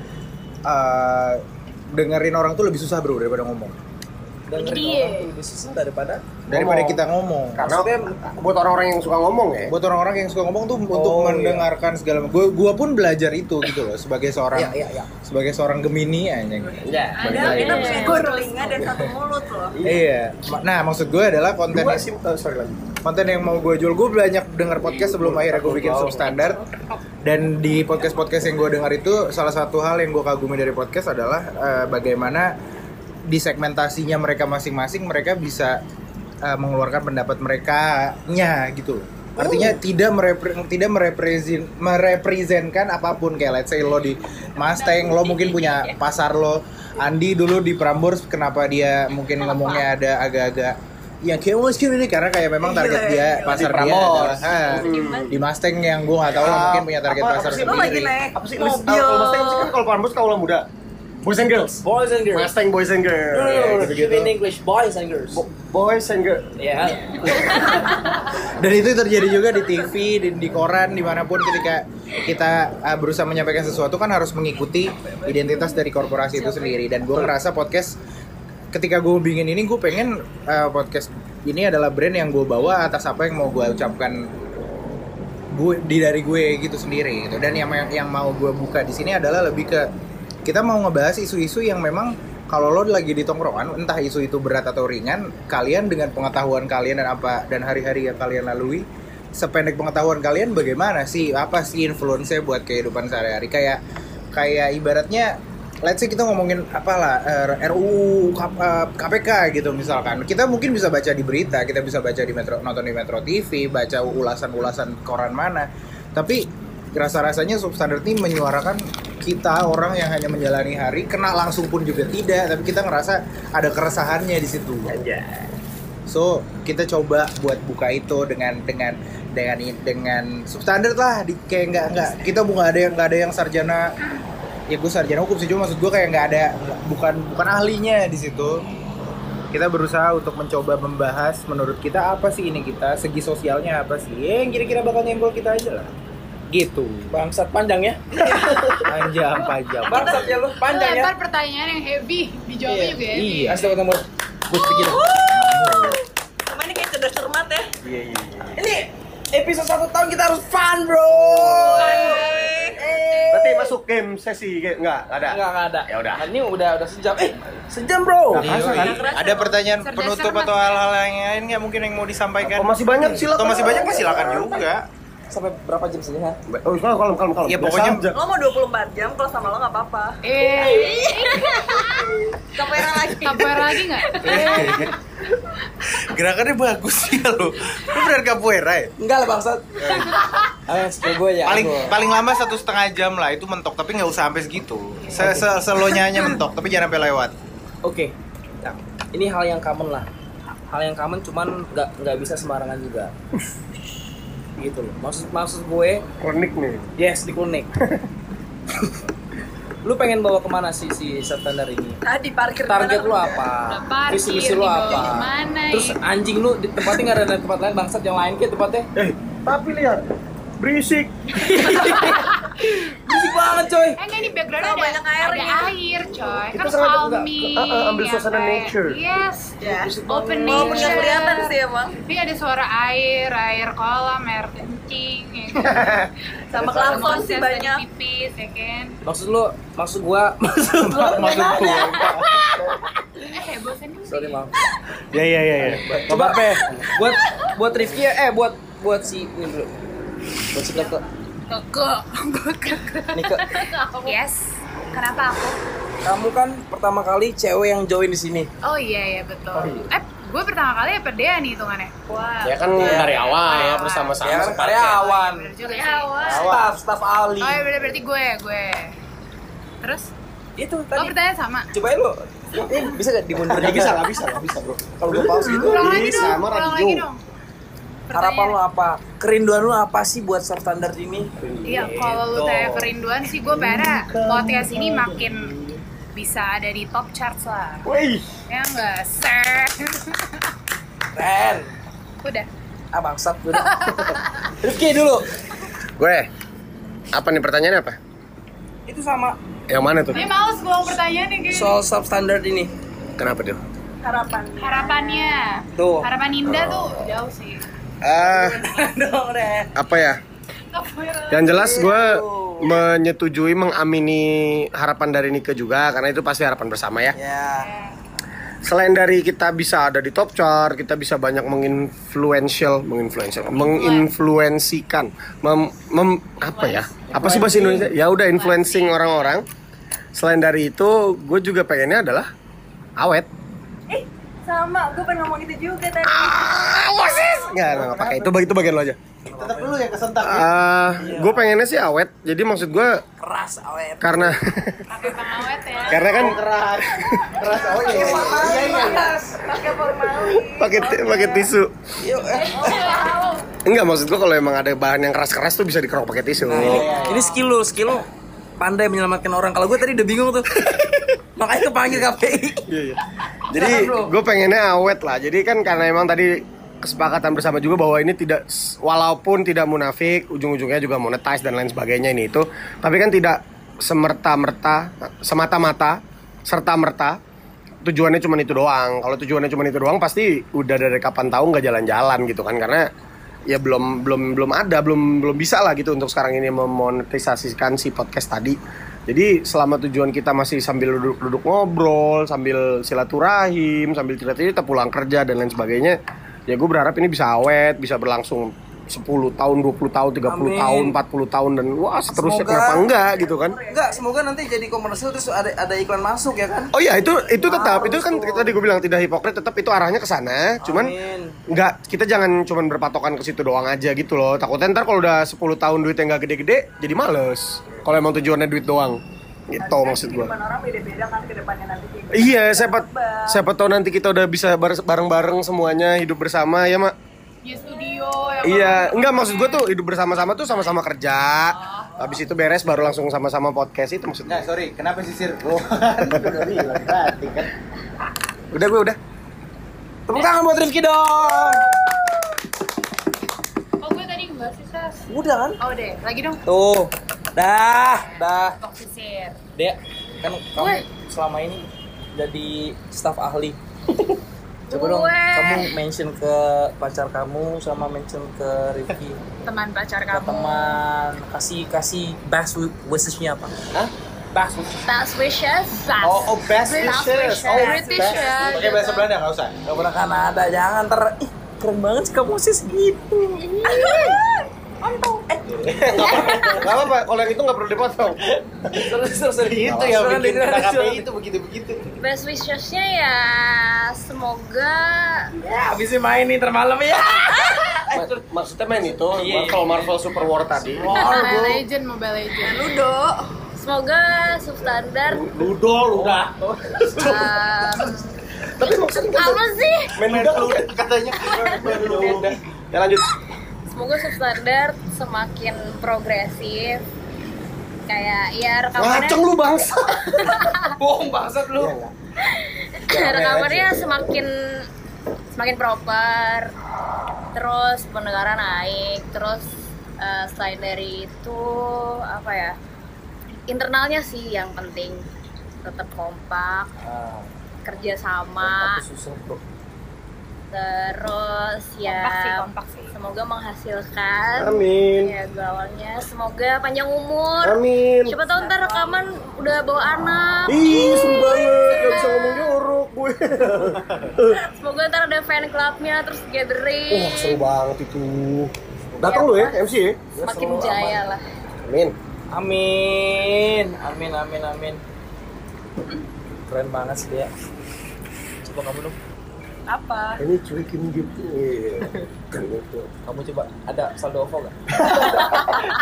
S14: eh, dengerin orang tuh lebih susah bro daripada ngomong
S16: dengerin
S21: Iya.
S16: orang tuh lebih susah daripada
S14: daripada
S16: ngomong.
S14: kita ngomong
S16: Karena
S14: buat
S16: eh,
S14: orang-orang yang suka ngomong ya Oh, buat orang-orang yang suka ngomong tuh untuk
S16: iya.
S14: mendengarkan segala macam Gua- gua pun belajar itu gitu loh sebagai
S16: Iya,
S14: seorang
S16: iya, iya.
S14: sebagai seorang gemini anjing Balik
S19: Padahal
S18: Iya.
S14: lagi.
S19: kita punya dua telinga dan satu mulut loh.
S14: Iya. Ma- Nah, maksud gue adalah konten
S19: Dua
S14: oh, konten yang mau gue jual. Gue banyak denger podcast sebelum akhirnya gue bikin substandard. Dan di podcast-podcast yang gue denger itu salah satu hal yang gue kagumi dari podcast adalah eh, bagaimana di segmentasinya mereka masing-masing mereka bisa eh, mengeluarkan pendapat mereka-nya gitu. Artinya
S17: Oh.
S14: tidak merepre tidak merepresen merepresentkan apapun kayak let's say lo di Mustang lo mungkin punya pasar lo. Andi dulu di Prambors kenapa dia mungkin ngomongnya ada agak-agak yang kayak "Wah, skin ini karena kayak memang
S17: Iya,
S14: target dia pasar dia
S16: Prambors.
S14: adalah, ah, di Mustang yang gue nggak tahu lah, mungkin punya target
S17: apa,
S14: pasar
S17: apa sih, lo
S14: sendiri.
S17: lagi naik apa sih List- ah, kalau Mustang apa sih kan kalau Prambors kalau orang muda boys and girls
S16: boys and girls
S17: Mustang boys and girls
S16: No, no, no, no,
S17: Iya, Gitu-gitu.
S16: in English, boys and girls.
S17: boys and girls
S16: ya
S14: Dan itu terjadi juga di TV, di, di koran, dimanapun ketika kita ah, berusaha menyampaikan sesuatu kan harus mengikuti identitas dari korporasi itu sendiri. Dan gue ngerasa podcast ketika gue bingin ini gue pengen eh, podcast ini adalah brand yang gue bawa atas apa yang mau gue ucapkan gue di dari gue gitu sendiri gitu dan yang yang mau gue buka di sini adalah lebih ke kita mau ngebahas isu-isu yang memang kalau lo lagi di tongkrongan entah isu itu berat atau ringan kalian dengan pengetahuan kalian dan apa dan hari-hari yang kalian lalui sependek pengetahuan kalian bagaimana sih apa sih influence-nya buat kehidupan sehari-hari kayak kayak ibaratnya let's say kita ngomongin apalah eh, RUU K- eh, KPK gitu misalkan kita mungkin bisa baca di berita kita bisa baca di metro nonton di Metro TV baca ulasan-ulasan koran mana tapi rasa-rasanya substandard ini menyuarakan kita orang yang hanya menjalani hari kena langsung pun juga tidak tapi kita ngerasa ada keresahannya di situ so kita coba buat buka itu dengan dengan dengan dengan substandard lah di kayak nggak nggak kita bukan ada yang nggak ada yang sarjana ya gue sarjana hukum sih cuma maksud gue kayak nggak ada nggak- bukan bukan ahlinya di situ kita berusaha untuk mencoba membahas menurut kita apa sih ini kita segi sosialnya apa sih Ya, yang kira-kira bakal nyenggol kita aja lah gitu bangsat panjang ya panjang panjang
S16: Bangsat ya lu, panjang ya.
S18: Lempar pertanyaan yang heavy, dijawabnya juga ya. heavy.
S16: Iya. Kasih tepuk tangan. Gue pikir.
S19: Cuma ini kayak cerdas cermat ya.
S16: Iya, iya, iya. Ini episode satu tahun kita harus fun, bro. Eh.
S17: berarti masuk game sesi game nggak nggak ada
S16: Enggak, enggak ada.
S17: ya udah
S16: Ini udah udah sejam. Eh, sejam, bro.
S14: Nggak
S17: Iya,
S14: kerasa, kan? Ada pertanyaan
S16: Cerdas
S14: penutup
S16: cermat,
S14: atau
S16: ya.
S14: hal-hal yang lain nggak mungkin yang mau disampaikan?
S17: Oh, masih banyak, silakan.
S14: Atau masih banyak ya silakan
S16: Iya.
S14: juga. *laughs*
S16: Sampai berapa jam sih ya?
S17: oh kalau kalau kalau kalau
S16: Iya,
S14: Ya, pokoknya-
S19: Lo mau 24 jam kalau sama lo nggak apa-apa.
S18: Eh.
S19: Kamera lagi.
S18: Kamera lagi nggak?
S16: Iya.
S14: Gerakannya bagus sih lo. Lu benar capoeira ya?
S16: Enggak lah, bangsat. Ah, skill gue ya.
S14: paling
S16: gua.
S14: paling lama satu setengah jam lah itu mentok tapi nggak usah sampai segitu. Se -se Selonya hanya mentok tapi jangan sampai lewat.
S16: Oke. Nah, ini hal yang common lah. Hal yang common cuman nggak nggak bisa sembarangan
S17: *laughs*
S16: juga. gitu loh. Maksud maksud gue
S17: klinik nih
S16: yes di
S17: *laughs*
S16: klinik. lu pengen bawa kemana sih si standar ini?
S19: Tadi parkir
S16: Target
S19: dimana
S16: lu
S19: udah.
S16: apa?
S19: Udah parkir,
S16: Visi misi lu
S19: dibawa
S16: apa?
S19: kemana,
S16: Terus
S19: ya?
S16: anjing lu di tempatnya nggak ada ada tempat lain bangsat yang lain kayak tempatnya?
S17: Eh, tapi lihat berisik.
S16: *laughs* Berisik banget coy.
S18: Eh, enggak, ini background ada,
S19: banyak ya.
S18: air,
S19: airnya.
S18: ada air, coy.
S17: Kita
S18: Kan
S17: sangat enggak-
S18: calming.
S17: eh, eh, ambil
S18: ya
S17: suasana
S18: kan?
S17: nature.
S18: Yes.
S19: Ya.
S18: Open nature.
S19: Walaupun nggak kelihatan sih emang.
S18: Ini ada suara air, air kolam, air kencing. Ya kan?
S19: Sama
S18: Suara
S19: klakson sih
S18: monster
S19: banyak.
S18: dari Pipis, ya kan?
S16: Maksud lu, maksud gua, *laughs* maksud gua, maksud gua.
S18: Eh, heboh sendiri.
S16: Sorry maaf.
S14: Ya ya ya ya.
S16: Coba apa? Buat buat Rifki eh buat buat si ini dulu. Buat si Keke.
S18: Kekek.
S16: Nike.
S18: Yes. Kenapa aku?
S16: Kamu kan pertama kali cewek yang join di sini.
S18: Oh iya, iya betul.
S16: Oh, iya.
S18: Eh, gue pertama kali apa dia nih hitungannya? Wah.
S17: Ya kan
S16: Iya.
S17: karyawan ya bersama-sama.
S16: Ya kan
S17: sepaket.
S16: karyawan.
S18: Karyawan.
S16: Staff, staff Ali.
S18: Oh iya berarti, berarti gue, gue. Terus?
S16: Itu Eh,
S18: tadi. Oh pertanyaan sama.
S16: Coba lu. Ini bisa gak dimundur
S17: Nggak
S16: dikit?
S17: bisa, nggak bisa, nggak bisa bro.
S16: Kalau gua pause gitu.
S18: Ulang lagi
S16: Bisa,
S18: dong.
S16: sama
S18: ulang
S16: radio.
S18: lagi dong.
S16: Harapan lu apa? Kerinduan lu apa sih buat substandard ini?
S18: Iya, kalau lu
S16: Gitu.
S18: tanya kerinduan sih gue pengennya podcast ini makin bisa ada di top charts lah.
S16: Wih.
S18: Ya enggak, sir. *laughs*
S16: Keren.
S18: Udah.
S16: *laughs* Ah bangsat udah. *laughs* Rifki dulu.
S17: Gue apa nih pertanyaannya apa?
S16: Itu sama
S17: Yang mana tuh?
S18: Ini males gue mau pertanyaan nih
S16: soal substandard ini. *laughs*
S17: Kenapa tuh?
S19: harapannya
S18: harapannya
S19: Tuh.
S18: harapan Indah
S19: Oh.
S18: tuh jauh sih
S17: Ah,
S19: dong deh
S17: apa ya? Yang jelas gue menyetujui mengamini harapan dari Nike juga karena itu pasti harapan bersama ya. Selain dari kita bisa ada di top chart, kita bisa banyak menginfluential, menginfluential, menginfluensikan, mem, mem- apa ya? Apa sih bahasa Indonesia? Ya udah influencing orang-orang. Selain dari itu, gue juga pengennya adalah awet.
S19: eh sama gue pengen ngomong itu juga tadi
S16: Ah,
S17: Nggak, nggak, nggak pakai itu, itu bagian lo aja.
S14: Tetap dulu yang kesentak. ya.
S17: Ah, gue pengennya sih awet. Jadi maksud gue
S19: Iya. keras awet *laughs*
S17: karena
S18: pakai
S14: Eh,
S18: pengawet ya
S17: Karena kan-
S14: keras keras awet ya. Iya iya.
S19: pakai formalin
S17: pakai ti- pakai tisu.
S19: yuk
S17: Enggak maksud gue kalau emang ada bahan yang keras-keras tuh bisa dikerok pakai tisu.
S19: Nah,
S16: Ini skill lo, skill lo pandai menyelamatkan orang. Kalau gue tadi udah bingung tuh. Makanya kepanggil KPI.
S17: Jadi gue pengennya awet lah. Jadi kan karena emang tadi kesepakatan bersama juga bahwa ini tidak walaupun tidak munafik ujung-ujungnya juga monetize dan lain sebagainya ini itu tapi kan tidak semerta-merta semata-mata serta-merta tujuannya cuma itu doang kalau tujuannya cuma itu doang pasti udah dari kapan tahu nggak jalan-jalan gitu kan karena ya belum belum belum ada belum belum bisa lah gitu untuk sekarang ini memonetisasikan si podcast tadi jadi selama tujuan kita masih sambil duduk-duduk ngobrol sambil silaturahim sambil cerita-cerita pulang kerja dan lain sebagainya ya gue berharap ini bisa awet bisa berlangsung 10 tahun 20 tahun 30
S16: Amin.
S17: tahun 40 tahun dan wah seterusnya
S16: Semoga-
S17: kenapa enggak gitu kan
S16: Enggak, semoga nanti jadi komersil terus ada ada iklan masuk ya kan?
S17: Oh iya itu itu tetap itu kan tadi gue bilang tidak hipokrit tetap itu arahnya ke sana cuman nggak kita jangan cuman berpatokan ke situ doang aja gitu loh takutnya ntar kalau udah 10 tahun duitnya nggak gede-gede jadi males kalau emang tujuannya duit doang gitu maksud gue
S19: kehidupan orang beda-beda kan ke depannya nanti kayak gitu.
S17: iya siapa siapa tahu nanti kita udah bisa bar- bareng-bareng semuanya hidup bersama ya mak
S18: di studio ya
S17: Iya, enggak maksud gue tuh hidup bersama-sama tuh sama-sama kerja. Habis itu beres baru langsung sama-sama podcast itu
S14: Nah,
S17: maksudnya.
S14: sorry, kenapa sisir? *laughs* Oh, udah bilang tadi kan.
S17: Udah gue udah.
S16: Tepuk tangan buat Rifki dong.
S18: oh gue tadi enggak sih sas
S16: Udah kan?
S18: oh deh lagi dong
S16: Tuh. Dah, dah.
S18: toksisir
S16: Dek, kan kamu selama ini jadi staf ahli. Coba dong,
S18: Gue.
S16: kamu mention ke pacar kamu sama mention ke Rifki.
S18: teman pacar
S16: Ke
S18: kamu
S16: teman, kasih kasih best wi- wishes-nya apa? Hah? Best wishes.
S21: Nah,
S18: best wishes sas
S14: Oh, oh, best wishes. Oh,
S18: British
S14: best-
S18: ya
S14: Pakai bahasa Belanda enggak usah.
S16: Gak pernah Kanada, jangan ter... Ih, keren banget sih kamu sis gitu.
S19: Eh,
S17: Gak apa-apa, kalau yang itu gak perlu dipotong
S16: Terus terus
S14: Itu yang bikin kita KPI itu begitu-begitu.
S21: Best wishesnya ya semoga
S16: Ya, habisnya main nih ntar malam ya.
S17: Eh, Maksudnya main itu, Marvel Marvel Iya. Super War tadi
S18: Mobile Legend Mobile Legend Ludo
S21: semoga
S14: *laughs*
S21: substandard
S17: Ludo, udah Tapi maksudnya kan
S21: apa sih
S17: main Ludo katanya Main Ludo Ya lanjut
S21: semoga substandard semakin progresif kayak ya rekamannya
S17: Ngaceng
S14: *laughs*
S17: lu bangsa
S16: Bohong bangsat lu.
S21: *laughs* rekamannya semakin semakin proper terus pendengaran naik terus eh, selain dari itu apa ya internalnya sih yang penting tetap kompak
S16: Ah,
S21: kerjasama
S16: aku susah bro.
S21: terus ya
S18: Kompak sih,
S21: semoga menghasilkan
S17: Amin.
S21: ya gue awalnya semoga panjang umur
S17: Amin.
S21: siapa tahu ntar rekaman udah bawa anak
S17: Ih, seru banget, gak bisa
S21: seneng.
S17: ngomong jorok *laughs* gue
S21: semoga ntar ada fan clubnya terus gathering Iya,
S17: Wah, Oh, seru banget itu Datang lu ya, MC ya
S21: makin jaya lah
S17: Amin
S16: Amin. Amin amin amin. Keren banget sih dia. Coba kamu dong.
S19: apa
S17: Ini cuekin gitu Iya. Kan gitu.
S16: Kamu coba ada saldo OVO *laughs* gak?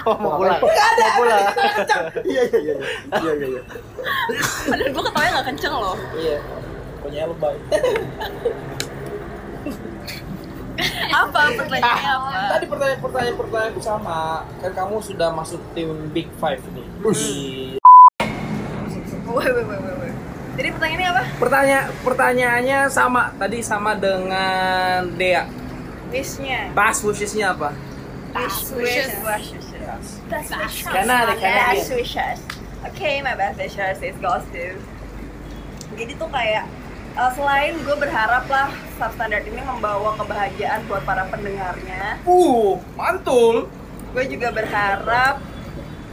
S17: Oh, mau pulang
S16: Gak ada.
S17: Iya, iya, iya Iya, iya, iya
S19: padahal gue ketawanya nggak kenceng *laughs* loh
S16: Iya. Punya lebay.
S19: apa pertanyaannya apa
S16: Tadi pertanyaan pertanyaan pertanyaanku sama. Kan kamu sudah masuk tim Big Five nih. Di-
S19: Woi, woi, woi, woi, woi. jadi pertanyaannya apa
S16: Pertanya pertanyaannya sama tadi sama dengan Dea.
S19: wishnya
S16: Pas wishesnya apa?
S19: Best wishes. Best wishes. Best wishes.
S16: Canada, Canadian.
S19: Best wishes. Okay, my best wishes is gossip. Jadi tuh kayak Eh, selain gue berharap lah substandard ini membawa kebahagiaan buat para pendengarnya.
S16: Uh, mantul.
S19: Gue juga berharap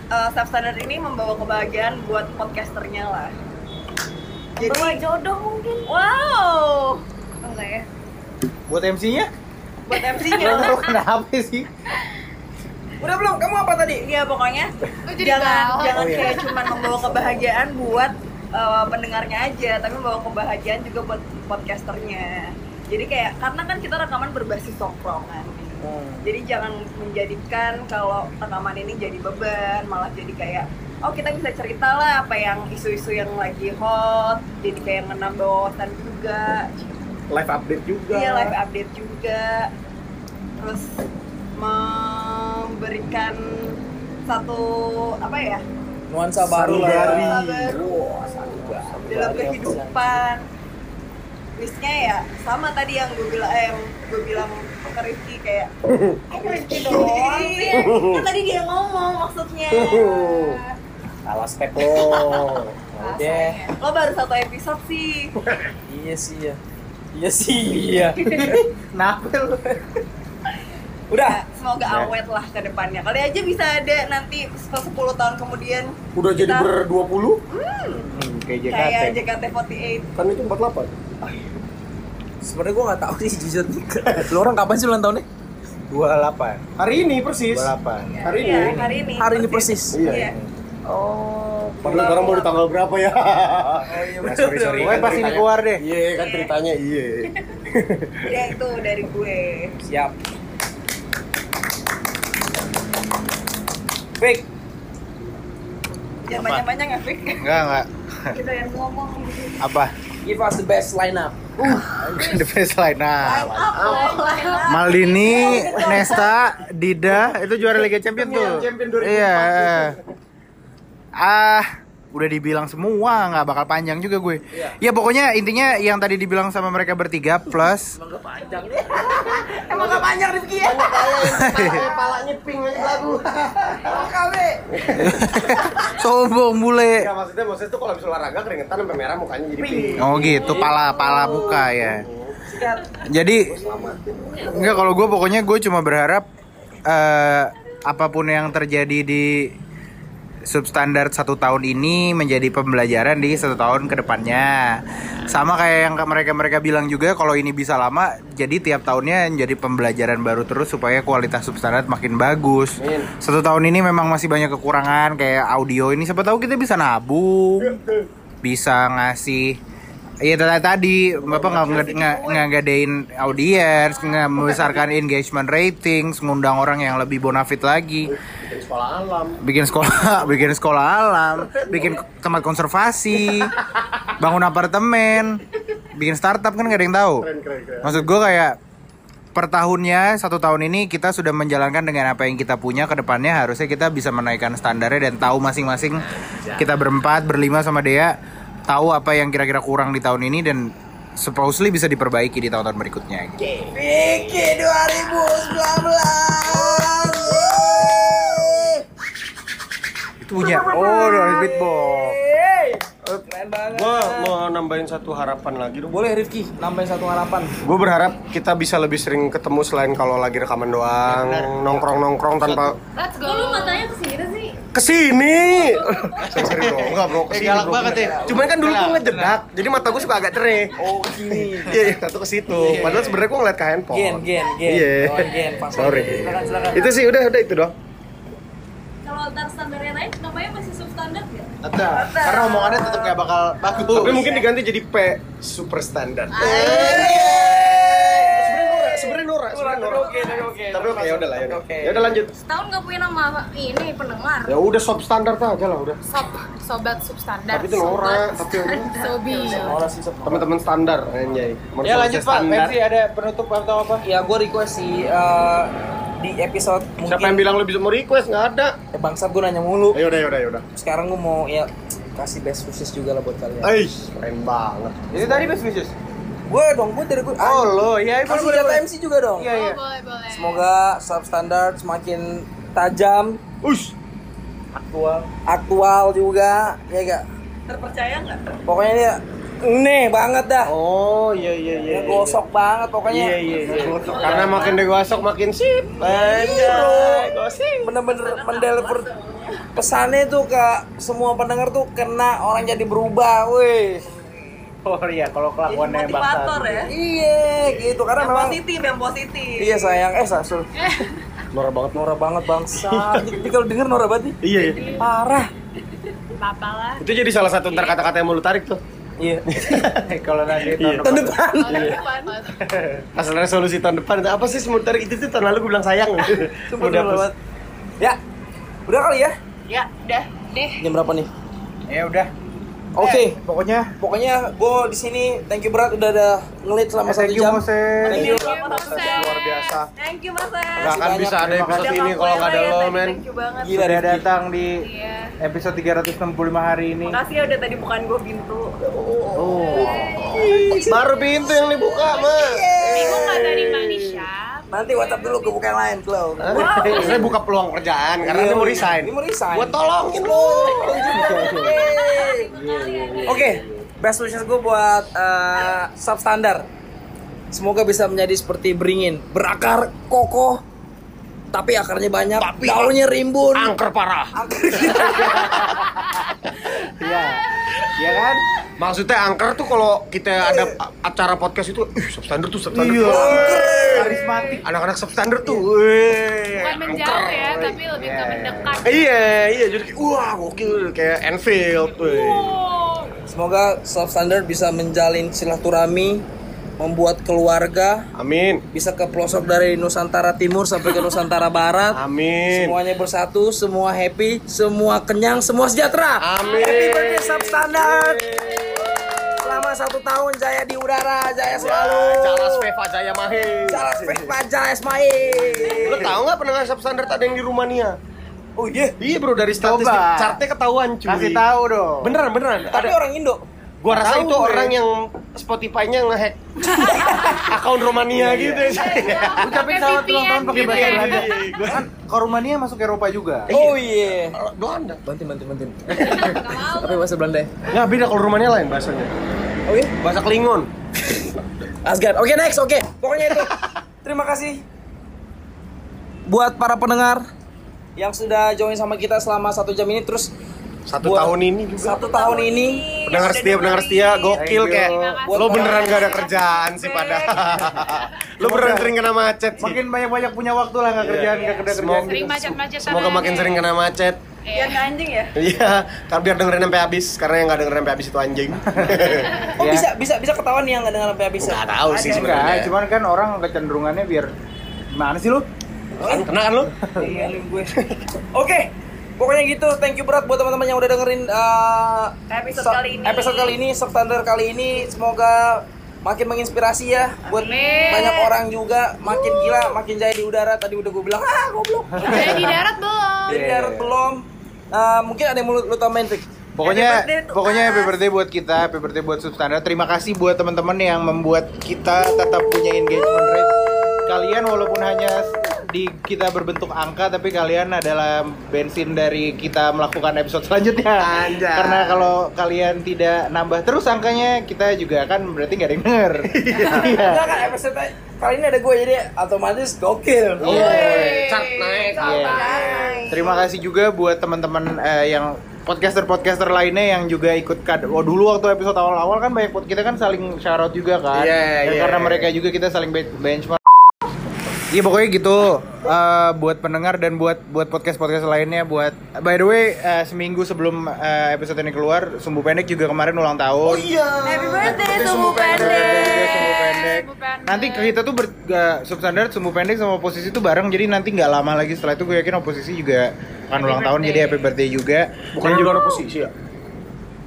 S19: eh, substandard ini membawa kebahagiaan buat podcasternya lah.
S21: Membawa jodoh mungkin.
S19: Wow.
S21: Enggak ya.
S14: Buat MC-nya?
S19: Buat
S14: Lo
S19: MC-nya.
S14: kenapa sih?
S19: Udah belum? Kamu apa tadi? Iya pokoknya
S21: jadi
S19: jangan
S21: galau.
S19: jangan
S21: Oh, iya.
S19: kayak cuman membawa kebahagiaan buat eh, pendengarnya aja, tapi membawa kebahagiaan juga buat podcasternya. Jadi kayak karena kan kita rekaman berbasis tongkrongan. Jadi jangan menjadikan kalau rekaman ini jadi beban, malah jadi kayak oh kita bisa cerita lah apa yang isu-isu yang lagi hot, jadi kayak menambah wawasan juga.
S16: Live update juga.
S19: Iya live update juga. Terus memberikan satu apa ya?
S16: Nuansa baru lah.
S19: Sanubari.
S16: baru. Wah, sanubari.
S19: dalam
S16: *laughs*
S19: kehidupan. Wisnya ya sama tadi yang gue bilang eh, yang gue bilang ke Rifki kayak eh ke
S17: *laughs*
S19: Rifki doang sih. Kan tadi dia ngomong maksudnya.
S16: Salah step lo. Udah.
S19: Lo baru satu episode sih.
S16: Iya sih ya. Iya sih iya. Kenapa lo? Udah.
S19: Semoga
S16: Udah.
S19: awet lah ke depannya. Kali aja bisa ada nanti 10 tahun kemudian
S17: Udah jadi
S19: kita-
S17: ber 20
S16: Hmm, kayak
S19: kayak JKT48
S17: Kan itu 48
S16: Sebenarnya gue gak tahu sih jujur. *laughs* Lu orang kapan sih ulang tahunnya? 28.
S17: Hari ini persis
S16: 28.
S17: Hari ini.
S19: Iya, hari ini.
S16: Hari ini persis.
S17: Iya.
S16: Oh.
S17: Padahal orang baru tanggal berapa ya?
S16: Nah, sorry, sorry. Pokoknya pas ini
S17: keluar deh. Iya kan ceritanya iya.
S19: ya itu dari gue
S16: Siap. Fik.
S19: jangan banyak banyak ya Fik
S14: Enggak, enggak. *laughs*
S19: kita yang ngomong
S14: Apa?
S16: Give us the best lineup. Uh.
S14: The best line. Nah,
S19: apa
S14: Maldini, Nesta, Dida itu juara Liga Champion
S17: Iya,
S14: tuh.
S17: Champion 2004.
S14: Iya. Ah, udah dibilang semua nggak bakal panjang juga gue.
S17: Iya.
S14: Ya pokoknya intinya yang tadi dibilang sama mereka bertiga
S17: *laughs*
S14: plus *laughs*
S16: Emang gak *laughs* panjang nih. Emang gak panjang Rifki ya.
S17: Palanya pink aja lagu.
S16: Kabe.
S14: *laughs* sombong bule.
S17: Enggak Iya, maksudnya maksudnya tuh kalau habis olahraga keringetan sampai merah mukanya jadi pink.
S14: Oh gitu, pala pala muka ya. Jadi Enggak kalau gue pokoknya gue cuma berharap eh, apapun yang terjadi di substandar satu tahun ini menjadi pembelajaran di satu tahun kedepannya. Sama kayak yang mereka mereka bilang juga kalau ini bisa lama, jadi tiap tahunnya jadi pembelajaran baru terus supaya kualitas substandar makin bagus. Satu tahun ini memang masih banyak kekurangan kayak audio ini. Siapa tahu kita bisa nabung, bisa ngasih Iya tadi tadi bapak nggak nggak- nggak nggak ngadain audiens, nggak membesarkan engagement ratings, ngundang orang yang lebih bonafit lagi,
S17: Bikin sekolah alam.
S14: bikin sekolah, *laughs* bikin sekolah alam, bikin tempat konservasi, bangun apartemen, bikin startup kan nggak ada yang tahu.
S17: Keren keren keren.
S14: Maksud gue kayak per tahunnya satu tahun ini kita sudah menjalankan dengan apa yang kita punya kedepannya harusnya kita bisa menaikkan standarnya dan tahu masing-masing kita berempat berlima sama Dea tahu apa yang kira-kira kurang di tahun ini dan supposedly bisa diperbaiki di tahun-tahun berikutnya.
S16: Vicky 2019.
S14: Itu punya. Oh, dari Beatbox.
S16: Keren banget.
S17: Gua mau nambahin satu harapan lagi dong.
S16: Boleh Rifki nambahin satu harapan.
S17: Gue berharap kita bisa lebih sering ketemu selain kalau lagi rekaman doang, nongkrong-nongkrong tanpa
S21: Let's go. Lu matanya kesini sih.
S17: kesini. Sorry bro, enggak
S16: Eh,
S17: bro, kesini
S11: galak
S17: bro.
S11: banget ya.
S17: Cuman kan dulu gue ngejedak, jadi mata gue suka agak cereh.
S16: Oh, gini.
S17: *laughs* Iya, iya, satu ke situ. Padahal sebenarnya gue ngeliat ke handphone.
S16: Gen, gen, gen.
S17: Iya.
S16: Kawan gen, Pak.
S17: Sorry.
S16: Silakan, silakan.
S17: Itu sih udah udah itu doang.
S21: Kalau antar standar yang lain namanya masih substandard ya?
S14: Karena omongannya tetap gak bakal bagus.
S17: Tapi mungkin diganti jadi P super standar.
S16: Ah.
S17: Sebenarnya Nora, sebenarnya Nora. Tapi oke, ya udah lah, ya udah. Ya udah lanjut.
S21: Setahun gak punya nama ini pendengar.
S17: Ya udah sob standar aja lah udah.
S18: Sob, sobat substandar.
S17: Tapi itu Nora,
S18: sobat
S17: tapi
S18: Sobi.
S17: teman-teman standar anjay. Menurut
S16: Ya
S17: saya
S16: lanjut Pak,
S17: standar. *laughs*
S16: Pepsi ada penutup atau apa? Ya gue request sih eh, di episode mungkin
S17: Siapa yang bilang lu bisa mau request? Nggak ada.
S16: Ya, bangsat gue nanya mulu.
S17: Ya udah, ya udah, ya udah.
S16: Sekarang gue mau ya kasih best wishes juga lah buat kalian.
S17: Eh, keren banget.
S16: Itu tadi best wishes. Gue dong, gue dari gue. Oh lo,
S17: Iya,
S16: ya
S14: boleh,
S16: Kasih
S14: boleh,
S16: jatah
S14: boleh.
S16: MC juga dong.
S14: Iya, iya.
S18: Boleh, boleh.
S16: Semoga substandard semakin tajam. Ush. Aktual. Aktual juga, ya gak?
S19: terpercaya nggak
S16: Pokoknya dia Nih banget dah.
S17: Oh iya iya iya.
S16: Gosok banget pokoknya.
S17: Iya iya. iya. Karena makin digosok makin sip. Iya, Banyak.
S16: Bener-bener mendeliver pesannya tuh ke semua pendengar tuh kena orang jadi berubah, weh.
S17: Oh iya, kalau kelakuannya
S19: motivator ya
S16: iya gitu karena
S19: yang
S16: memang-
S19: positif yang positif
S16: Iya sayang, eh
S14: *laughs*
S16: Sasul. Nora banget, Nora banget bangsa. Jadi kalau denger Nora banget nih.
S17: Iya iya.
S16: Parah.
S18: Apa lah?
S17: Itu jadi salah satu ntar kata-kata yang mau lu tarik tuh.
S16: Iya.
S17: *laughs* kalau nanti
S16: Tahun depan.
S18: Oh,
S17: Iya. Asal resolusi tahun depan itu apa sih mau tarik itu tuh tahun lalu gue bilang sayang.
S16: *laughs* Sumpah Nora banget. Ya, udah kali ya.
S18: Ya, udah deh.
S16: Jam berapa nih?
S14: Ya udah. Eh,
S16: Oke,
S14: pokoknya
S16: pokoknya gue di sini thank you berat udah ada ngelit selama
S14: Eh,
S16: satu
S14: thank you,
S16: jam.
S14: Moses.
S16: Thank you.
S19: luar biasa thank you mas
S17: Gak akan bisa ada episode ini kalau nggak ada lo men.
S19: ya, thank you banget
S14: Gila, Sudah datang di
S19: Iya.
S14: episode 365 hari ini.
S19: makasih ya udah tadi bukan gue pintu
S14: Oh.
S17: Baru pintu yang dibuka, Ya, Mas.
S18: Minggu nggak dari Manisha.
S16: Nanti WhatsApp dulu ke buka yang lain, Glow.
S17: Nah, *laughs* Saya buka peluang kerjaan karena
S16: Iya,
S17: dia mau resign.
S16: Dia mau resign.
S17: Gua tolongin lu.
S16: Oke, best wishes gue buat eh, substandar. Semoga bisa menjadi seperti beringin, berakar kokoh, tapi akarnya banyak, daunnya rimbun, gitu.
S17: angker parah. *laughs* Iya. Iya kan? Maksudnya angker tuh kalau kita ada a- acara podcast itu, ih substandar tuh substandar.
S14: Iya.
S17: Wih.
S14: Karismatik.
S17: Anak-anak substandar tuh. Wih.
S18: Bukan menjauh ya, tapi lebih ke mendekat.
S17: Iya, iya jadi kayak, wah gokil kayak Enfield. Wih.
S16: Semoga substandar bisa menjalin silaturahmi, membuat keluarga.
S17: Amin.
S16: Bisa ke pelosok dari Nusantara Timur sampai ke Nusantara Barat.
S17: Amin.
S16: Semuanya bersatu, semua happy, semua kenyang, semua sejahtera.
S17: Amin.
S16: Happy birthday substandar. Selama satu tahun jaya di udara, jaya selalu.
S17: Ya, Charles Veva Jaya Mahe.
S16: Charles Veva Jaya Mahe.
S17: Lo tau nggak pendengar substandar ada yang di Rumania?
S16: Oh iya?
S17: Iya bro, dari statistik
S14: Coba.
S17: chartnya ketahuan cuy
S14: Kasih tahu dong.
S17: Beneran, beneran
S16: Tapi orang Indo.
S17: Gua rasa
S16: Tahu
S17: itu
S16: gue.
S17: orang yang Spotify-nya
S16: *laughs*
S17: ngehack
S16: Iya,
S17: akun Rumania gitu ya.
S14: Ucapin selamat ulang tahun pakai bahasa
S17: VPN.
S14: Belanda. Kan ke Rumania masuk Eropa juga.
S16: Oh iya.
S17: Belanda.
S16: Bantin, bantin, *laughs* bantin. Tapi bahasa Belanda ya?
S17: Nggak beda kalau Rumania lain bahasanya.
S16: Oh iya?
S17: Bahasa Klingon.
S16: Asgard. Oke next, oke. Pokoknya itu. Terima kasih buat para pendengar yang sudah join sama kita selama satu jam ini terus
S17: Satu
S16: buat-
S17: tahun ini juga.
S16: satu tahun ini
S17: Pendengar setia, pendengar setia, gokil kayak.
S16: kasih.
S17: Lo beneran gak ada kerjaan sih pada. Lo beneran sering kena macet sih.
S14: Makin banyak-banyak punya waktu lah nggak
S17: Iya.
S14: kerjaan nggak gitu. kerja kerjaan.
S18: Sering macet-macetan.
S17: Semoga
S18: aja.
S17: makin sering kena macet.
S19: Biar nggak anjing ya
S17: Iya, kan biar dengerin sampai habis karena yang nggak dengerin sampai habis itu anjing.
S16: oh bisa bisa bisa ketahuan nih yang nggak dengar sampai habis
S17: Ya.
S16: ya?
S17: Nggak tahu sih
S14: Enggak,
S17: sebenarnya.
S14: cuman kan orang kecenderungannya biar mana sih lu?
S17: Kena kan
S14: *laughs*
S17: lo?
S16: Iya, lu gue. Oke pokoknya gitu thank you berat buat teman-teman yang udah dengerin eh,
S19: Episode
S16: sub-
S19: kali ini.
S16: episode kali ini substandar kali ini semoga makin menginspirasi ya buat banyak orang juga makin gila makin jaya di udara tadi udah gue bilang ah goblok
S18: Udah di darat belum?
S16: Jadi
S17: Iya.
S16: darat belum Eh, mungkin ada yang mau lu, lu tambahin Fik? Happy
S14: Pokoknya
S16: birthday to
S14: pokoknya happy
S16: us.
S14: birthday buat kita, happy birthday buat Substandard. Terima kasih buat teman-teman yang membuat kita tetap punya engagement rate. Kalian walaupun hanya di kita berbentuk angka tapi kalian adalah bensin dari kita melakukan episode selanjutnya.
S17: Anjay.
S14: Karena kalau kalian tidak nambah terus angkanya, kita juga akan berarti nggak denger. Iya.
S16: Enggak kan episode kali ini ada gue jadi otomatis gokil.
S14: Iya.
S17: Cat naik.
S14: Terima kasih juga buat teman-teman eh, yang podcaster-podcaster lainnya yang juga ikut kad. Oh, dulu waktu episode awal-awal kan banyak pod- kita kan saling syarat *laughs* juga kan.
S17: Iya,
S14: Dan
S17: iya.
S14: Karena mereka juga kita saling ben- benchmark. Iya pokoknya gitu Eh, buat pendengar dan buat buat podcast podcast lainnya buat by the way eh, seminggu sebelum eh, episode ini keluar sumbu pendek juga kemarin ulang
S16: Oh
S17: Oh,
S14: tahun.
S16: iya,
S17: iya.
S19: happy birthday sumbu
S14: Iya,
S19: pendek
S14: Sumbu pendek. Nanti kita tuh ber, eh, substandard sumbu pendek sama oposisi tuh bareng jadi nanti nggak lama lagi setelah itu gue yakin oposisi juga akan ulang tahun jadi happy birthday juga.
S17: Bukan
S14: Dan
S17: di
S14: juga
S17: luar posisi ya?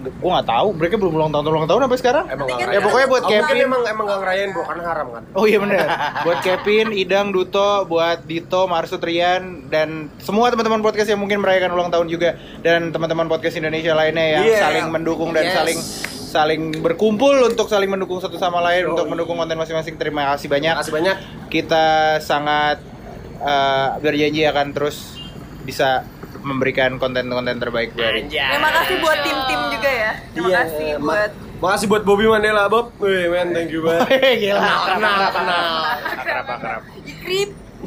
S14: gue nggak tahu mereka belum ulang tahun ulang tahun apa sekarang?
S17: Emang nggak
S14: ya
S17: ngerayain.
S14: pokoknya buat
S17: Oh, mungkin
S14: Kevin.
S17: emang emang gak ngerayain bro, karena haram kan.
S14: Oh iya bener Buat Kevin, Idang, Duto, buat Dito, Marsud, Rian Dan semua teman-teman podcast yang mungkin merayakan ulang tahun juga Dan teman-teman podcast Indonesia lainnya yang
S17: Yeah.
S14: saling mendukung dan
S17: Iya. Yes.
S14: saling saling berkumpul untuk saling mendukung satu sama lain untuk mendukung konten masing-masing terima kasih banyak
S17: Terima kasih banyak.
S14: kita sangat eh, berjanji akan terus bisa memberikan konten-konten terbaik dari
S19: terima kasih buat tim tim juga ya terima
S16: Iya,
S19: kasih
S16: ma-
S19: buat
S17: eh, Makasih buat Bobby Mandela, Bob. Wih, man, thank you banget.
S14: *laughs* Gila,
S17: Kenal,
S14: akrab,
S17: kenal,
S14: akrab,
S17: kenal.
S14: akrab, akrab.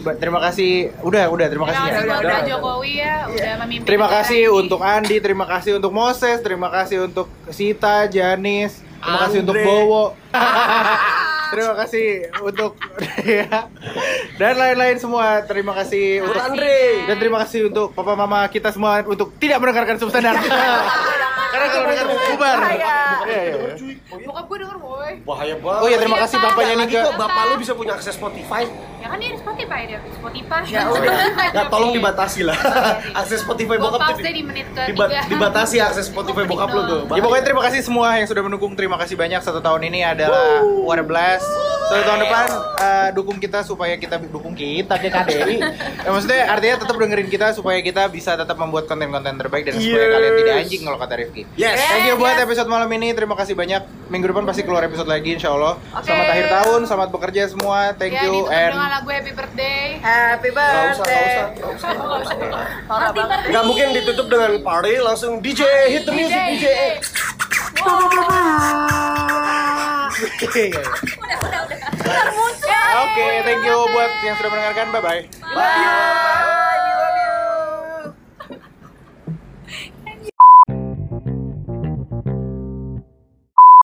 S14: Ba- Terima kasih. Udah, udah, terima kasih.
S18: Terima
S14: ya.
S18: kasih Bapak Jokowi ya, udah
S16: Iya.
S18: memimpin.
S14: Terima
S18: kita.
S14: kasih untuk Andi, terima kasih untuk Moses, terima kasih untuk Sita, Janis, terima kasih untuk
S17: Andre.
S14: Bowo. terima kasih untuk ya. dan lain-lain semua. Terima kasih untuk Andre dan terima kasih untuk papa mama kita semua untuk tidak mendengarkan substandar. Karena kalau dengar bubar. Iya, iya.
S18: Bokap gue denger woi.
S17: Bahaya banget.
S14: Oh iya, terima kasih bapaknya
S17: Lagi
S14: Nika.
S17: kok bapak lu bisa punya akses Spotify?
S18: Ya kan dia di Spotify dia, di Spotify.
S17: Ya,
S18: *laughs*
S17: udah. Ya, tolong dibatasi lah. *laughs* akses Spotify
S18: Gue
S17: bokap
S18: pause
S17: tuh
S18: deh
S17: di-
S18: di menit ke
S17: dibat-
S18: tiga.
S17: dibatasi akses Spotify bokap lu tuh.
S14: Ya pokoknya terima kasih semua yang sudah mendukung. Terima kasih banyak satu tahun ini adalah what a blast. Satu tahun depan eh, dukung kita supaya kita dukung kita ke
S17: *laughs*
S14: KDI. Ya, maksudnya artinya tetap dengerin kita supaya kita bisa tetap membuat konten-konten terbaik dan supaya
S17: Yes.
S14: kalian tidak anjing kalau kata Rifki.
S17: Yes.
S14: Thank you buat episode malam ini. Terima kasih banyak. Minggu depan pasti keluar episode lagi insya Allah.
S18: Oke.
S14: Selamat akhir tahun, selamat bekerja semua. Thank
S17: Iya,
S18: ya,
S14: you
S17: gitu
S18: ditutup
S17: kan,
S14: and
S18: dengan lagu Happy Birthday.
S19: Happy
S17: Nggak usah, nggak usah,
S18: Happy Birthday.
S17: Gak mungkin ditutup dengan party langsung DJ hit the music DJ. *laughs*
S14: Oke,
S17: Iya,
S18: Udah muncul.
S14: thank you buat yang sudah mendengarkan. Bye bye.
S18: Bye.